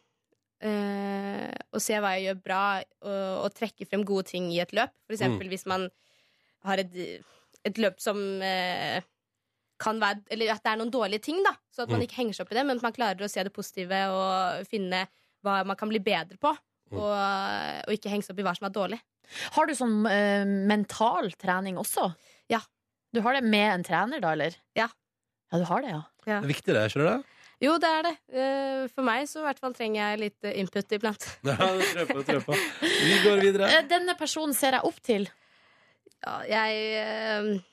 Speaker 13: eh, Å se hva jeg gjør bra, og, og trekke frem gode ting i et løp. For eksempel
Speaker 9: Mm.
Speaker 13: hvis man har et, et løp som eh, kan være Eller at det er noen dårlige ting, da. Så at man
Speaker 9: Mm.
Speaker 13: ikke henger seg opp i det, men at man klarer å se det positive og finne hva man kan bli bedre på.
Speaker 9: Mm.
Speaker 13: Og, og ikke henge seg opp i hva som er dårlig.
Speaker 3: Har du sånn eh, mental trening også?
Speaker 13: Ja.
Speaker 3: Du har det med en trener, da, eller?
Speaker 13: Ja.
Speaker 3: Ja, du har det, ja.
Speaker 13: Ja.
Speaker 2: Det er viktig, det. Skjønner du det?
Speaker 13: Jo, det er det. Eh, For meg så i hvert fall trenger jeg litt eh, input iblant.
Speaker 2: Ja, det tror jeg på. Det tror jeg på. Vi går videre.
Speaker 3: Eh, Denne personen ser jeg opp til.
Speaker 13: Ja, jeg eh,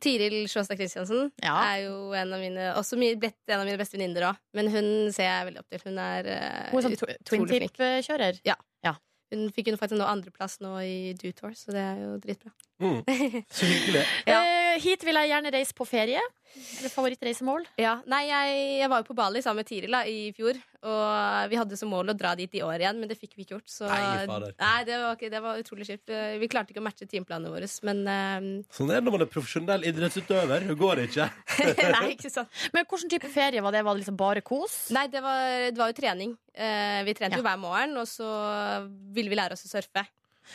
Speaker 13: Tiril Sjåstad Kristiansen er jo en av mine også mi- blitt en av mine beste venninner òg. Men hun ser jeg veldig opp til. Hun er eh,
Speaker 3: Hun er sånn
Speaker 13: ut-
Speaker 3: tw- twin
Speaker 13: utrolig flink.
Speaker 3: tip-kjører.
Speaker 13: Ja. Hun fikk jo faktisk nå andreplass nå i Do Tour, så det er jo dritbra.
Speaker 2: Mm. Så hyggelig.
Speaker 3: Eh, hit vil jeg gjerne reise på ferie. Eller favorittreisemål.
Speaker 13: Ja, nei, jeg, jeg var jo på Bali sammen med Tiril da, i fjor, og vi hadde som mål å dra dit i år igjen, men det fikk vi ikke gjort. Så
Speaker 2: Nei, fader.
Speaker 13: Nei, det, var, ikke- det var utrolig kjipt. Eh, Vi klarte ikke å matche timeplanene våre, men eh,
Speaker 2: Sånn er det når man er profesjonell idrettsutøver. Det går ikke.
Speaker 13: Nei, ikke sant.
Speaker 3: Men hvilken type ferie var det? Var det liksom bare kos?
Speaker 13: Nei, det var, det var jo trening. Eh, vi trente jo hver morgen, og så ville vi lære oss å surfe.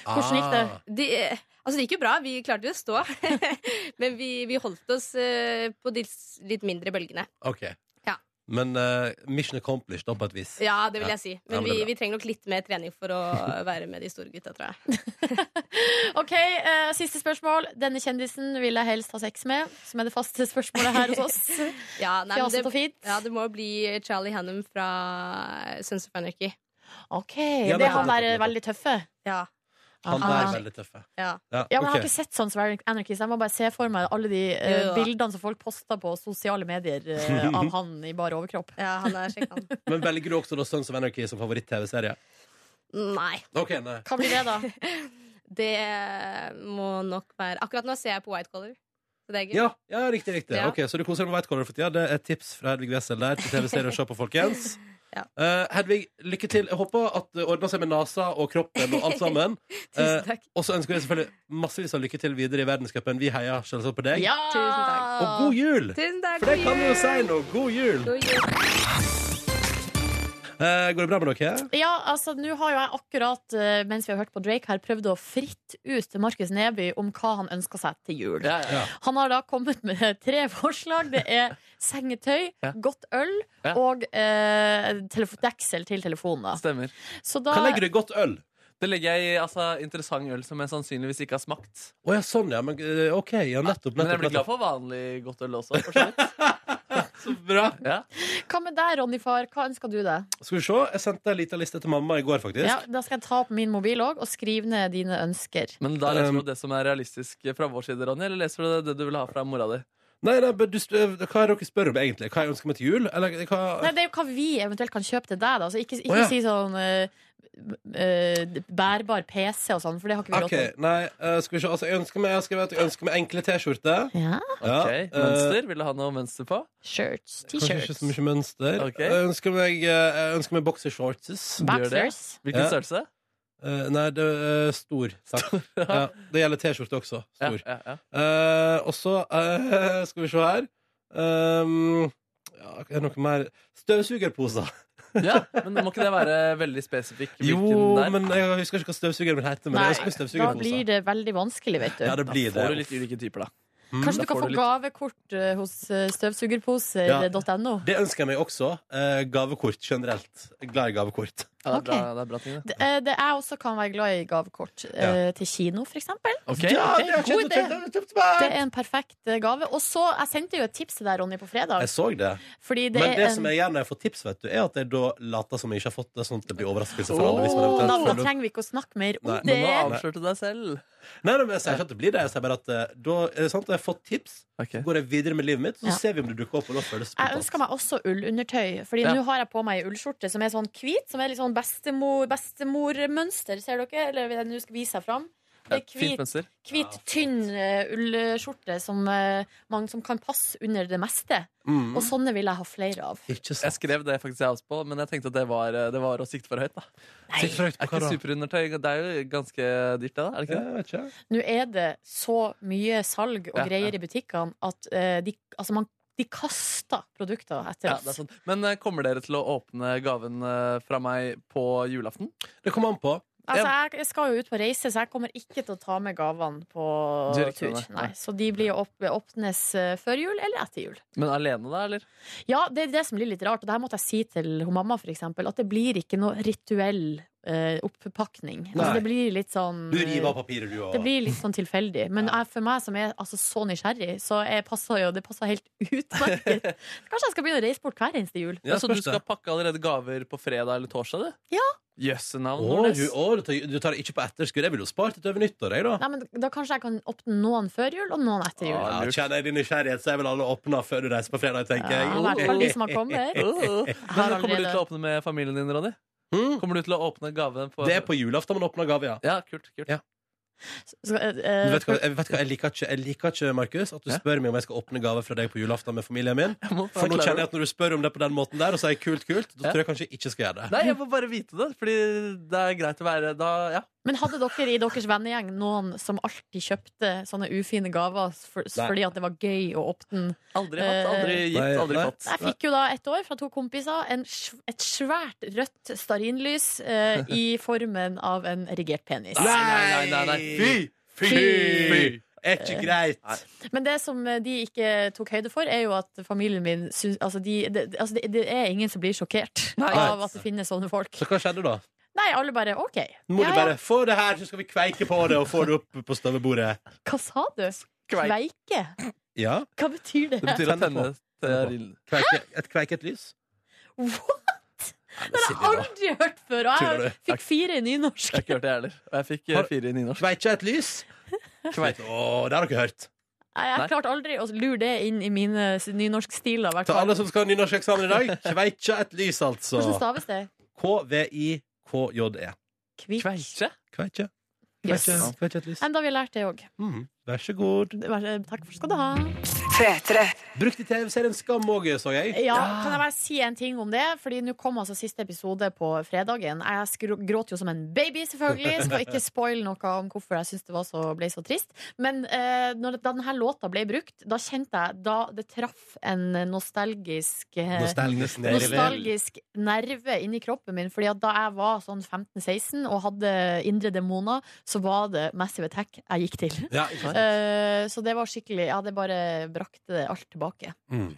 Speaker 3: Hvordan gikk det? Ah.
Speaker 13: De, eh, altså, det gikk jo bra. Vi klarte jo å stå. Men vi, vi holdt oss eh, på de s- litt mindre bølgene.
Speaker 2: OK.
Speaker 13: Ja.
Speaker 2: Men eh, mission accomplished, da, på et vis.
Speaker 13: Ja, det vil jeg si.
Speaker 2: det
Speaker 13: Men
Speaker 2: er
Speaker 13: vi,
Speaker 2: bra.
Speaker 13: vi trenger nok litt mer trening for å være med de store gutta, tror jeg.
Speaker 3: Ok, eh, Siste spørsmål. Denne kjendisen vil jeg helst ha sex med, som er det faste spørsmålet her hos oss.
Speaker 13: Ja, nei, men
Speaker 3: Fjaset og
Speaker 13: det, ja, det må bli Charlie Hannum fra Sons of Anarchy.
Speaker 3: OK.
Speaker 2: Ja,
Speaker 3: det
Speaker 2: men-
Speaker 3: er han der eh, veldig tøffe.
Speaker 13: Ja.
Speaker 2: Han
Speaker 3: Ah.
Speaker 2: er veldig tøffe.
Speaker 13: Ja.
Speaker 2: Ja,
Speaker 3: Ja, men Jeg
Speaker 2: ok.
Speaker 3: har ikke sett sånn som Anarchy, så jeg må bare se for meg alle de eh,
Speaker 13: Jo, jo.
Speaker 3: bildene som folk poster på sosiale medier eh, av han i bare overkropp.
Speaker 13: Ja, han er sjekk, han.
Speaker 2: Men velger du også da Sons of Anarchy som favoritt-TV-serie?
Speaker 13: Nei.
Speaker 2: OK, nei.
Speaker 3: Hva blir det, da?
Speaker 13: det må nok være Akkurat nå ser jeg på White Collar. Så det er gøy.
Speaker 2: Ja, ja, riktig, riktig.
Speaker 13: Ja.
Speaker 2: Ok, Så du koser deg med White Collar for tida. Det er et tips fra Hedvig Wessel der til TV-serien å se på, folkens. Eh, Hedvig, lykke til. Jeg håper at det ordner seg med nesa og kroppen og alt sammen.
Speaker 13: Tusen takk.
Speaker 2: Eh, og så ønsker vi selvfølgelig massevis av lykke til videre i verdenscupen. Vi heier selvsagt på deg.
Speaker 13: Ja! Tusen takk.
Speaker 2: Og god jul!
Speaker 13: Tusen takk,
Speaker 2: For det
Speaker 13: god
Speaker 2: kan vi jo
Speaker 13: jul!
Speaker 2: si nå. God jul!
Speaker 13: God jul.
Speaker 2: Eh, går det bra med dere?
Speaker 3: Ja, altså, Nå har jo jeg akkurat eh, mens vi har hørt på Drake her, prøvd å fritt ut til Markus Neby om hva han ønsker seg til jul.
Speaker 2: ja.
Speaker 3: Han har da kommet med tre forslag. Det er sengetøy,
Speaker 4: Ja.
Speaker 3: godt øl
Speaker 4: Ja.
Speaker 3: og eh, telefo- deksel til telefonen. Da.
Speaker 4: Stemmer.
Speaker 3: Så da- Hva legger du
Speaker 2: i godt øl?
Speaker 4: Det legger jeg i altså, interessant øl som jeg sannsynligvis ikke har smakt.
Speaker 2: Å ja, sånn, ja. Men eh, OK. Ja, nettopp. nettopp
Speaker 4: Men jeg blir glad
Speaker 2: nettopp.
Speaker 4: for vanlig godt øl også. For så vidt.
Speaker 2: Bra.
Speaker 3: Hva med deg, Ronny Far? Hva ønsker du deg?
Speaker 2: Skal vi se. Jeg sendte en liten liste til mamma i går, faktisk.
Speaker 3: Ja, da skal jeg ta opp min mobil òg og skrive ned dine ønsker.
Speaker 4: Men da leser du det som er realistisk fra vår side, Ronny, eller leser du det, det du vil ha fra mora di?
Speaker 2: Nei, nei, men du, sp- hva er det dere spør om egentlig? Hva jeg ønsker meg til jul? Eller eh, hva
Speaker 3: Nei, det er jo hva vi eventuelt kan kjøpe til deg. Da. Så ikke ikke
Speaker 2: Å, ja.
Speaker 3: si sånn eh, b- eh, bærbar PC og sånn, for det har ikke vi
Speaker 2: Ok,
Speaker 3: råd til.
Speaker 2: nei, eh, skal vi se. Altså, jeg ønsker meg, jeg skrev at jeg ønsker meg enkle T-skjorter.
Speaker 3: Ja.
Speaker 4: Ok,
Speaker 2: eh,
Speaker 4: Mønster? Vil du ha noe mønster på?
Speaker 3: Shirts.
Speaker 2: Kanskje ikke så mye mønster.
Speaker 4: Ok.
Speaker 2: Jeg ønsker meg, eh, jeg ønsker meg boxershorts. Eh,
Speaker 4: Du gjør det? Boxers? Hvilken størrelse?
Speaker 2: nei, det er stor. Stor. ja, det gjelder T-skjorte også. Stor.
Speaker 4: Ja, ja,
Speaker 2: Eh, og så eh, skal vi se her um, ja, Er det noe mer Støvsugerposer.
Speaker 4: Ja, men må ikke det være veldig spesifikk?
Speaker 2: Jo,
Speaker 4: hvilken det er?
Speaker 2: men eh, jeg husker ikke hva støvsugeren min heter. Men jeg ønsker meg
Speaker 3: Nei, da
Speaker 2: støvsugerposer.
Speaker 3: blir det veldig vanskelig, vet du.
Speaker 2: Ja, det blir
Speaker 4: Da får
Speaker 2: det.
Speaker 4: du litt ulike typer, da.
Speaker 3: Kanskje
Speaker 2: Da
Speaker 3: du
Speaker 2: får
Speaker 3: kan få
Speaker 2: du litt-
Speaker 3: gavekort eh, hos eh, støvsugerposer.no.
Speaker 2: Det ønsker jeg meg også. Eh, gavekort generelt. Jeg er Glad i gavekort.
Speaker 4: Ja, det er bra- det er bra ting,
Speaker 3: Det, eh, det jeg også kan være glad i gavekort. eh, Til kino, for eksempel.
Speaker 2: Ok. Ja, det har jeg
Speaker 3: God
Speaker 2: kjent-
Speaker 3: idé.
Speaker 2: kjent- kjent-
Speaker 3: Det er en perfekt eh, gave. Og så, jeg sendte jo et tips til deg, Ronny, på fredag.
Speaker 2: Jeg så det.
Speaker 3: Fordi det
Speaker 2: Men
Speaker 3: er
Speaker 2: det
Speaker 3: en-
Speaker 2: som jeg gjør når jeg får tips, vet du, er at jeg da later som jeg ikke har fått det, sånn at det blir overraskelse for alle. Hvis man
Speaker 3: Åh, da,
Speaker 2: eventuelt
Speaker 3: da
Speaker 2: føler-
Speaker 3: trenger vi ikke å snakke mer om
Speaker 2: Nei.
Speaker 3: det.
Speaker 4: avslørte deg selv.
Speaker 2: Nei, nei, men Jeg sier ikke at det blir det. Jeg sier bare at eh, da er det sant, jeg har fått tips, så går jeg videre med livet mitt, så
Speaker 3: Ja.
Speaker 2: ser vi om det dukker opp. Og da føles det
Speaker 3: Jeg
Speaker 2: spontant.
Speaker 3: ønsker meg også ullundertøy, Fordi
Speaker 2: Ja.
Speaker 3: nå har jeg på meg ei ullskjorte som er sånn hvit. Som er litt sånn bestemor- bestemormønster, ser dere? Eller vil jeg nå skal vise jeg fram. Det er
Speaker 4: Ja, fint
Speaker 3: hvit,
Speaker 4: mønster.
Speaker 3: hvit tynn eh, ullskjorte som, eh, mange som kan passe under det meste.
Speaker 4: Mm.
Speaker 3: Og sånne vil jeg ha flere av.
Speaker 4: Jeg skrev det faktisk jeg også på, men jeg tenkte at det var, eh, det var å sikte for høyt. da
Speaker 2: Sikte for høyt på
Speaker 4: Er
Speaker 2: hva
Speaker 4: ikke
Speaker 2: da?
Speaker 4: superundertøy Det er jo ganske dyrt, det, da? Er det ikke det?
Speaker 3: Nå er det så mye salg og
Speaker 4: Ja,
Speaker 3: greier i butikkene at eh, de, altså man, de kaster produkter etter
Speaker 4: Ja,
Speaker 3: oss.
Speaker 4: det er sant. Men eh, kommer dere til å åpne gaven eh, fra meg på julaften?
Speaker 2: Det kommer an på.
Speaker 3: Altså, jeg- jeg skal jo ut på reise, så jeg kommer ikke til å ta med gavene på
Speaker 4: Du gjør ikke
Speaker 3: tur.
Speaker 4: det, nei.
Speaker 3: Nei, så de blir opp, åpnes eh, før jul eller etter jul.
Speaker 4: Men alene, da, eller?
Speaker 3: Ja, det er det som blir litt rart, og det her måtte jeg si til hun mamma, for eksempel, at det blir ikke noe rituell eh,
Speaker 2: Nei.
Speaker 3: opppakning. Altså, det blir litt sånn
Speaker 2: Du river av papiret, du
Speaker 3: Det
Speaker 2: òg.
Speaker 3: blir litt sånn tilfeldig. Men jeg, for meg som er altså, så nysgjerrig, så jeg passer jo, det passer helt utmerket. Kanskje jeg skal begynne å reise bort hver eneste jul.
Speaker 4: Ja, så altså, du skal pakke allerede gaver på fredag eller torsdag? du?
Speaker 3: Ja.
Speaker 4: Jøsse navn.
Speaker 2: Å,
Speaker 4: Nordnes.
Speaker 2: du, å, du tar- du tar det ikke på etterskudd. Jeg ville jo spart det over nyttår, jeg, da.
Speaker 3: Nei, men da kanskje jeg kan åpne noen før jul, og noen etter jul.
Speaker 2: Ja, kjenner jeg din nysgjerrighet, så er vel alle åpna før du reiser på fredag, tenker jeg.
Speaker 3: Ja, i hvert fall de som har kommet.
Speaker 4: Oh.
Speaker 3: Jeg har
Speaker 4: Men kommer du
Speaker 3: allerede-
Speaker 4: til å åpne med familien din, Ronny? Kommer du til å åpne gaven på
Speaker 2: Hm? Det er på julaften man åpner gave, ja.
Speaker 4: Ja, kult, kult.
Speaker 3: Så, eh,
Speaker 2: Du vet hva, jeg, vet hva, jeg liker ikke, jeg liker ikke Markus, at du spør meg om jeg skal åpne gave fra deg på julaften med familien min.
Speaker 4: må
Speaker 2: For nå
Speaker 4: forklare
Speaker 2: kjenner jeg
Speaker 4: det.
Speaker 2: at når du spør om det på den måten der, og sier kult, kult, da tror jeg kanskje jeg ikke skal gjøre det.
Speaker 4: Nei, jeg må bare vite det, fordi det er greit å være da Ja.
Speaker 3: Men hadde dere i deres vennegjeng noen som alltid kjøpte sånne ufine gaver for,
Speaker 4: Nei.
Speaker 3: fordi at det var gøy å åpne den?
Speaker 4: Aldri hatt, aldri
Speaker 3: Eh,
Speaker 4: gitt,
Speaker 2: Nei,
Speaker 4: aldri
Speaker 2: nei.
Speaker 4: fått.
Speaker 3: Jeg fikk jo da et år fra to kompiser en, sv- et svært rødt stearinlys eh, i formen av en erigert penis.
Speaker 4: Nei, nei, nei, nei. Fy!
Speaker 2: Fy!
Speaker 3: Fy!
Speaker 2: Er ikke greit.
Speaker 3: Men det som de ikke tok høyde for, er jo at familien min syns altså de, det, altså det, det er ingen som blir sjokkert
Speaker 2: Nei.
Speaker 3: av at det finnes sånne folk.
Speaker 2: Så hva skjedde da?
Speaker 3: Nei, alle bare OK.
Speaker 2: Må
Speaker 3: Ja,
Speaker 2: du
Speaker 3: ja.
Speaker 2: bare få det her, så skal vi kveike på det og få det opp på støvebordet.
Speaker 3: Hva sa du? Kveike?
Speaker 2: Ja.
Speaker 3: Hva betyr det?
Speaker 2: Kveike, et kveiket lys.
Speaker 3: Det har jeg aldri hørt før, og
Speaker 4: Tuller
Speaker 3: jeg
Speaker 4: du?
Speaker 3: fikk fire i nynorsk.
Speaker 4: Jeg har ikke hørt det, jeg heller. Og jeg fikk eh, fire i nynorsk.
Speaker 2: Kveitja et lys? Kveit. Å, det har dere hørt.
Speaker 3: Nei,
Speaker 2: Nei.
Speaker 3: Jeg klarte aldri å lure det inn i mine s- nynorskstiler. i hvert
Speaker 2: Til
Speaker 3: fall.
Speaker 2: alle som skal ha nynorskeksamen i dag, kveitja et lys, altså.
Speaker 3: Hvordan staves det?
Speaker 2: K-V-I-K-J-E.
Speaker 4: Kveitje?
Speaker 2: Kveitje.
Speaker 3: Yes.
Speaker 2: Kveitje. Kveitje et lys.
Speaker 3: Enn da vi har lært det òg.
Speaker 2: Mm. Vær så god.
Speaker 3: eh, Takk for skal du ha.
Speaker 2: Brukt i TV-serien Skam òg, så jeg.
Speaker 3: Ja, kan jeg bare si en ting om det? Fordi nå kom altså siste episode på fredagen. Jeg skro- gråt jo som en baby, selvfølgelig. Skal ikke spoil noe om hvorfor jeg syns det var så, ble så trist. Men eh, når, da denne låta ble brukt, da kjente jeg Da det traff en eh, nostalgisk eh,
Speaker 2: Nostalgisk nerve.
Speaker 3: nostalgisk nerve inni kroppen min. Fordi at da jeg var sånn 15-16 og hadde indre demoner, så var det Massive Attack jeg gikk til.
Speaker 2: Ja, ikke sant.
Speaker 3: Eh, så det var skikkelig Ja, det bare brakte alt tilbake.
Speaker 2: Mm.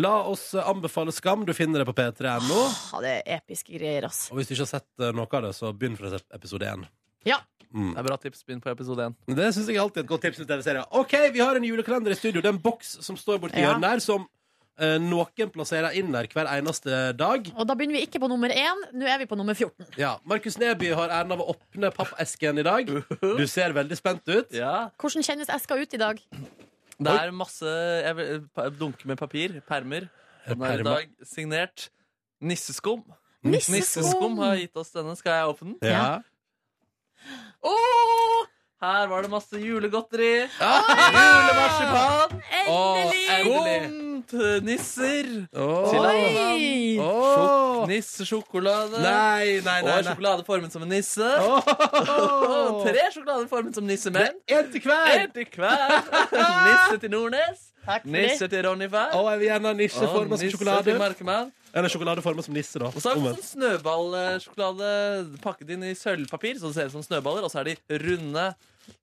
Speaker 2: La oss eh, anbefale Skam. Du finner det på p3.no.
Speaker 3: Ja, det er episke greier, ass.
Speaker 2: Og hvis du ikke har sett eh, noe av det, så begynn fra episode 1.
Speaker 3: Ja.
Speaker 4: Det er bra tips. Begynn på episode én.
Speaker 2: Det syns jeg alltid er et godt tips til TV-serier. OK, vi har en julekalender i studio. Det er en boks som står borti
Speaker 3: Ja.
Speaker 2: hjørnet her, som eh, noen plasserer inn der hver eneste dag.
Speaker 3: Og da begynner vi ikke på nummer én, nå er vi på nummer 14.
Speaker 2: Ja, Markus Neby har æren av å åpne pappesken i dag. Du ser veldig spent ut.
Speaker 4: Ja.
Speaker 3: Hvordan kjennes eska ut i dag?
Speaker 4: Det er masse jeg vil, pa- dunker med papir. Permer. Den er
Speaker 2: Permer.
Speaker 4: i dag signert Nisseskum.
Speaker 3: Nisseskum!
Speaker 4: har gitt oss denne. Skal jeg åpne den?
Speaker 2: Ja.
Speaker 4: Åh! Her var det masse julegodteri. Julemarsipan.
Speaker 2: Endelig!
Speaker 4: Skumt! Nisser.
Speaker 2: Åh.
Speaker 4: Tillamohan.
Speaker 2: Oi!
Speaker 4: Sjok- Nissesjokolade.
Speaker 2: Nei, nei, nei,
Speaker 4: Og
Speaker 2: nei.
Speaker 4: sjokolade formet som en nisse.
Speaker 2: Åh.
Speaker 4: Tre sjokolader formet som nissemenn.
Speaker 2: En til hver.
Speaker 4: En til hver. Nisse til Nordnes.
Speaker 2: Takk
Speaker 4: Nisser til Ronny Fær.
Speaker 2: Å, jeg vil gjerne ha nisseform og
Speaker 4: nisser
Speaker 2: sjokolade.
Speaker 4: til Markmann.
Speaker 2: Eller sjokoladeforma som nisse, da.
Speaker 4: Og så har vi
Speaker 2: Omvendt.
Speaker 4: sånn snøballsjokolade pakket inn i sølvpapir, så det ser ut som snøballer, og så er de runde.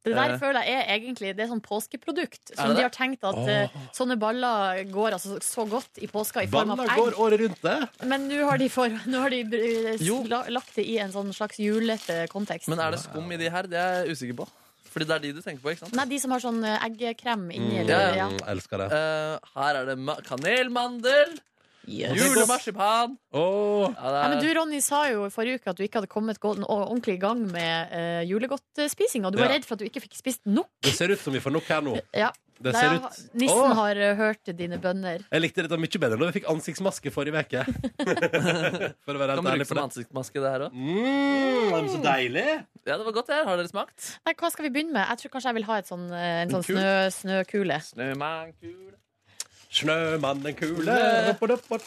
Speaker 3: Det der
Speaker 4: Eh,
Speaker 3: føler jeg er egentlig Det er sånn påskeprodukt. Som
Speaker 4: det
Speaker 3: de
Speaker 4: det?
Speaker 3: har tenkt at
Speaker 4: Åh.
Speaker 3: eh, sånne baller går altså så godt i påska i form av
Speaker 2: Baller
Speaker 3: egg.
Speaker 2: går året rundt, det.
Speaker 3: Men nå har de, for, nå har de eh, s-
Speaker 4: Jo.
Speaker 3: la, lagt det i en sånn slags julete kontekst.
Speaker 4: Men er det skum i de her? Det er jeg usikker på. Fordi det er de du tenker på, ikke sant?
Speaker 3: Nei, de som har sånn eh, eggekrem inni.
Speaker 4: Mm,
Speaker 3: eller, ja.
Speaker 2: Elsker det.
Speaker 4: Eh, her er det ma kanelmandel,
Speaker 2: Yes.
Speaker 4: julemarsipan ja, det
Speaker 3: Ja, men
Speaker 4: er-
Speaker 3: du, Ronny, sa jo i forrige uke at du ikke hadde kommet godt, og ordentlig i gang med uh, julegodtspisinga. Du var
Speaker 2: Ja.
Speaker 3: redd for at du ikke fikk spist nok.
Speaker 2: Det ser ut som vi får nok her nå.
Speaker 3: Ja.
Speaker 2: Det
Speaker 3: Nei,
Speaker 2: ser
Speaker 3: jeg
Speaker 2: ut-
Speaker 3: har- Nissen
Speaker 2: Åh!
Speaker 3: har eh, hørt dine bønner.
Speaker 2: Jeg likte dette mye bedre da vi fikk ansiktsmaske forrige uke. For å være helt
Speaker 4: Kan
Speaker 2: ærlig på
Speaker 4: brukes som
Speaker 2: det.
Speaker 4: ansiktsmaske, det her òg.
Speaker 2: Mm, så deilig!
Speaker 4: Ja, det var godt, det her. Har dere smakt?
Speaker 3: Nei, hva skal vi begynne med? Jeg tror kanskje jeg vil ha et sånn, eh, en sånn
Speaker 2: Kul.
Speaker 3: snø, snøkule.
Speaker 4: Snømannkule.
Speaker 2: Snømannen kule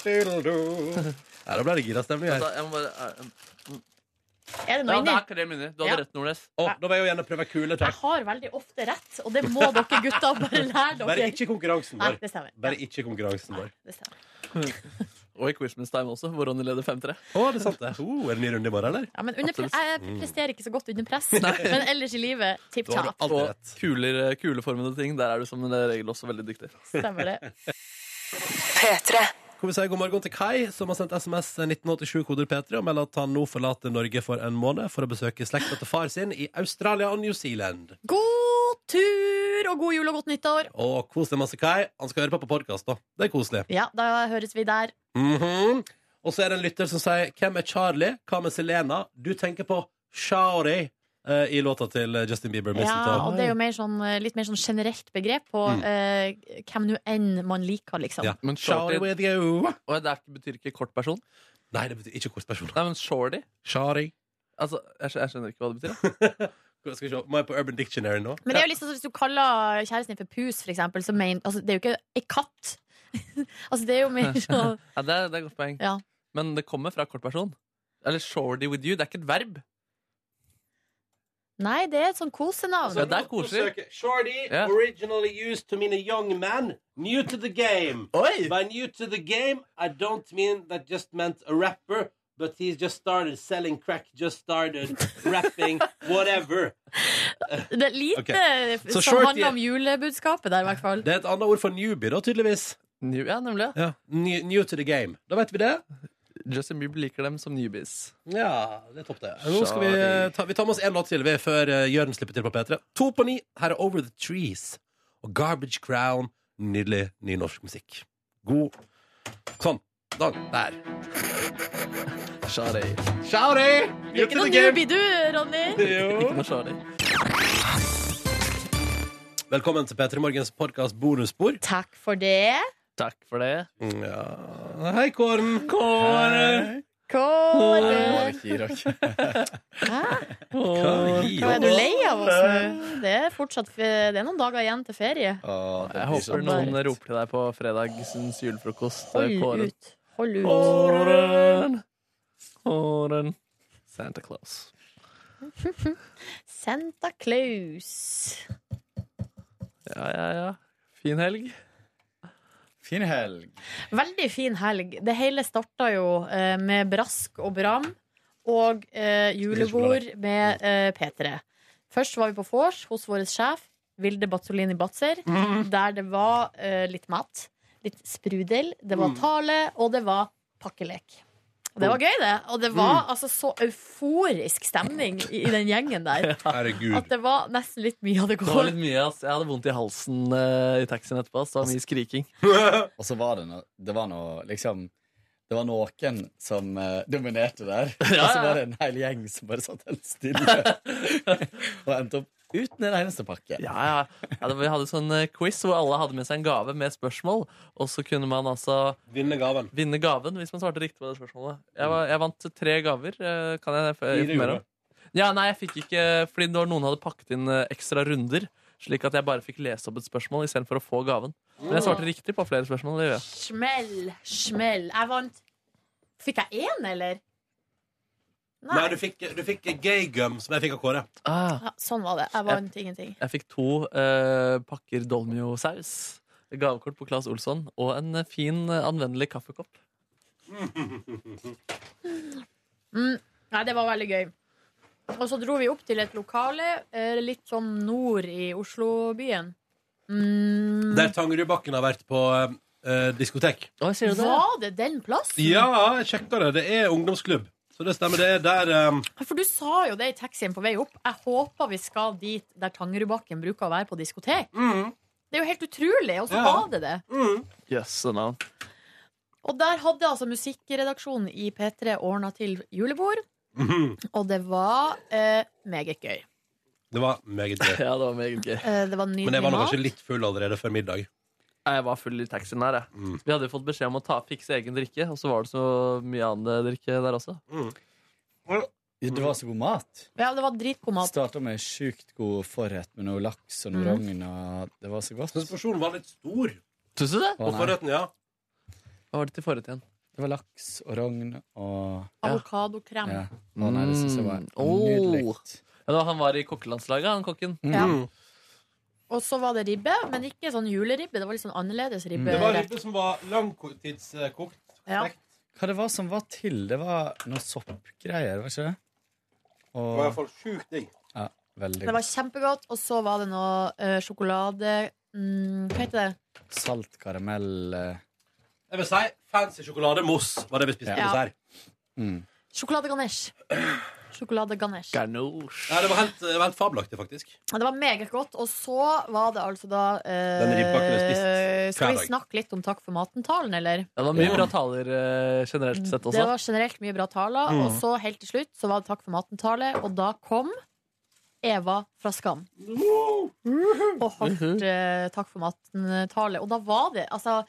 Speaker 2: Ja, Da ble det girastemning her.
Speaker 4: Altså, jeg må bare eh,
Speaker 3: Er det
Speaker 4: Ja,
Speaker 3: noe
Speaker 4: det
Speaker 3: inni?
Speaker 4: er krem inni. Du hadde
Speaker 3: Ja.
Speaker 4: rett, Nordnes.
Speaker 2: Å, da vil jeg jo gjerne prøve kule,
Speaker 3: Jeg
Speaker 2: takk.
Speaker 3: har veldig ofte rett, og det må dere gutter bare lære dere.
Speaker 2: Bare ikke konkurransen
Speaker 3: Nei,
Speaker 2: vår.
Speaker 3: det stemmer.
Speaker 2: Bare ikke konkurransen vår.
Speaker 3: Det stemmer.
Speaker 4: Og i Christmas Time også, hvor Ronny leder 5-3.
Speaker 2: Å, det er sant, det. Oh, er det ny runde i morgen, eller?
Speaker 3: Ja, men under pre jeg presterer ikke så godt under press, men ellers i livet tipp
Speaker 4: Da har du
Speaker 3: topp.
Speaker 4: alltid rett. Og kuler, eh, kuleformede ting. Der er du som en regel også veldig dyktig.
Speaker 3: Stemmer det.
Speaker 2: Kan vi si god morgen til Kai, som har sendt SMS 1987-koder P3 og melder at han nå forlater Norge for en måned for å besøke slekta til far sin i Australia og New Zealand.
Speaker 3: God tur og god jul og godt nyttår!
Speaker 2: Og kos deg masse, Kai. Han skal høre på på podkast, da. Det er koselig.
Speaker 3: Ja, da høres vi der.
Speaker 2: Mhm. Og så er det en lytter som sier Hvem er Charlie? Hva med Selena? Du tenker på Shawty eh, i låta til Justin Bieber.
Speaker 3: Ja,
Speaker 2: Mistletoe.
Speaker 3: og det er jo mer sånn, eh, litt mer sånn generelt begrep på
Speaker 2: Mm.
Speaker 3: eh, hvem nå enn man liker, liksom.
Speaker 2: Ja, men Shawty with you.
Speaker 4: Og det er, ikke- betyr ikke kort person?
Speaker 2: Nei, det betyr ikke kort person.
Speaker 4: Nei, men shorty?
Speaker 2: Shawty.
Speaker 4: Altså, jeg, skj- jeg skjønner ikke hva det betyr.
Speaker 2: Skal vi se, Må jeg på Urban Dictionary nå?
Speaker 3: Men det er jo liksom, sånn, hvis du kaller kjæresten din for pus, for eksempel, så mener altså, Det er jo ikke ei katt. altså, det er jo mer sånn
Speaker 4: ja, det, er, det er et godt poeng.
Speaker 3: Ja.
Speaker 4: Men det kommer fra kort person. Eller shorty with you. Det er ikke et verb.
Speaker 3: Nei, det er et sånn kosenavn.
Speaker 4: Ja, det er koselig.
Speaker 2: Shorty,
Speaker 4: Ja.
Speaker 2: originally used to mean a young man, new to the game. By new to the game, I don't mean that just meant a rapper, but he's just started selling crack, just started rapping, whatever.
Speaker 3: Det er lite
Speaker 2: Ok. Så
Speaker 3: som
Speaker 2: shorty-
Speaker 3: handler om julebudskapet der, i hvert fall.
Speaker 2: Det er et annet ord for newbie, da, tydeligvis.
Speaker 4: ja, nemlig.
Speaker 2: Ja. New, new to the game. Da vet vi det.
Speaker 4: Justin Bieber liker dem som newbies.
Speaker 2: Ja, det er topp, det. Nå skal vi, eh, ta, vi tar med oss en låt til vi før eh, Jørn slipper til på P3. To på ni. Her er Over The Trees og Garbage Crown. Nydelig ny norsk musikk. God Sånn. Da, der.
Speaker 4: Shorty.
Speaker 2: Shouty!
Speaker 3: Ikke noe newbie du, Ronny.
Speaker 4: Ikke noe shorty.
Speaker 2: Velkommen til P3 Morgens podkast bonusspor.
Speaker 3: Takk for det.
Speaker 4: Takk for det.
Speaker 2: Mm, Ja. Hei, Kåren.
Speaker 4: Kåren.
Speaker 3: Kåre. Hva er du lei av oss nå? Det er fortsatt det er noen dager igjen til ferie.
Speaker 4: Jeg håper noen roper til deg på fredagens julefrokost. eh,
Speaker 3: Hold
Speaker 4: Kåren.
Speaker 3: ut. Hold ut.
Speaker 4: Kåren. Kåren. Santa Claus.
Speaker 3: Santa Claus.
Speaker 4: Ja, ja, ja. Fin helg.
Speaker 12: Fin helg.
Speaker 3: Veldig fin helg. Det hele starta jo eh, med brask og bram og eh, julebord med eh, P3. Først var vi på vors hos vår sjef, Vilde Batzolini Batzer, der det var eh, litt mat, litt sprudel, det
Speaker 14: Mm.
Speaker 3: var tale, og det var pakkelek. Og det var gøy, det. Og det var altså så euforisk stemning i, i den gjengen der.
Speaker 2: Herregud.
Speaker 3: At det var nesten litt mye av det
Speaker 4: Det var
Speaker 3: gode.
Speaker 4: litt mye, ass. Jeg hadde vondt i halsen eh, i taxien etterpå. ass. Det var mye skriking.
Speaker 12: Og så var det noe, det var noe liksom det var noen som eh, dominerte der, og så var det en hel gjeng som bare satt helt stille. og endte opp uten en eneste pakke.
Speaker 4: Ja, ja. ja det, vi hadde sånn eh, quiz hvor alle hadde med seg en gave med spørsmål. Og så kunne man altså
Speaker 2: vinne gaven.
Speaker 4: hvis man svarte riktig på det spørsmålet. Jeg, var, jeg vant tre gaver, eh, kan jeg eh,
Speaker 2: Fire
Speaker 4: informere
Speaker 2: gjorde.
Speaker 4: om. Ja, nei, jeg fikk ikke eh, Fordi det var noen hadde pakket inn eh, ekstra runder. Slik at jeg bare fikk lese opp et spørsmål istedenfor å få gaven. Men jeg svarte riktig på flere spørsmål. Det gjør jeg.
Speaker 3: Smell, smell. Jeg vant Fikk jeg én, eller?
Speaker 2: Nei, du fikk, du fikk gay gum, som jeg fikk av Kåre.
Speaker 3: Ja, sånn var det. Jeg vant ingenting.
Speaker 4: Jeg fikk to eh, pakker dolmiosaus, gavekort på Claes Olsson og en eh, fin, eh, anvendelig kaffekopp.
Speaker 3: Mm, nei, det var veldig gøy. Og så dro vi opp til et lokale eh, litt sånn nord i Oslo-byen. Mm,
Speaker 2: Der Tangerudbakken har vært på eh, diskotek.
Speaker 3: var det den plassen?
Speaker 2: Ja, jeg sjekka det. Det er ungdomsklubb. Så det stemmer. Det er der eh,
Speaker 3: For du sa jo det i taxien på vei opp. Jeg håper vi skal dit der Tangerudbakken bruker å være på diskotek.
Speaker 2: Mm.
Speaker 3: Det er jo helt utrolig, og så
Speaker 4: Ja.
Speaker 3: var det det.
Speaker 4: Jøsse navn.
Speaker 3: Og der hadde altså musikkredaksjonen i P3 ordna til julebord,
Speaker 2: Mhm.
Speaker 3: og det var eh, meget gøy.
Speaker 2: Det var meget gøy.
Speaker 4: ja, det var meget gøy.
Speaker 3: Eh, det var
Speaker 2: Men jeg var
Speaker 3: nydelig
Speaker 2: nå
Speaker 3: mat.
Speaker 2: kanskje litt full allerede før middag.
Speaker 4: Jeg var full i taxien her, jeg. Vi hadde jo fått beskjed om å ta, fikse egen drikke, og så var det så mye annen drikke der også.
Speaker 12: Ja, Det var så god mat.
Speaker 3: Ja, det var dritgod mat.
Speaker 12: Starta med sjukt god forrett med noe laks og noe
Speaker 3: Mm.
Speaker 12: rogn. Og det var så godt.
Speaker 2: Syns porsjonen var litt stor.
Speaker 4: Syns du det?
Speaker 12: Å,
Speaker 2: På
Speaker 12: nei.
Speaker 2: forretten, ja.
Speaker 4: Hva var det til forrett igjen?
Speaker 12: Det var laks og rogn og
Speaker 3: Avokadokrem.
Speaker 12: Ja. Å, nei, det synes jeg var
Speaker 4: Mm.
Speaker 12: nydelig. Mm.
Speaker 4: Åh. Ja, det var han var i kokkelandslaget, han kokken.
Speaker 3: Ja. Og så var det ribbe, men ikke sånn juleribbe. Det var litt sånn annerledes
Speaker 2: Mm.
Speaker 3: ribbe.
Speaker 2: Det var ribbe som var langtidskokt.
Speaker 3: Ja.
Speaker 12: Hva det var som var til? Det var noe soppgreier, var ikke det? Og...
Speaker 2: Det var i hvert fall sjukt digg.
Speaker 12: Ja, veldig
Speaker 3: Det var
Speaker 12: godt.
Speaker 3: kjempegodt. Og så var det noe eh, sjokolade mm, Hva heter det?
Speaker 12: Salt karamell eh,
Speaker 2: Jeg vil si fancy sjokolademousse var det vi spiste
Speaker 12: Ja.
Speaker 2: på dessert.
Speaker 12: mm.
Speaker 3: Sjokoladeganesj. Sjokoladeganesj.
Speaker 2: Nei, det var helt, det var helt fabelaktig, faktisk.
Speaker 3: Og Det var meget godt. Og så var det altså da eh,
Speaker 2: Den ribba kunne jeg spist
Speaker 3: Skal
Speaker 2: hver
Speaker 3: vi
Speaker 2: dag.
Speaker 3: snakke litt om Takk for maten-talen, eller?
Speaker 4: Ja, det var mye bra taler eh, generelt sett også.
Speaker 3: Mm, Det var generelt mye bra taler.
Speaker 4: Mm.
Speaker 3: Og så helt til slutt så var det Takk for maten-tale, og da kom Eva fra Skam. Og holdt eh, Takk for maten-tale. Og da var det altså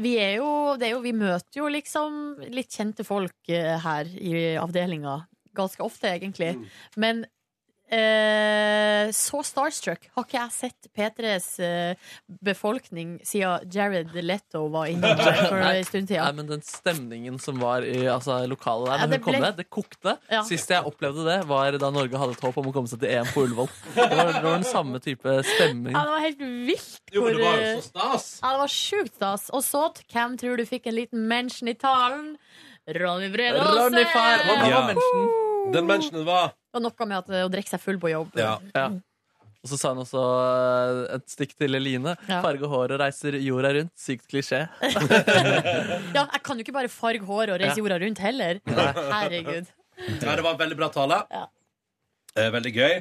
Speaker 3: vi er, jo, det er jo Vi møter jo liksom litt kjente folk eh, her i avdelinga. Ganske ofte, egentlig. Men eh, så starstruck har ikke jeg sett P3s eh, befolkning siden Jared Letto var inne her for
Speaker 4: Nei,
Speaker 3: en stund siden.
Speaker 4: Nei, men den stemningen som var i altså, lokalet der,
Speaker 3: Ja,
Speaker 4: når
Speaker 3: det
Speaker 4: hun kom
Speaker 3: ble-
Speaker 4: ned, det kokte.
Speaker 3: Ja.
Speaker 4: Sist jeg opplevde det, var da Norge hadde et håp om å komme seg til EM på Ullevål. Det var, det var den samme type stemning.
Speaker 3: Ja, det var helt vilt.
Speaker 4: Jo, men det
Speaker 3: hvor,
Speaker 4: var jo
Speaker 3: eh,
Speaker 4: så stas.
Speaker 3: Ja, det var sjukt stas. Og så, t- hvem tror du fikk en liten mention i talen? Ronny Brede Aase!
Speaker 4: Ronny Fær- Hva- hva var
Speaker 2: Den mensjonen var
Speaker 3: Det var noe med at eh, å drikke seg full på jobb.
Speaker 4: Ja. Og så sa han også eh, et stikk til Eline.
Speaker 3: Ja.
Speaker 4: Farge hår og reiser jorda rundt. Sykt klisjé.
Speaker 3: Ja, jeg kan jo ikke bare farge hår og
Speaker 4: Ja.
Speaker 3: reise jorda rundt heller. Herregud.
Speaker 2: Nei, det var en veldig bra tale. Eh, veldig gøy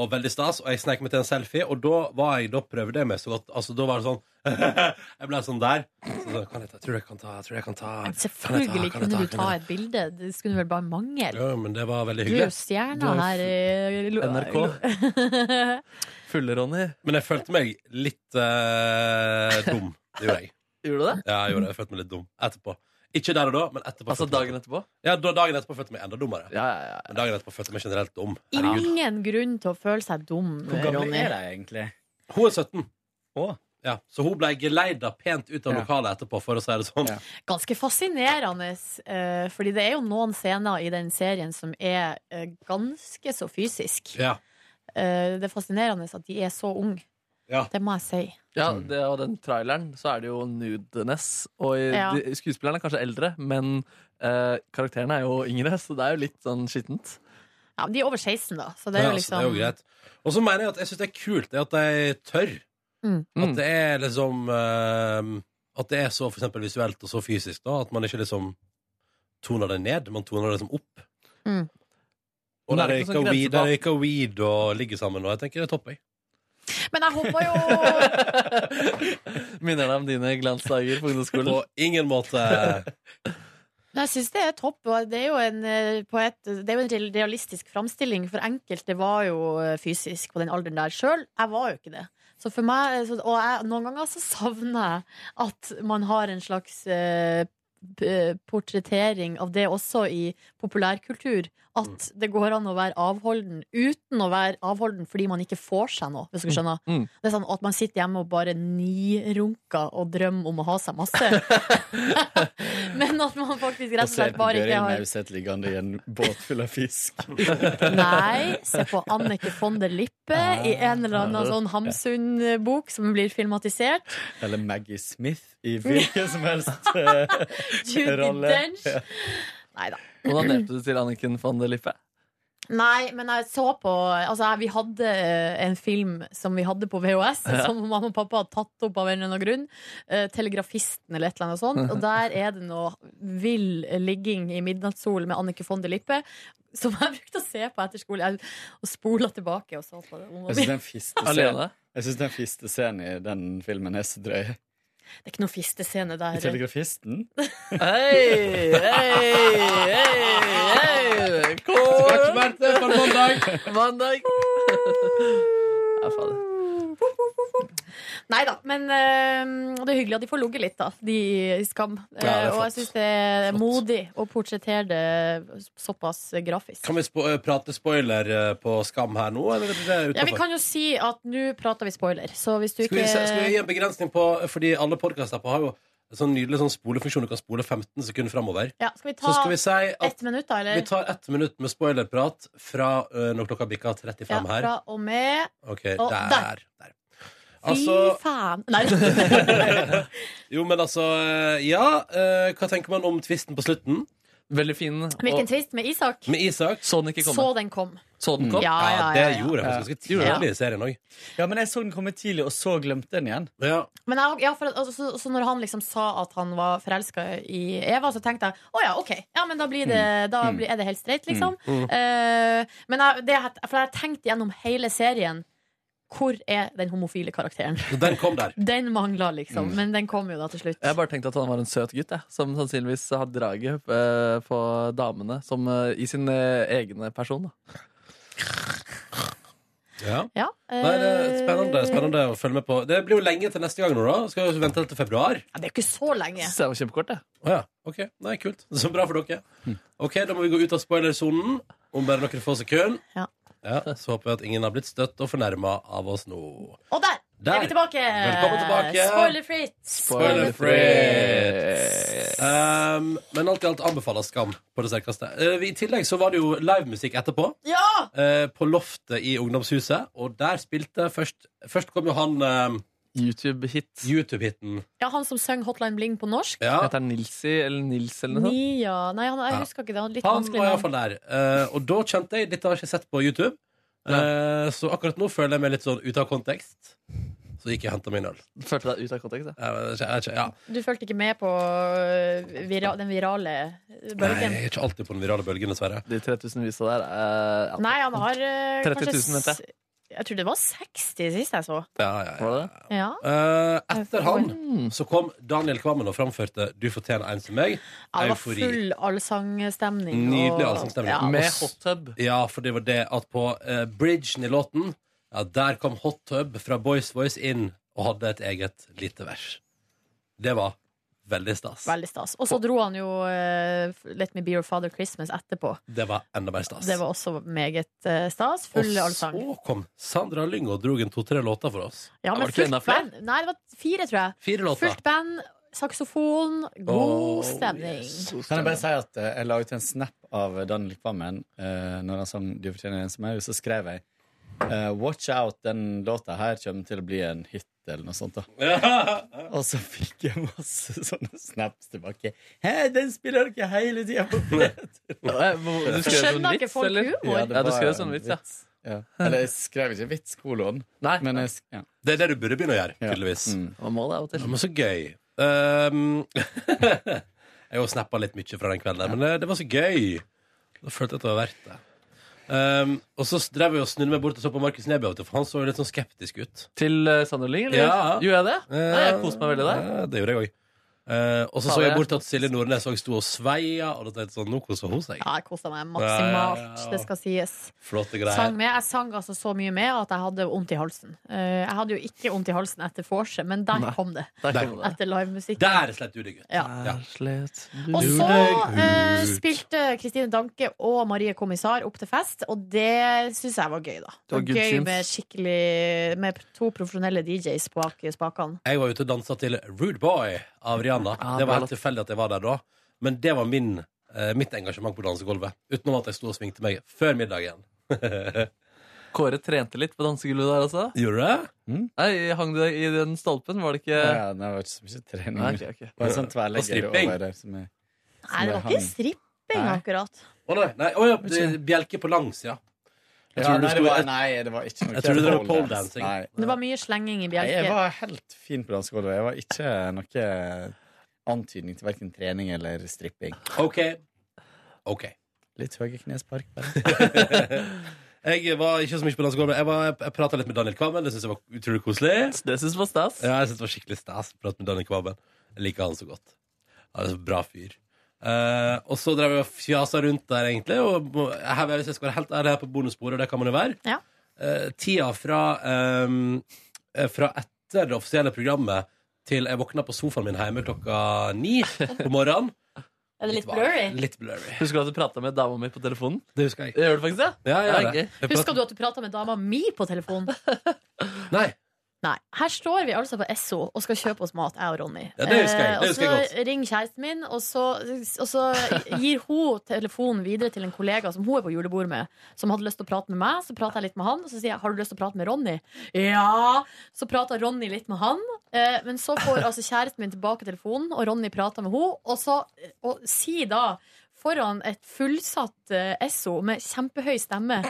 Speaker 2: og veldig stas. Og jeg snek meg til en selfie, og da var jeg da prøvde jeg meg så godt. Altså, da var det sånn Jeg ble sånn der. Så, sånn, kan jeg, ta, tror jeg kan ta, tror jeg kan ta kan jeg ta,
Speaker 3: Selvfølgelig
Speaker 2: kan jeg
Speaker 3: kunne du
Speaker 2: kan
Speaker 3: ta
Speaker 2: jeg
Speaker 3: et bilde. Det skulle vel bare mangle.
Speaker 2: Ja, men det var veldig
Speaker 3: Du er jo
Speaker 2: hyggelig.
Speaker 3: stjerna her i lo-
Speaker 2: NRK.
Speaker 4: Fulle, Ronny.
Speaker 2: Men jeg følte meg litt eh, dum. Det gjorde jeg.
Speaker 4: Gjorde du det?
Speaker 2: Ja, jeg gjorde det. Jeg følte meg litt dum etterpå. Ikke der og da, men etterpå.
Speaker 4: Altså
Speaker 2: følte jeg
Speaker 4: dagen
Speaker 2: meg-
Speaker 4: etterpå?
Speaker 2: Ja, da, dagen etterpå følte jeg meg enda dummere.
Speaker 4: Men
Speaker 2: dagen etterpå følte jeg meg generelt dum. Herregud.
Speaker 3: Ingen grunn til å føle seg dum,
Speaker 2: Hvor gammel
Speaker 3: Ronny.
Speaker 2: er de egentlig? Hun er 17. Ja, så hun ble geleida pent ut av lokalet etterpå, for å si det sånn.
Speaker 3: Ganske fascinerende, eh, fordi det er jo noen scener i den serien som er eh, ganske så fysisk.
Speaker 2: Ja.
Speaker 3: Eh, Det er fascinerende at de er så unge.
Speaker 2: Ja.
Speaker 3: Det må jeg si.
Speaker 4: Ja, det, og den traileren så er det jo nudeness. Og i-
Speaker 3: Ja.
Speaker 4: de, skuespillerne er kanskje eldre, men eh, karakterene er jo yngre, så det er jo litt sånn skittent.
Speaker 3: Ja, de er over 16, da. Så det er
Speaker 2: Ja, så det er
Speaker 3: jo liksom
Speaker 2: jo greit. Og så mener jeg at jeg syns det er kult det at de tør.
Speaker 3: Mm.
Speaker 2: At det er liksom eh, At det er så for eksempel visuelt og så fysisk, da. At man ikke liksom toner det ned, man toner det liksom opp.
Speaker 3: Mm.
Speaker 2: Og
Speaker 4: Men er
Speaker 2: der
Speaker 4: det ikke
Speaker 2: røyker
Speaker 4: sånn
Speaker 2: weed,
Speaker 4: grense på-
Speaker 2: der røyker weed og ligger sammen, og jeg tenker det topper jeg.
Speaker 3: Men jeg håper jo
Speaker 4: Minner deg om dine glansdager på ungdomsskolen.
Speaker 2: På ingen måte.
Speaker 3: Nei, Jeg syns det er topp. og Det er jo en, eh, på et, det er jo en real- realistisk framstilling. For enkelte var jo eh, fysisk på den alderen der sjøl. Jeg var jo ikke det. Så for meg, eh, så- og jeg, noen ganger så savner jeg at man har en slags eh, p- eh, portrettering av det også i populærkultur. at
Speaker 4: Mm.
Speaker 3: det går an å være avholden uten å være avholden fordi man ikke får seg noe, hvis du skjønner.
Speaker 4: Mm.
Speaker 3: Det er sånn at man sitter hjemme og bare nirunker og drømmer om å ha seg masse. Men at man faktisk rett
Speaker 12: Og
Speaker 3: og
Speaker 12: se
Speaker 3: slett
Speaker 12: på
Speaker 3: bare
Speaker 12: Gøril
Speaker 3: ikke har
Speaker 12: Mauseth liggende i en båt full av fisk.
Speaker 3: Nei, se på Annike von der Lippe i en
Speaker 4: Ah,
Speaker 3: eller annen sånn Hamsun-bok som blir filmatisert.
Speaker 12: Eller Maggie Smith i hvilken som helst eh,
Speaker 3: Judi
Speaker 12: rolle.
Speaker 3: Dench.
Speaker 12: Ja.
Speaker 3: Nei da.
Speaker 4: Onanerte du til Anniken van der Lippe?
Speaker 3: Nei, men jeg så på Altså, vi hadde eh, en film som vi hadde på VHS,
Speaker 4: Ja.
Speaker 3: som mamma og pappa hadde tatt opp av en eller annen grunn. Eh, 'Telegrafisten' eller et eller annet sånt. Og der er det noe vill ligging i midnattssol med Annike von der Lippe. Som jeg brukte å se på etter skole. Jeg- Og spola tilbake og så på det.
Speaker 12: Jeg syns den fistescenen
Speaker 4: Alene?
Speaker 12: Jeg synes den fistescenen i den filmen er så drøy.
Speaker 3: Det er ikke noe fistescene der.
Speaker 12: I Telegrafisten?
Speaker 4: Hei, hei, hei, hei. Svartsmerte
Speaker 12: på mandag.
Speaker 4: Mandag. Ja, fader.
Speaker 3: Nei da, men eh, det er hyggelig at de får ligget litt, da, de i Skam.
Speaker 2: Ja,
Speaker 3: Eh,
Speaker 2: det er
Speaker 3: og
Speaker 2: flott.
Speaker 3: jeg syns det er modig å portrettere det såpass grafisk.
Speaker 2: Kan vi spo eh, prate spoiler eh, på Skam her nå, eller er det
Speaker 3: Ja, Vi
Speaker 2: utenfor?
Speaker 3: kan jo si at nå prater vi spoiler, så hvis du
Speaker 2: Skal vi,
Speaker 3: ikke
Speaker 2: se- skal vi gi en begrensning på Fordi alle podkaster har jo en sånn nydelig sånn spolefunksjon. Du kan spole 15 sekunder framover.
Speaker 3: ja, Skal vi ta
Speaker 2: Så skal vi si at
Speaker 3: ett minutt, da, eller?
Speaker 2: vi tar ett minutt med spoilerprat fra eh, når klokka bikker 35
Speaker 3: ja,
Speaker 2: her.
Speaker 3: Fra og med
Speaker 2: Ok,
Speaker 3: og
Speaker 2: der.
Speaker 3: der.
Speaker 2: Altså
Speaker 3: Fy faen! Nei.
Speaker 2: Jo, men altså eh, Ja, eh, hva tenker man om tvisten på slutten?
Speaker 4: Veldig fin.
Speaker 3: Hvilken tvist med Isak?
Speaker 2: Med Isak.
Speaker 4: Så den
Speaker 3: Så den kom.
Speaker 4: Så
Speaker 3: den kom? Ja, ja, ja,
Speaker 2: det
Speaker 3: ja.
Speaker 2: gjorde jeg faktisk ganske
Speaker 3: Ja.
Speaker 2: tidlig i serien òg.
Speaker 12: Ja, men jeg så den komme tidlig, og så glemte den igjen.
Speaker 2: Ja.
Speaker 3: Men jeg, ja, for, at- altså, så, så når han liksom sa at han var forelska i Eva, så tenkte jeg å ja, OK. Ja, men da, blir det, da
Speaker 13: Mm.
Speaker 3: blir, er det helt streit, liksom.
Speaker 13: Mm. Mm.
Speaker 3: Eh, men jeg, det, jeg- for jeg har tenkt gjennom hele serien hvor er den homofile karakteren?
Speaker 2: Den kom der.
Speaker 3: Den mangla, liksom.
Speaker 4: Mm.
Speaker 3: Men den kom jo da til slutt.
Speaker 4: Jeg bare tenkte at han var en søt gutt, jeg, som sannsynligvis hadde draget eh, på damene som, eh, i sin eh, egne person. Da.
Speaker 2: Ja.
Speaker 3: Ja, eh,
Speaker 2: Nei, det er spennende, spennende å følge med på. Det blir jo lenge til neste gang nå, da. Skal vi vente helt til februar?
Speaker 3: Ja, det er jo ikke så lenge.
Speaker 4: Så det var kjempekort, det.
Speaker 2: Å ja. OK. Nei, kult. Så bra for dere. OK, da må vi gå ut av spoilersonen om bare noen få sekunder.
Speaker 3: Ja.
Speaker 2: Ja, så håper jeg at ingen har blitt støtt og fornærma av oss nå.
Speaker 3: Og der,
Speaker 2: Der.
Speaker 3: er vi tilbake!
Speaker 2: Velkommen tilbake.
Speaker 3: Spoilerfritt.
Speaker 2: Spoilerfritt. Um, men alt i alt anbefaler Skam på det sterkeste. Eh, I tillegg så var det jo livemusikk etterpå.
Speaker 3: Ja!
Speaker 2: eh, på loftet i ungdomshuset, og der spilte først Først kom jo han eh,
Speaker 4: YouTube-hit.
Speaker 2: YouTube-hiten.
Speaker 3: Ja, han som sang Hotline Bling på norsk.
Speaker 2: Ja.
Speaker 4: Heter han Nilsi eller Nils eller noe sånt?
Speaker 3: Nia Nei, han, jeg
Speaker 2: Ja.
Speaker 3: husker ikke det. Han, litt
Speaker 2: Han
Speaker 3: vanskelig
Speaker 2: var
Speaker 3: navn.
Speaker 2: iallfall der. Eh, og da kjente jeg Dette har jeg ikke sett på YouTube, Eh, så akkurat nå føler jeg meg litt sånn ute av kontekst. Så gikk jeg og henta meg en øl.
Speaker 4: Følte deg ut av kontekst?
Speaker 2: Jeg, vet ikke- jeg, vet ikke, ja.
Speaker 3: Du fulgte ikke med på øh, vira den virale bølgen?
Speaker 2: Nei, jeg er ikke alltid på den virale bølgen, dessverre.
Speaker 4: De 3000 visa der er
Speaker 3: Nei, han har øh,
Speaker 2: 30 000,
Speaker 3: kanskje s-
Speaker 2: venter jeg.
Speaker 3: Jeg tror det var 60 sist jeg så.
Speaker 2: Ja, ja, ja.
Speaker 3: Ja.
Speaker 2: Eh, etter han så kom Daniel Kvammen og framførte 'Du fortjener en som meg'.
Speaker 3: Ja, det var
Speaker 2: Eufori.
Speaker 3: full allsangstemning.
Speaker 2: Nydelig
Speaker 3: og-
Speaker 2: allsangstemning.
Speaker 3: Ja.
Speaker 4: tub.
Speaker 2: Ja, for det var det at på eh, bridgen i låten, ja, der kom hot tub fra Boys Voice inn og hadde et eget lite vers. Det var veldig stas.
Speaker 3: Veldig stas. Og så dro han jo øh, Let Me Be Your Father Christmas etterpå.
Speaker 2: Det var enda mer stas.
Speaker 3: Det var også meget øh, stas. Full
Speaker 2: og
Speaker 3: allsang.
Speaker 2: så kom Sandra Lyng og drog en to-tre låter for oss.
Speaker 3: Ja, men fullt band. Nei, det var fire, tror jeg.
Speaker 2: Fire låter.
Speaker 3: Fullt band, saksofon,
Speaker 12: Åh,
Speaker 2: Oh,
Speaker 3: god stemning.
Speaker 12: Kan jeg bare si at eh, jeg la ut en snap av Daniel Kvammen eh, når han sang 'Du fortjener en som er', og så skrev jeg eh, 'Watch out, den låta her kommer til å bli en hit', eller noe sånt. da Og så fikk jeg masse sånne snaps tilbake. 'Hæ, den spiller dere hele tida på P3'.
Speaker 4: Du skrev Skjønner sånn ikke vits, folk eller? humor?
Speaker 12: det
Speaker 4: Ja, du
Speaker 12: var
Speaker 4: skrev
Speaker 12: en
Speaker 4: sånn vits, ja.
Speaker 12: ja. Eller jeg skrev ikke vits, kolon. Men jeg, sk- ja.
Speaker 2: Det er det du burde begynne å gjøre, tydeligvis. Ja, men så gøy. Um, jeg har snappa litt mye fra den kvelden, der, men eh, det var så gøy. Da følte jeg at det var verdt det. Um, og så drev jeg og snudde meg bort og så på Markus Neby, vet du, for han så jo litt sånn skeptisk ut.
Speaker 4: Til uh, Sander Lyng, eller?
Speaker 2: Ja.
Speaker 4: Gjorde jeg det? Nei, jeg koste meg veldig der.
Speaker 2: Ja, det gjorde jeg òg. Eh, og så
Speaker 3: Ta
Speaker 2: så jeg
Speaker 3: det.
Speaker 2: bort til at Silje Nordnes også sto og sveia, og da tenkte jeg sånn, nå koser hun seg.
Speaker 3: Ja, jeg kosa meg
Speaker 2: Ja,
Speaker 3: maksimalt,
Speaker 2: ja, ja.
Speaker 3: det skal sies.
Speaker 2: Flotte greier.
Speaker 3: Sang med. Jeg sang altså så mye med at jeg hadde vondt i halsen. Eh, jeg hadde jo ikke vondt i halsen etter vorset, men der
Speaker 2: Nei,
Speaker 3: kom det.
Speaker 2: der kom det.
Speaker 3: Etter livemusikken.
Speaker 2: Der slapp du deg ut.
Speaker 3: Ja.
Speaker 2: Der
Speaker 4: slet
Speaker 3: Og så eh, spilte Kristine Danke og Marie Kommissar opp til fest, og det syns jeg var gøy, da.
Speaker 2: Det var good
Speaker 3: gøy
Speaker 2: times.
Speaker 3: med skikkelig Med to profesjonelle DJs bak spakene.
Speaker 2: Jeg var ute og dansa til Rude Boy av Rihanna. det
Speaker 3: bra
Speaker 2: var helt tilfeldig at jeg var der da. Men det var min, eh, mitt engasjement på dansegulvet. Utenom at jeg sto og svingte meg før middagen.
Speaker 4: Kåre trente litt på dansegulvet der, altså?
Speaker 2: Gjorde du det?
Speaker 4: Nei, Hang du deg i den stolpen? Var det ikke
Speaker 12: Ja, det var ikke så mye trening.
Speaker 4: Eh. Nei, ok, ok.
Speaker 12: Det var en sånn
Speaker 4: Og
Speaker 12: tverrlegger
Speaker 4: stripping.
Speaker 12: over der som er
Speaker 3: Nei, det var ikke stripping,
Speaker 12: Nei.
Speaker 3: akkurat.
Speaker 2: Å nei, nei, å ja, det- bjelke på langs, ja. Jeg
Speaker 12: Ja,
Speaker 2: trodde du
Speaker 12: nei, det
Speaker 2: sto-
Speaker 12: var-
Speaker 2: jeg-
Speaker 12: nei, det var ikke noe
Speaker 2: Jeg trodde det var
Speaker 12: pole dance.
Speaker 2: poledancing.
Speaker 12: Nei.
Speaker 3: Det var mye slenging i bjelker.
Speaker 12: Nei, jeg var helt fin på dansegulvet. Jeg var ikke noe antydning til verken trening eller stripping.
Speaker 2: OK. OK.
Speaker 12: Litt høye knespark, bare.
Speaker 2: Jeg var ikke så mye på dansegulvet. Jeg, var- jeg prata litt med Daniel Kvammen. Det syns jeg var utrolig koselig.
Speaker 4: Det syns jeg var stas.
Speaker 2: Ja, jeg synes det var skikkelig stas å prate med Daniel Kvammen. Jeg liker han så godt. Han er en bra fyr. Eh, og så drev jeg og fjasa rundt der, egentlig. Og må- her, hvis jeg skal være helt ærlig her på bonussporet, og det kan man jo være Eh, Tida fra, eh, fra etter det offisielle programmet til jeg våkna på sofaen min hjemme klokka ni på morgenen
Speaker 3: Er det litt
Speaker 2: var
Speaker 3: blurry?
Speaker 2: Litt blurry.
Speaker 4: Husker du at du prata med dama mi på telefonen?
Speaker 2: Det husker jeg.
Speaker 4: Gjør du faktisk det?
Speaker 2: Ja, jeg gjør
Speaker 4: ok.
Speaker 2: det. Jeg
Speaker 3: Husker du at du prata med dama mi på telefon?
Speaker 2: Nei.
Speaker 3: Nei. Her står vi altså på Esso og skal kjøpe oss mat, jeg og Ronny.
Speaker 2: Ja, det husker jeg.
Speaker 3: Eh,
Speaker 2: Det husker jeg
Speaker 3: og så ringer kjæresten min, og så, og så gir hun telefonen videre til en kollega som hun er på julebord med, som hadde lyst til å prate med meg. Så prater jeg litt med han, og så sier jeg har du lyst til å prate med Ronny? Ja! Så prater Ronny litt med han, eh, men så får altså kjæresten min tilbake telefonen, og Ronny prater med henne, og så og sier da foran et fullsatt eh, Esso med kjempehøy stemme.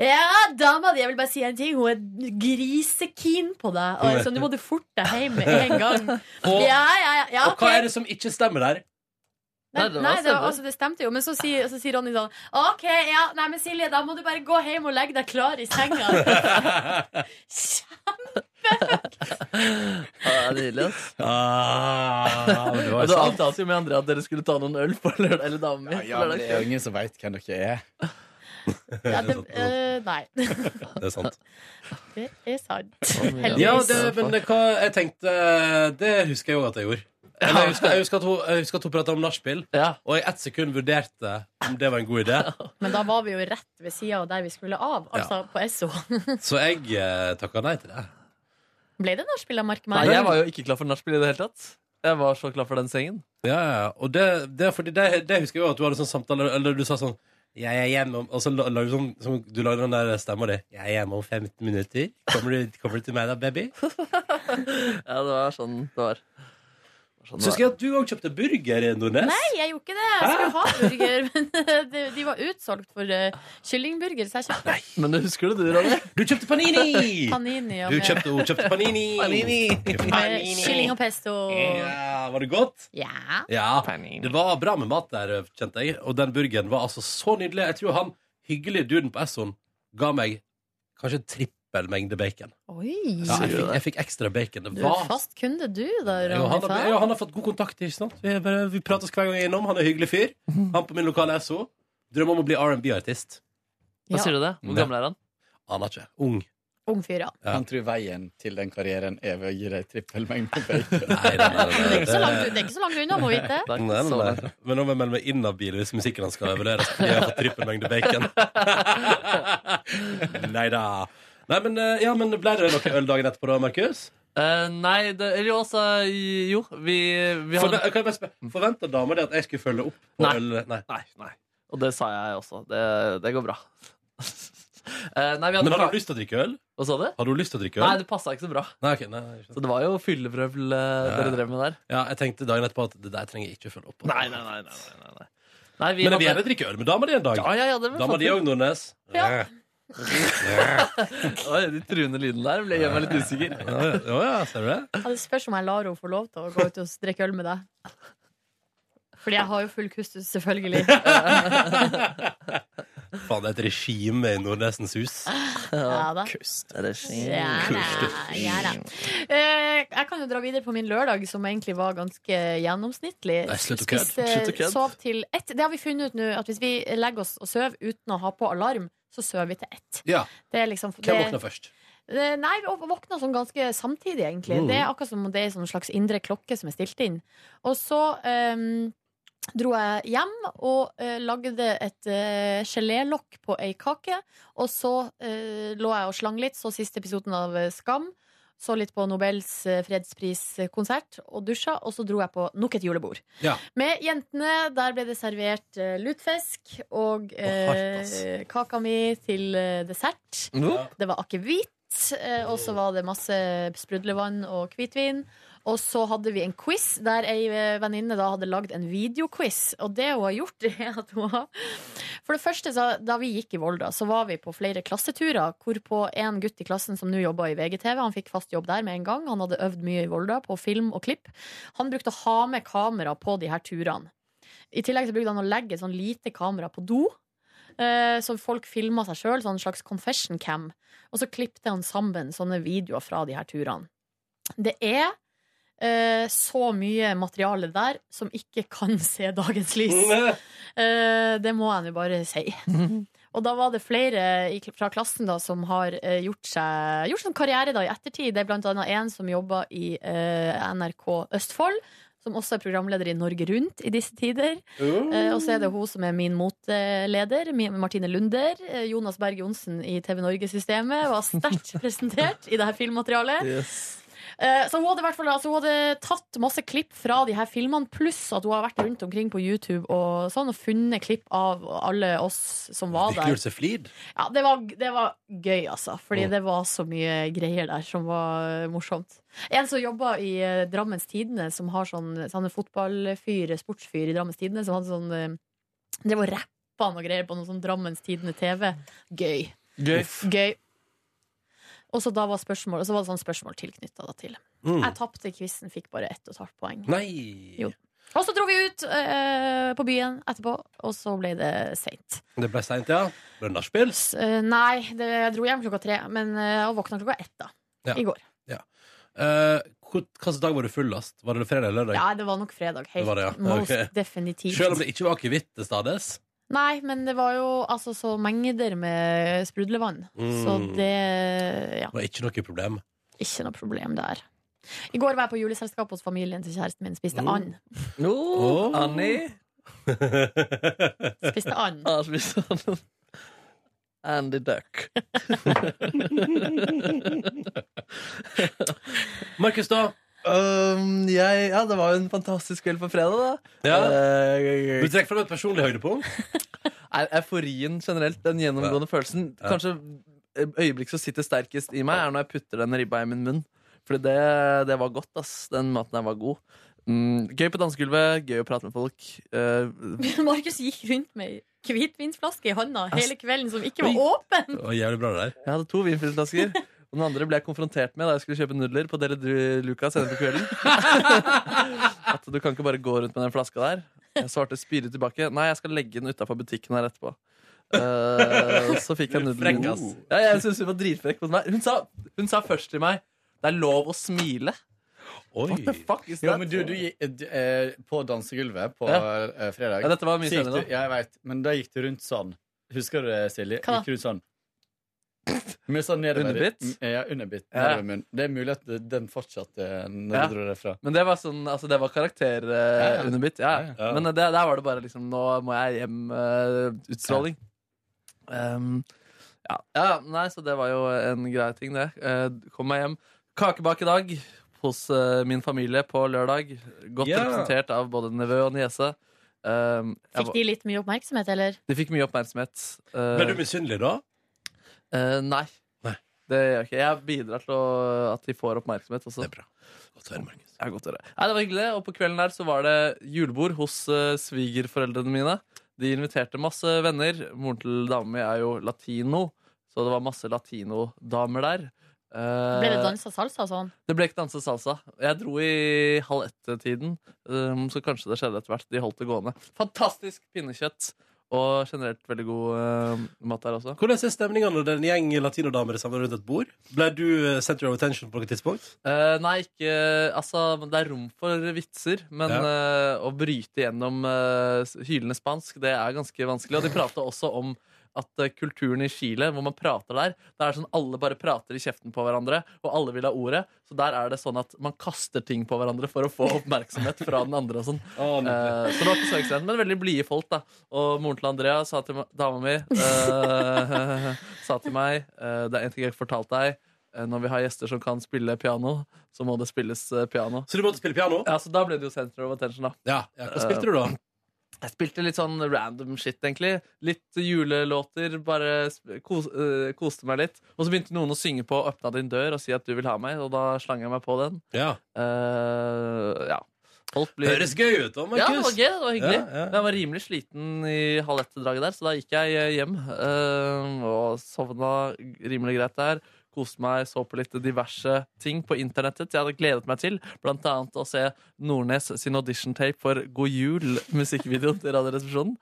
Speaker 3: Ja, dama di, jeg vil bare si en ting. Hun er grisekeen på deg. Og jeg sa, nå må du forte deg hjem med en gang.
Speaker 2: Og-
Speaker 3: ja, ja, ja, ja,
Speaker 2: Og hva
Speaker 3: ok.
Speaker 2: er det som ikke stemmer der?
Speaker 3: Nei, nei det, var- altså, det stemte jo, men så sier, så sier Ronny sånn OK, ja, nei, men Silje, da må du bare gå hjem og legge deg klar i senga.
Speaker 4: Ja, det er nydelig, ass.
Speaker 2: Ah, men det var
Speaker 4: Og du
Speaker 2: sant.
Speaker 4: avtalte jo med Andrea at dere skulle ta noen øl på lørdag. Eller damen min.
Speaker 12: Ja, men det er jo ingen som veit hvem dere er.
Speaker 3: Ja, det, eh, nei.
Speaker 2: Det er sant.
Speaker 3: Det er sant.
Speaker 2: Ja,
Speaker 3: Heldigvis.
Speaker 2: det, men det, hva jeg tenkte Det husker jeg jo at jeg gjorde. Eller, jeg, husker, jeg, husker at hun, jeg husker at hun prata om nachspiel, og i ett sekund vurderte om det var en god idé.
Speaker 3: Men da var vi jo rett ved sida av der vi skulle av, altså
Speaker 2: Ja.
Speaker 3: på Esso.
Speaker 2: Så jeg eh, takka nei til det.
Speaker 3: Ble det nachspiel av Mark
Speaker 4: Nei, jeg var jo ikke klar for nachspiel i det hele tatt. Jeg var så klar for den sengen.
Speaker 2: Ja, ja, ja. Og det, det, er fordi det, det husker jeg jo at du hadde sånn samtale Eller du sa sånn jeg er hjemme om, Og så la, la du sånn som Du lagde den der stemma di. Jeg er hjemme om 15 minutter. Kommer du, kommer du til meg da, baby?
Speaker 4: Ja, det var sånn det var. sånn
Speaker 2: Så husker jeg at du òg kjøpte burger, Nordnes.
Speaker 3: Nei, jeg gjorde ikke det. Jeg skulle ha burger, men eh, de, de var utsolgt for eh, kyllingburger, så jeg kjøpte
Speaker 4: Men det husker du, du, Ronny?
Speaker 2: Du kjøpte panini!
Speaker 3: panini. og
Speaker 2: Du
Speaker 3: med-
Speaker 2: kjøpte, hun kjøpte panini.
Speaker 3: Med kylling og pesto.
Speaker 2: Ja, var det godt?
Speaker 3: Ja.
Speaker 2: Ja, det var bra med mat der, kjente jeg. Og den burgeren var altså så nydelig. Jeg tror han hyggelige duden på Esson ga meg kanskje en trippel mengde bacon.
Speaker 3: Oi.
Speaker 2: Ja, jeg, fikk, jeg fikk ekstra bacon. Det
Speaker 3: Du er
Speaker 2: var
Speaker 3: fast kunde, du, da,
Speaker 2: Jeg og
Speaker 3: Ronny.
Speaker 2: han, har,
Speaker 3: Faen.
Speaker 2: jeg og han har fått god kontakt. Ikke sant? Vi, er bare- vi prater oss hver gang jeg er innom. Han er en hyggelig fyr.
Speaker 3: Mhm.
Speaker 2: Han på min lokale SO. Drømmer om å bli R&B-artist.
Speaker 4: Hva sier du det? Hvor gammel er han?
Speaker 2: Aner ikke. Ung.
Speaker 3: Ung fyr, ja.
Speaker 12: Han tror veien til den karrieren er ved å gi deg trippel mengde bacon.
Speaker 3: Det er ikke så langt, det er ikke så langt unna, må vite.
Speaker 2: Nei, nei, nei. Men nå må jeg melde meg inhabil hvis musikken hans skal evalueres. Fordi jeg har fått trippel mengde bacon. nei da. Nei, men, eh, ja, men ble det noe øl dagen etterpå, da, Markus?
Speaker 4: Eh, nei, det, eller jo, altså Jo, vi, vi
Speaker 2: Forve- kan jeg bare spørre, Forventa dama det at jeg skulle følge opp på
Speaker 4: Nei.
Speaker 2: øl? Nei.
Speaker 4: Nei, nei. Og det sa jeg også. Det, det går bra. Eh, nei, vi hadde
Speaker 2: Men hadde du lyst til å drikke øl?
Speaker 4: Hva sa du?
Speaker 2: Hadde du lyst til å drikke øl?
Speaker 4: Nei, det passa ikke så bra.
Speaker 2: Nei, ok, nei, nei,
Speaker 4: Så det var jo fylleprøvel eh,
Speaker 2: Ja.
Speaker 4: dere drev med der.
Speaker 2: Ja, jeg tenkte dagen etterpå at det der trenger jeg ikke å følge opp på.
Speaker 4: Nei, nei, nei, nei, nei, nei, nei. Nei,
Speaker 2: Men jeg vil
Speaker 4: hadde-
Speaker 2: gjerne drikke øl med dama di en dag.
Speaker 4: Ja, ja, ja, det vil
Speaker 2: dama
Speaker 4: jeg
Speaker 2: di
Speaker 4: få
Speaker 2: òg,
Speaker 4: til.
Speaker 2: Nordnes. Ja.
Speaker 4: Oi, de truende lydene der ble- gjør meg litt usikker.
Speaker 2: Ja, ja, ser du det?
Speaker 3: Ja, Det spørs om jeg lar henne få lov til å gå ut og drikke øl med deg. Fordi jeg har jo full kustus, selvfølgelig.
Speaker 2: Faen, det er et regime i Nordnesens hus.
Speaker 4: Ah,
Speaker 3: Ja da.
Speaker 2: Kustregime.
Speaker 3: Ja da, ja da. Eh, jeg kan jo dra videre på min lørdag, som egentlig var ganske gjennomsnittlig.
Speaker 2: Nei, slutt å kødde.
Speaker 3: Spiste-
Speaker 2: Slutt å kødde.
Speaker 3: Sov til ett. Det har vi funnet ut nå, at hvis vi legger oss og sover uten å ha på alarm, så sover vi til ett.
Speaker 2: Ja.
Speaker 3: Det er liksom
Speaker 2: Hvem
Speaker 3: det-
Speaker 2: våkner først?
Speaker 3: Eh, Nei, vi våkna sånn ganske samtidig, egentlig.
Speaker 2: Mm.
Speaker 3: Det er akkurat som det er en sånn slags indre klokke som er stilt inn. Og så ehm, dro jeg hjem og eh, lagde et eh, gelélokk på ei kake. Og så eh, lå jeg og slang litt, så siste episoden av eh, Skam. Så litt på Nobels eh, fredspriskonsert og dusja, og så dro jeg på nok et julebord.
Speaker 2: Ja.
Speaker 3: Med jentene, der ble det servert eh, lutefisk og eh, kaka mi til eh, dessert.
Speaker 14: Ja.
Speaker 3: Det var akevitt, eh, og så var det masse sprudlevann og hvitvin. Og så hadde vi en quiz der ei eh, venninne da hadde lagd en videoquiz. Og det hun har gjort, er at hun har For det første, så, da vi gikk i Volda, så var vi på flere klasseturer. Hvorpå en gutt i klassen som nå jobba i VGTV, han fikk fast jobb der med en gang. Han hadde øvd mye i Volda på film og klipp. Han brukte å ha med kamera på de her turene. I tillegg så brukte han å legge et sånn lite kamera på do. Eh, så folk filma seg sjøl, sånn slags confession cam. Og så klippte han sammen sånne videoer fra de her turene. Det er eh, så mye materiale der som ikke kan se dagens lys. Eh, det må jeg nå bare si. Og da var det flere i, fra klassen da, som har eh, gjort, seg, gjort sånn karriere da, i ettertid. Det er blant annet en som jobber i eh, NRK Østfold, som også er programleder i Norge Rundt i disse tider.
Speaker 14: Oh.
Speaker 3: Eh, og så er det hun som er min moteleder, Mi- Martine Lunder. Eh, Jonas Berg Johnsen i TV Norge-systemet var sterkt presentert i det her filmmaterialet. Eh, Så hun hadde, i hvert fall, altså, hun hadde tatt masse klipp fra de her filmene, pluss at hun har vært rundt omkring på YouTube og, sånn, og funnet klipp av alle oss som var
Speaker 2: Virkelig
Speaker 3: der.
Speaker 2: gjort seg flid.
Speaker 3: Ja, det var, det var gøy, altså. Fordi
Speaker 2: Mm.
Speaker 3: det var så mye greier der som var eh, morsomt. En som jobba i eh, Drammens Tidende, som har sånn sånn en fotballfyr, sportsfyr i Drammens Tidende, som hadde sånn eh, Det var rappa noe greier på noe sånn Drammens Tidende TV. Gøy.
Speaker 4: Gøy.
Speaker 3: Gøy. Og så da var spørsmål, og så var det sånn spørsmål tilknytta til.
Speaker 2: Mm.
Speaker 3: Jeg tapte quizen, fikk bare ett og et halvt poeng.
Speaker 2: Nei!
Speaker 3: Jo. Og så dro vi ut eh, på byen etterpå, og så ble det seint.
Speaker 2: Det ble seint, ja. Ble det nachspiel?
Speaker 3: Eh, nei, det, jeg dro hjem klokka tre, men eh, og våkna klokka ett da.
Speaker 2: Ja.
Speaker 3: I går.
Speaker 2: Ja. Eh, hvor- Hvilken dag var du fullest? Var det fredag eller lørdag?
Speaker 3: Ja, det var nok fredag. Helt
Speaker 2: Det var det, ja.
Speaker 3: most
Speaker 2: Ok.
Speaker 3: definitivt.
Speaker 2: Selv om det ikke var akevitt til stades?
Speaker 3: Nei, men det var jo altså så mengder med sprudlevann.
Speaker 2: Mm.
Speaker 3: Så det Ja.
Speaker 2: Det var ikke noe problem.
Speaker 3: Ikke noe problem der. I går var jeg på juleselskap hos familien til kjæresten min. Spiste
Speaker 2: Mm.
Speaker 3: and.
Speaker 4: Oh, Annie.
Speaker 3: Spiste and.
Speaker 4: Ja, spiste and. Andy Duck.
Speaker 2: Markus, da?
Speaker 4: Um, jeg, ja, det var jo en fantastisk kveld på fredag, da.
Speaker 2: Ja.
Speaker 4: Eh,
Speaker 2: Du trekker fram et personlig høydepunkt.
Speaker 4: Er euforien generelt, den gjennomgående følelsen
Speaker 2: Ja.
Speaker 4: Kanskje eh, øyeblikk som sitter sterkest i meg, er når jeg putter den ribba i min munn. For det, det var godt, ass. Den maten her var god. Mm, gøy på dansegulvet, gøy å prate med folk. Eh,
Speaker 3: Markus gikk rundt med ei hvitvinsflaske i handa hele kvelden som ikke var åpen.
Speaker 2: Det var jævlig bra det der.
Speaker 4: Jeg hadde to vinflasker. Og den andre ble jeg konfrontert med da jeg skulle kjøpe nudler på Deli Dru- Luca senere på kvelden. At du kan ikke bare gå rundt med den flaska der. Jeg svarte spydig tilbake. Nei, jeg skal legge den utafor butikken her etterpå. Eh, så fikk jeg
Speaker 2: Du er
Speaker 4: nudlene.
Speaker 2: frekk, ass.
Speaker 4: Ja, jeg synes hun var dritfrekk mot meg. Hun sa, hun sa først til meg det er lov å smile. What the fuck is
Speaker 12: Jo,
Speaker 4: that?
Speaker 12: men du, du, gi- du eh, På dansegulvet på
Speaker 4: Ja.
Speaker 12: eh, fredag
Speaker 4: Ja, dette var mye
Speaker 12: så gikk
Speaker 4: senere, da.
Speaker 12: du, ja, jeg vet, Men da gikk du rundt sånn. Husker du det, Silje?
Speaker 4: Hva da?
Speaker 12: Gikk du rundt sånn med sånn nedover
Speaker 4: Underbitt?
Speaker 12: m- Ja, underbitt.
Speaker 4: Ja.
Speaker 12: Nedover munnen. Det er mulig at den fortsatte eh, når
Speaker 4: Ja.
Speaker 12: du dro derfra.
Speaker 4: Men det var sånn, altså det var
Speaker 12: Ja, ja.
Speaker 4: karakterunderbitt. Ja,
Speaker 12: Ja, ja.
Speaker 4: Men det, der var det bare liksom Nå må jeg hjem-utstråling. Ehm, ja. ja, nei, så det var jo en grei ting, det. Eh, kom meg hjem. Kakebak i dag hos eh, min familie på lørdag. Godt
Speaker 3: Ja.
Speaker 4: representert av både nevø og niese. Um, jeg
Speaker 3: Fikk
Speaker 4: var-
Speaker 3: de litt mye oppmerksomhet, eller?
Speaker 4: de fikk mye oppmerksomhet. Eh,
Speaker 2: Ble du misunnelig da?
Speaker 4: nei. Det gjør jeg ikke. Jeg bidrar til å, at de får oppmerksomhet også. Det er bra.
Speaker 2: Godt å høre, Markus.
Speaker 4: Ja, godt å høre. Nei, det var hyggelig, og på kvelden der så var det julebord hos eh, svigerforeldrene mine. De inviterte masse venner. Moren til damen min er jo latino, så det var masse latinodamer der. Eh,
Speaker 3: Ble det dansa salsa og sånn?
Speaker 4: det ble ikke danse salsa. Jeg dro i eh, halv ett-tiden, um, så kanskje det skjedde etter hvert. De holdt det gående. Fantastisk pinnekjøtt Og generelt veldig god eh, mat der også.
Speaker 2: Hvordan er stemninga når det er en gjeng latinodamer samla rundt et bord? Ble du eh, center of attention på noe tidspunkt?
Speaker 4: Eh, nei, ikke Altså, det er rom for vitser, men eh, å bryte gjennom eh, s- hylende spansk, det er ganske vanskelig. Og de prata også om at eh, kulturen i Chile, hvor man prater der, der er sånn alle bare prater i kjeften på hverandre, og alle vil ha ordet. Så der er det sånn at man kaster ting på hverandre for å få oppmerksomhet fra den andre og sånn. Eh, så det var ikke så ekstremt, men veldig blide folk, da. Og moren til Andrea sa til ma- dama mi eh, Sa til meg eh, Det er en ting jeg ikke fortalte deg. eh, Når vi har gjester som kan spille piano, så må det spilles eh, piano.
Speaker 2: Så du måtte spille piano?
Speaker 4: Ja, så da ble det jo Center of Attention, da.
Speaker 2: Ja, ja, hva spilte du da?
Speaker 4: Jeg spilte litt sånn random shit, egentlig. Litt julelåter. Bare sp- kos, eh, koste meg litt. Og så begynte noen å synge på 'Åpna din dør' og si at du vil ha meg, og da slang jeg meg på den.
Speaker 2: Ja.
Speaker 4: Eh, ja. Folk blir...
Speaker 2: Høres gøy ut da, Markus.
Speaker 4: Ja, det var gøy. Det var hyggelig.
Speaker 2: Ja, ja.
Speaker 4: Men Jeg var rimelig sliten i halv ett-draget der, så da gikk jeg eh, hjem eh, og sovna rimelig greit der. Koste meg, så på litt diverse ting på internettet jeg hadde gledet meg til. Blant annet å se Nordnes sin audition-tape for God jul-musikkvideoen til Radioresepsjonen.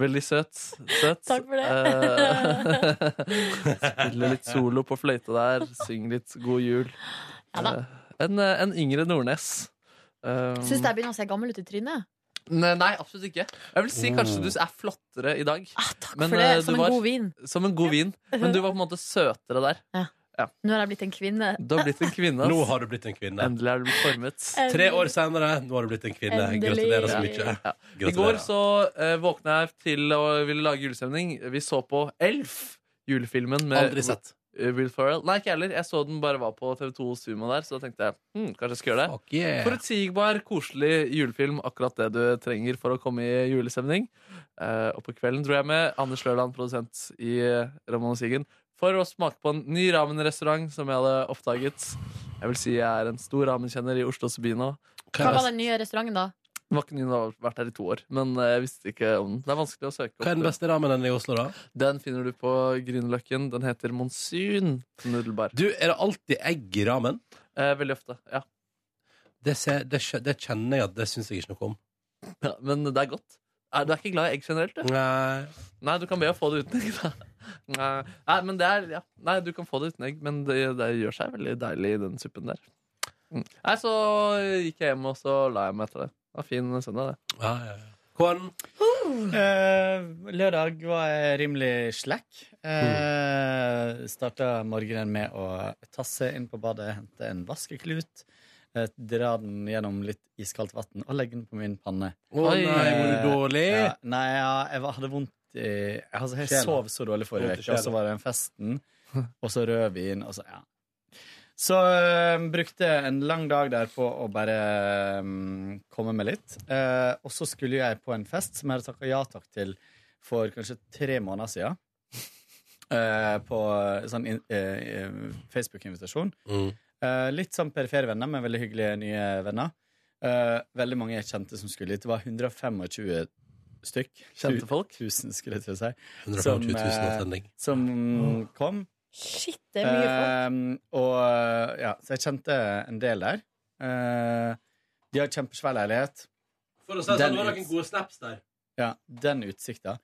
Speaker 4: Veldig søt. søt.
Speaker 3: Takk for det.
Speaker 4: Eh, Spille litt solo på fløyte der, syng litt God jul.
Speaker 3: Ja da.
Speaker 4: Eh, En, en yngre Nordnes. Um,
Speaker 3: Syns jeg begynner å se gammel ut i trynet.
Speaker 4: Nei, nei, absolutt ikke. Jeg vil si
Speaker 3: Oh.
Speaker 4: kanskje du er flottere i dag.
Speaker 3: Ah, for det.
Speaker 4: eh, du
Speaker 3: Som en god vin.
Speaker 4: Som en god vin. Men du var på en måte søtere der. Ja.
Speaker 3: Nå har jeg blitt en kvinne.
Speaker 4: Du har blitt en kvinne. ass.
Speaker 2: Nå har du blitt en kvinne.
Speaker 4: Endelig er du blitt formet.
Speaker 3: Eh,
Speaker 2: Tre år senere, nå har du blitt en kvinne. Gratulerer så mye.
Speaker 4: Ja. I
Speaker 2: Gratulerer.
Speaker 4: går så eh, våkna jeg til å ville lage julestemning. Vi så på Elf, julefilmen med
Speaker 2: Aldri sett.
Speaker 4: Will- Will Ferrell. Nei, ikke jeg heller. Jeg så den bare var på TV2 Sumo der, så da tenkte jeg hm, kanskje jeg skal gjøre det.
Speaker 2: yeah.
Speaker 4: Forutsigbar, koselig julefilm. Akkurat det du trenger for å komme i julestemning. Eh, og på kvelden dro jeg med Anders Løland, produsent i eh, Ramon og Siggen, for å smake på en ny ramen-restaurant som jeg hadde oppdaget. Jeg vil si jeg er en stor ramenkjenner i Oslos by nå.
Speaker 3: Hva var den nye restauranten, da?
Speaker 4: Den var ikke ny, den har vært her i to år, men eh, jeg visste ikke om den. Det er vanskelig å søke opp.
Speaker 2: Hva er den beste ramenen i Oslo, da?
Speaker 4: Den finner du på Grünerløkken. Den heter Monsun nudelbar.
Speaker 2: Du, er det alltid egg i ramen?
Speaker 4: Eh, veldig ofte, ja.
Speaker 2: Det, ser, det, skj- det kjenner jeg at det syns jeg ikke noe om.
Speaker 4: ja. Men det er godt. Er, du er ikke glad i egg generelt, du?
Speaker 2: Nei.
Speaker 4: du kan be å få det uten egg, da. Nei, Nei, men det er, ja. Nei, du kan få det uten egg, men det, det gjør seg veldig deilig i den suppen der. Mm. Nei, så gikk jeg hjem, og så la jeg meg etter det. Det var fin søndag, det.
Speaker 2: Ja, ja, ja. Kåren?
Speaker 12: Eh, lørdag var jeg rimelig slack. Uh, Starta morgenen med å tasse inn på badet, hente en vaskeklut. eh, dra den gjennom litt iskaldt vann og legge den på min panne.
Speaker 2: Å nei,
Speaker 4: eh,
Speaker 2: var du dårlig?
Speaker 12: Eh, ja, nei, ja, jeg var- hadde vondt i altså, Jeg
Speaker 2: Sjela.
Speaker 12: sov så dårlig forrige
Speaker 2: Vondt i
Speaker 12: uke, og så
Speaker 2: sjela.
Speaker 12: var det den festen, og så rødvin, og så ja. Så øhm, brukte jeg en lang dag der på å bare øhm, komme med litt. Eh, og så skulle jeg på en fest som jeg hadde takka ja takk til for kanskje tre måneder siden. Eh, på sånn in- eh, Facebook-invitasjon.
Speaker 2: Mm.
Speaker 12: Eh, litt sånn perifere venner, men veldig hyggelige nye venner. Eh, veldig mange jeg kjente som skulle dit. Det var 125 stykk.
Speaker 4: Kjente folk?
Speaker 12: Tusen, skulle jeg til å si.
Speaker 2: 125 000
Speaker 12: eh,
Speaker 2: avsending.
Speaker 12: som kom.
Speaker 3: Shit, det er mye folk.
Speaker 12: Eh, og ja, så jeg kjente en del der. Eh, de har kjempesvær leilighet.
Speaker 2: For å si det sånn,
Speaker 12: Den
Speaker 2: nå har
Speaker 12: ut-
Speaker 2: dere gode snaps der.
Speaker 12: ja, den utsikta.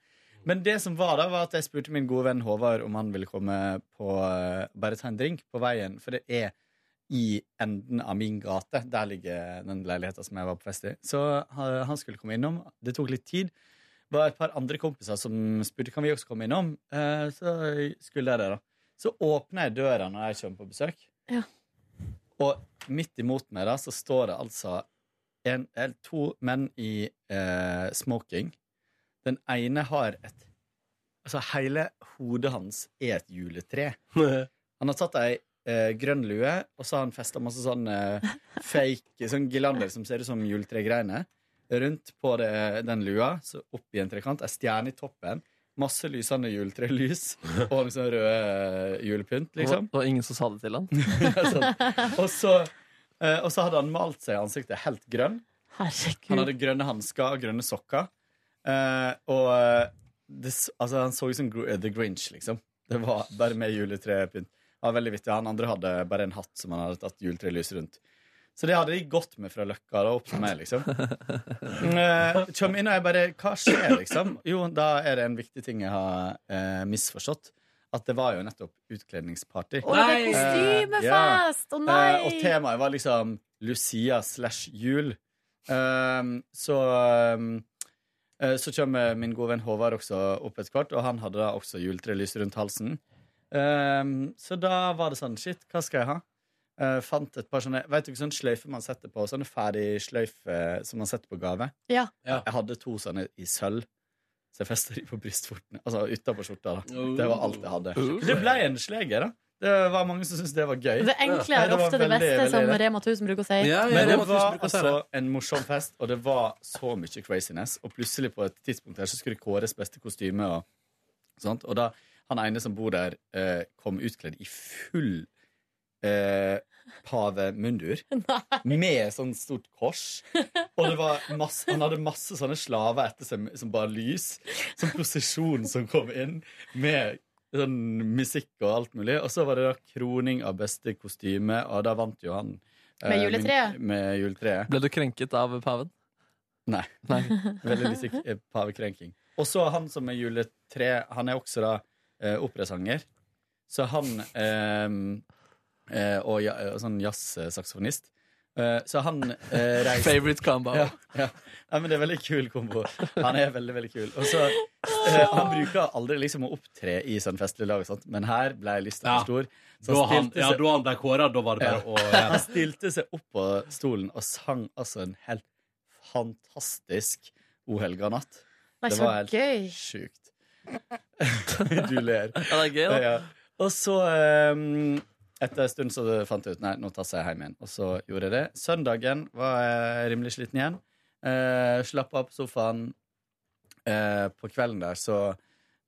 Speaker 12: Men det som var da, var at jeg spurte min gode venn Håvard om han ville komme på eh, Bare ta en drink på veien, for det er i enden av min gate. Der ligger den leiligheta som jeg var på fest i. Så eh, han skulle komme innom. Det tok litt tid. Det var et par andre kompiser som spurte kan vi også komme innom. Eh, Så skulle jeg det, da. Så åpna jeg døra når jeg kom på besøk.
Speaker 3: Ja.
Speaker 12: Og midt imot meg da, så står det altså en, eller to menn i eh, smoking. Den ene har et Altså, hele hodet hans er et juletre. Han har tatt ei eh, grønn lue, og så har han festa masse sånn eh, fake sånn girlander som ser ut som juletregreiner, rundt på det, den lua, så opp i en trekant. Ei stjerne i toppen. Masse lysende juletrelys og liksom røde eh, julepynt, liksom.
Speaker 4: Det var ingen som sa det til han.
Speaker 12: Og så, eh, og så hadde han malt seg i ansiktet helt grønn. Han hadde grønne hansker og grønne sokker. Eh, og eh, det, s- altså, han så ut som Gr- eh, The Grinch, liksom. Det var bare med juletrepynt. Det var veldig vittig. Han andre hadde bare en hatt som han hadde tatt juletrelys rundt. Så det hadde de gått med fra Løkka da, opp til meg, liksom. Eh, Kjem inn, og jeg bare Hva skjer, liksom? Jo, da er det en viktig ting jeg har eh, misforstått. At det var jo nettopp utkledningsparty.
Speaker 3: Å, det er
Speaker 12: Eh,
Speaker 3: kostymefest! Å, nei!
Speaker 12: Eh, og temaet var liksom Lucia slash jul. Ehm, så ehm, eh, så kommer min gode venn Håvard også opp etter hvert, og han hadde da også juletrelys rundt halsen. Ehm, så da var det sånn Shit, hva skal jeg ha? Eh, fant et par sånne Vet du ikke sånn sløyfe man setter på? Sånne ferdig sløyfe som man setter på gave?
Speaker 3: Ja.
Speaker 12: Jeg hadde to sånne i sølv. Så jeg festa de på brystvortene. Altså utapå skjorta. da
Speaker 4: Oh.
Speaker 12: Det var alt jeg hadde. Det ble en sleger, da. Det var mange som syntes det var gøy.
Speaker 3: Det enkle er
Speaker 12: Ja, det var
Speaker 3: ofte det
Speaker 12: veldig,
Speaker 3: beste,
Speaker 12: veldig
Speaker 3: som
Speaker 12: det.
Speaker 3: Rema 1000 bruker å si.
Speaker 12: Men det var altså en morsom fest, og det var så mye craziness. Og plutselig på et tidspunkt her så skulle det kåres beste kostyme. Og, sånt. og da han ene som bor der, eh, kom utkledd i full eh, pavemundur. Med sånn stort kors. Og det var masse, han hadde masse sånne slaver etter seg som bare lys. Sånn prosesjon som kom inn med sånn musikk og alt mulig. Og så var det da kroning av beste kostyme, og da vant jo han. eh,
Speaker 3: Med juletreet?
Speaker 12: min- Med juletreet.
Speaker 4: Ble du krenket av paven?
Speaker 12: Nei. Veldig lite k- eh, pavekrenking. Og så han som er juletre, han er også da eh, operasanger. Så han eh, eh, og, ja, og sånn jazzsaksofonist. Eh, så han eh, reiser
Speaker 4: Favorite combo.
Speaker 12: Ja, ja. Nei, men det er veldig kul kombo. Han er veldig, veldig kul. Og så eh, Han bruker aldri liksom å opptre i sånn festlig lag, og sånt, men her ble lista for stor. Så
Speaker 2: Da han,
Speaker 12: stilte
Speaker 2: ja,
Speaker 12: seg-
Speaker 2: da han ble kåra, da var det bare å
Speaker 12: ja. Han stilte seg opp på stolen og sang altså en helt fantastisk O helga natt.
Speaker 3: Nei,
Speaker 12: det
Speaker 3: så
Speaker 12: var helt
Speaker 3: gøy.
Speaker 12: sjukt. du ler.
Speaker 4: Ja, det er gøy, da.
Speaker 12: Ja. Og så eh, etter en stund så fant jeg ut Nei, nå tasser jeg hjem igjen. Og så gjorde jeg det. Søndagen var jeg rimelig sliten igjen. Uh, Slappa av på sofaen. Eh, på kvelden der så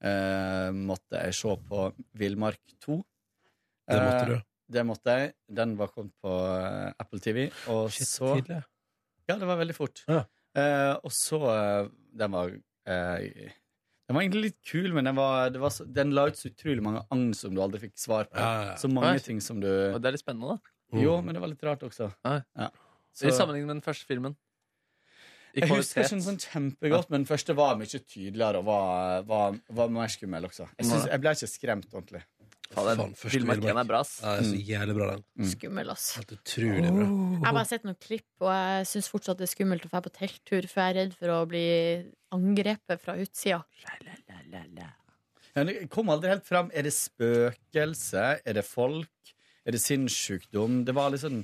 Speaker 12: eh, måtte jeg se på Villmark 2.
Speaker 2: Det måtte du.
Speaker 12: Eh, det måtte jeg. Den var kommet på eh, Apple TV. Og så
Speaker 2: tidlig.
Speaker 12: Ja, det var veldig fort. Eh, og så eh, Den var eh, Den var egentlig litt kul, men den, var, det var så, den la ut så utrolig mange agn som du aldri fikk svar på.
Speaker 4: Ja, Mm. ja, ja.
Speaker 12: Så mange
Speaker 4: Oi.
Speaker 12: ting som du
Speaker 4: Og det er litt spennende, da.
Speaker 12: Jo, men det var litt rart også. Ja.
Speaker 4: I sammenligning med den første filmen. I
Speaker 12: jeg husker
Speaker 4: kvalitet.
Speaker 12: ikke den sånn kjempegodt, men den første var mye tydeligere og var, var, var mer skummel også. Jeg, synes, jeg ble ikke skremt ordentlig.
Speaker 2: Faen, første Villmark.
Speaker 4: Villmarken er bra, ass.
Speaker 2: Ja, det er så jævlig bra, den.
Speaker 12: Mm.
Speaker 3: Skummel, ass.
Speaker 2: Helt utrolig bra.
Speaker 3: Jeg har bare sett noen klipp, og jeg syns fortsatt det er skummelt å dra på telttur, for jeg er redd for å bli angrepet fra utsida.
Speaker 12: Ja, men det kom aldri helt fram. Er det spøkelse? Er det folk? Er det sinnssykdom? Det var litt sånn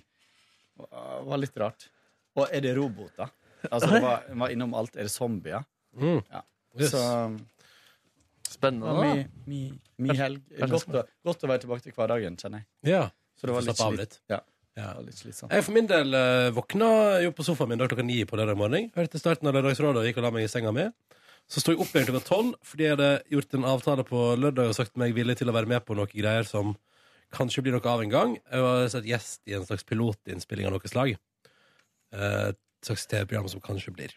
Speaker 12: det var litt rart. Og er det roboter? Altså, det var, det var innom alt. Er det zombier?
Speaker 2: Mm.
Speaker 12: Ja.
Speaker 2: Yes. Ah.
Speaker 12: Så
Speaker 4: Spennende,
Speaker 12: Ja,
Speaker 4: da.
Speaker 12: mi, mi, mi helg.
Speaker 4: Kanskje-
Speaker 12: Godt å, godt å være tilbake til hverdagen, kjenner jeg.
Speaker 2: Ja.
Speaker 12: Så det var litt,
Speaker 2: Slappe av
Speaker 12: slit-
Speaker 2: litt.
Speaker 12: Ja. Det var litt slitsomt.
Speaker 2: Jeg for min del eh, våkna jo på sofaen min da klokka ni på lørdag morgen. Hørte starten av Lørdagsrådet og gikk og la meg i senga mi. Så sto jeg opp igjen klokka tolv fordi jeg hadde gjort en avtale på lørdag og sagt meg villig til å være med på noen greier som kanskje blir noe av en gang. Jeg var sett gjest i en slags pilotinnspilling av noe slag. Eh, Et slags TV-program som kanskje blir.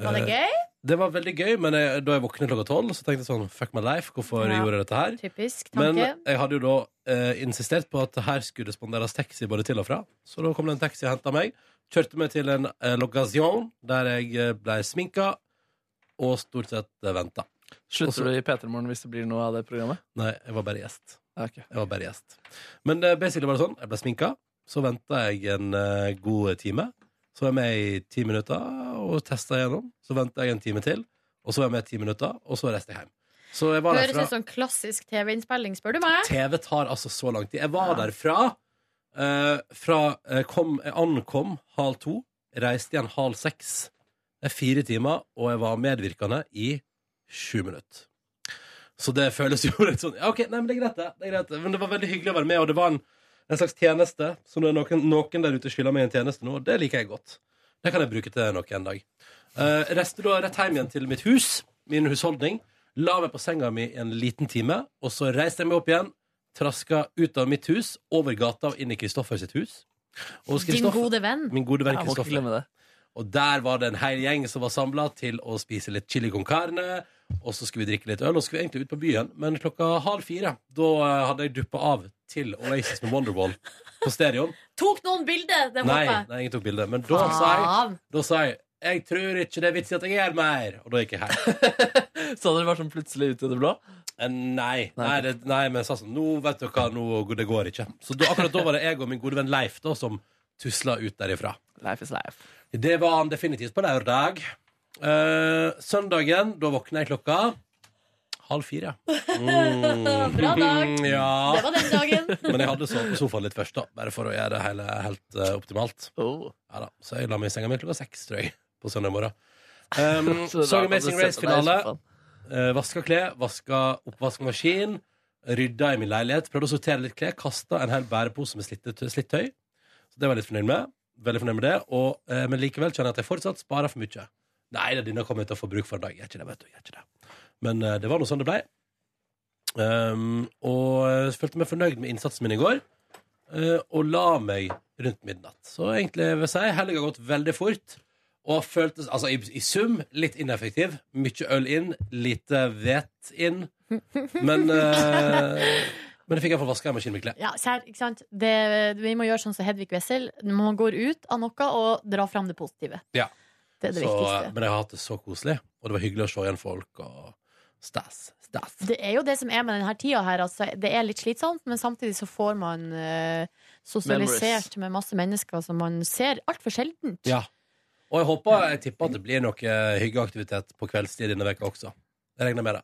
Speaker 3: Var det
Speaker 2: Eh,
Speaker 3: gøy?
Speaker 2: Det var veldig gøy, men jeg, da jeg våknet klokka tolv, så tenkte jeg sånn Fuck my life, hvorfor
Speaker 3: Ja.
Speaker 2: gjorde jeg dette her?
Speaker 3: Typisk
Speaker 2: Men
Speaker 3: tanke.
Speaker 2: jeg hadde jo da eh, insistert på at her skulle det spanderes taxi både til og fra. Så da kom det en taxi og henta meg. Kjørte meg til en eh, location der jeg eh, ble sminka og stort sett eh, venta.
Speaker 4: Slutter du i P3 Morgen hvis det blir noe av det programmet?
Speaker 2: Nei, jeg var bare gjest.
Speaker 4: Ok.
Speaker 2: Jeg var bare gjest. Men eh, basically var det sånn. Jeg ble sminka. Så venta jeg en eh, god time. Så var jeg med i ti minutter og testa igjennom. Så venta jeg en time til, og så var jeg med i ti minutter, og så reiste jeg hjem. Så jeg var
Speaker 3: Høres
Speaker 2: derfra-
Speaker 3: ut som klassisk TV-innspilling, spør du meg.
Speaker 2: TV tar altså så lang tid. Jeg var derfra eh, fra eh, kom, Jeg ankom halv to, reiste igjen halv seks. Det er fire timer, og jeg var medvirkende i sju minutter. Så det føles jo litt sånn Ja, OK, nei, men det er greit, det. det er greit. det. Men det var veldig hyggelig å være med, og det var en, en slags tjeneste. Så når noen, noen der ute skylder meg en tjeneste nå, og det liker jeg godt. Det kan jeg bruke til noe en dag. Uh, Reste da rett hjem igjen til mitt hus, min husholdning. La meg på senga mi en liten time, og så reiste jeg meg opp igjen. Traska ut av mitt hus, over gata og inn i Kristoffer sitt hus. Og hos
Speaker 3: Din
Speaker 2: Kristoffer-
Speaker 3: gode venn.
Speaker 2: Min gode venn
Speaker 4: Jeg må ikke
Speaker 2: Kristoffer.
Speaker 4: glemme det.
Speaker 2: Og der var det en hel gjeng som var samla til å spise litt chili con carne Og så skulle vi drikke litt øl, og så skulle vi egentlig ut på byen. Men klokka halv fire da eh, hadde jeg duppa av til Oasis med Wonderwall på stereoen.
Speaker 3: Tok noen bilder? Det
Speaker 2: Nei,
Speaker 3: håper jeg.
Speaker 2: nei, ingen tok bilde. Men da sa jeg
Speaker 3: Faen.
Speaker 2: Da sa jeg jeg tror ikke det er vits i at jeg gjør mer. Og da gikk jeg hjem. Eh,
Speaker 4: Sa dere var sånn plutselig ute i det blå?
Speaker 2: Nei, nei, det, nei, men jeg sa sånn Nå vet du hva, nå, det går ikke. Så da, akkurat da var det jeg og min gode venn Leif da som tusla ut derifra.
Speaker 4: Life is life.
Speaker 2: Det var han definitivt på lørdag. Eh, søndagen, da våkna jeg klokka halv fire. Mm.
Speaker 3: Bra dag.
Speaker 2: Ja.
Speaker 3: Det var den dagen.
Speaker 2: Men jeg hadde sovet på sofaen litt først, da bare for å gjøre det hele helt eh, optimalt.
Speaker 4: Oh.
Speaker 2: Ja, da. Så jeg la meg i senga mi klokka seks, tror jeg, på søndag morgen. Um,
Speaker 4: Så
Speaker 2: Sang
Speaker 4: det er rart at du
Speaker 2: Amazing
Speaker 4: setter deg i
Speaker 2: Race-finale.
Speaker 4: sofaen.
Speaker 2: Uh, vaska klær, vaska oppvaskmaskin, rydda i min leilighet, prøvde å sortere litt klær, kasta en hel bærepose med slitt, slitt tøy. Så det var jeg litt fornøyd med. Veldig fornøyd med det. Og, eh, men likevel kjenner jeg at jeg fortsatt sparer for mye. Nei, det er denne kommer jeg til å få bruk for en dag. Jeg gjør ikke det, vet du. Jeg gjør ikke det. Men eh, det var nå sånn det blei. Um, og jeg følte meg fornøyd med innsatsen min i går, eh, og la meg rundt midnatt. Så egentlig vil jeg si helga har gått veldig fort. Og føltes, altså i, i sum, litt ineffektiv. Mye øl inn, lite vett inn. Men, eh, men jeg fikk iallfall vaska maskinen med klær.
Speaker 3: Ja, sær, ikke sant? Det, vi må gjøre sånn som Hedvig Wessel. Man går ut av noe og drar fram det positive.
Speaker 2: Ja.
Speaker 3: Det er det
Speaker 2: så, eh,
Speaker 3: viktigste.
Speaker 2: Men jeg har hatt det så koselig, og det var hyggelig å se igjen folk. Og stas. stas.
Speaker 3: Det er jo det som er med denne tida her. Altså, det er litt slitsomt, men samtidig så får man eh, sosialisert med masse mennesker som man ser altfor sjelden.
Speaker 2: Ja. Og jeg håper, jeg tipper at det blir noe hyggeaktivitet på kveldstid denne veka også. Jeg regner med det.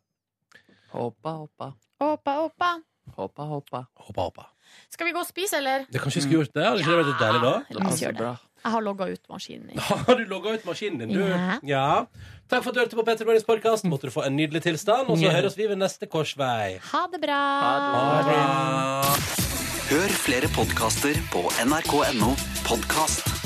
Speaker 4: Håpa, håpa.
Speaker 3: Hoppa, hoppa.
Speaker 4: Håpa, håpa.
Speaker 2: Håpa, håpa.
Speaker 3: Skal vi gå og spise, eller?
Speaker 2: Det kanskje jeg skulle gjort det? Hadde ikke det vært litt deilig da?
Speaker 3: la oss gjøre det. Jeg har logga ut maskinen. min.
Speaker 2: Har du logga ut maskinen din, du?
Speaker 3: Ja.
Speaker 2: Takk for at du hørte på Petter Morgens podkast. Måtte du få en nydelig tilstand, og så høres vi ved neste korsvei.
Speaker 3: Ha det bra.
Speaker 2: Ha det bra.
Speaker 1: Hør flere podkaster på nrk.no podkast.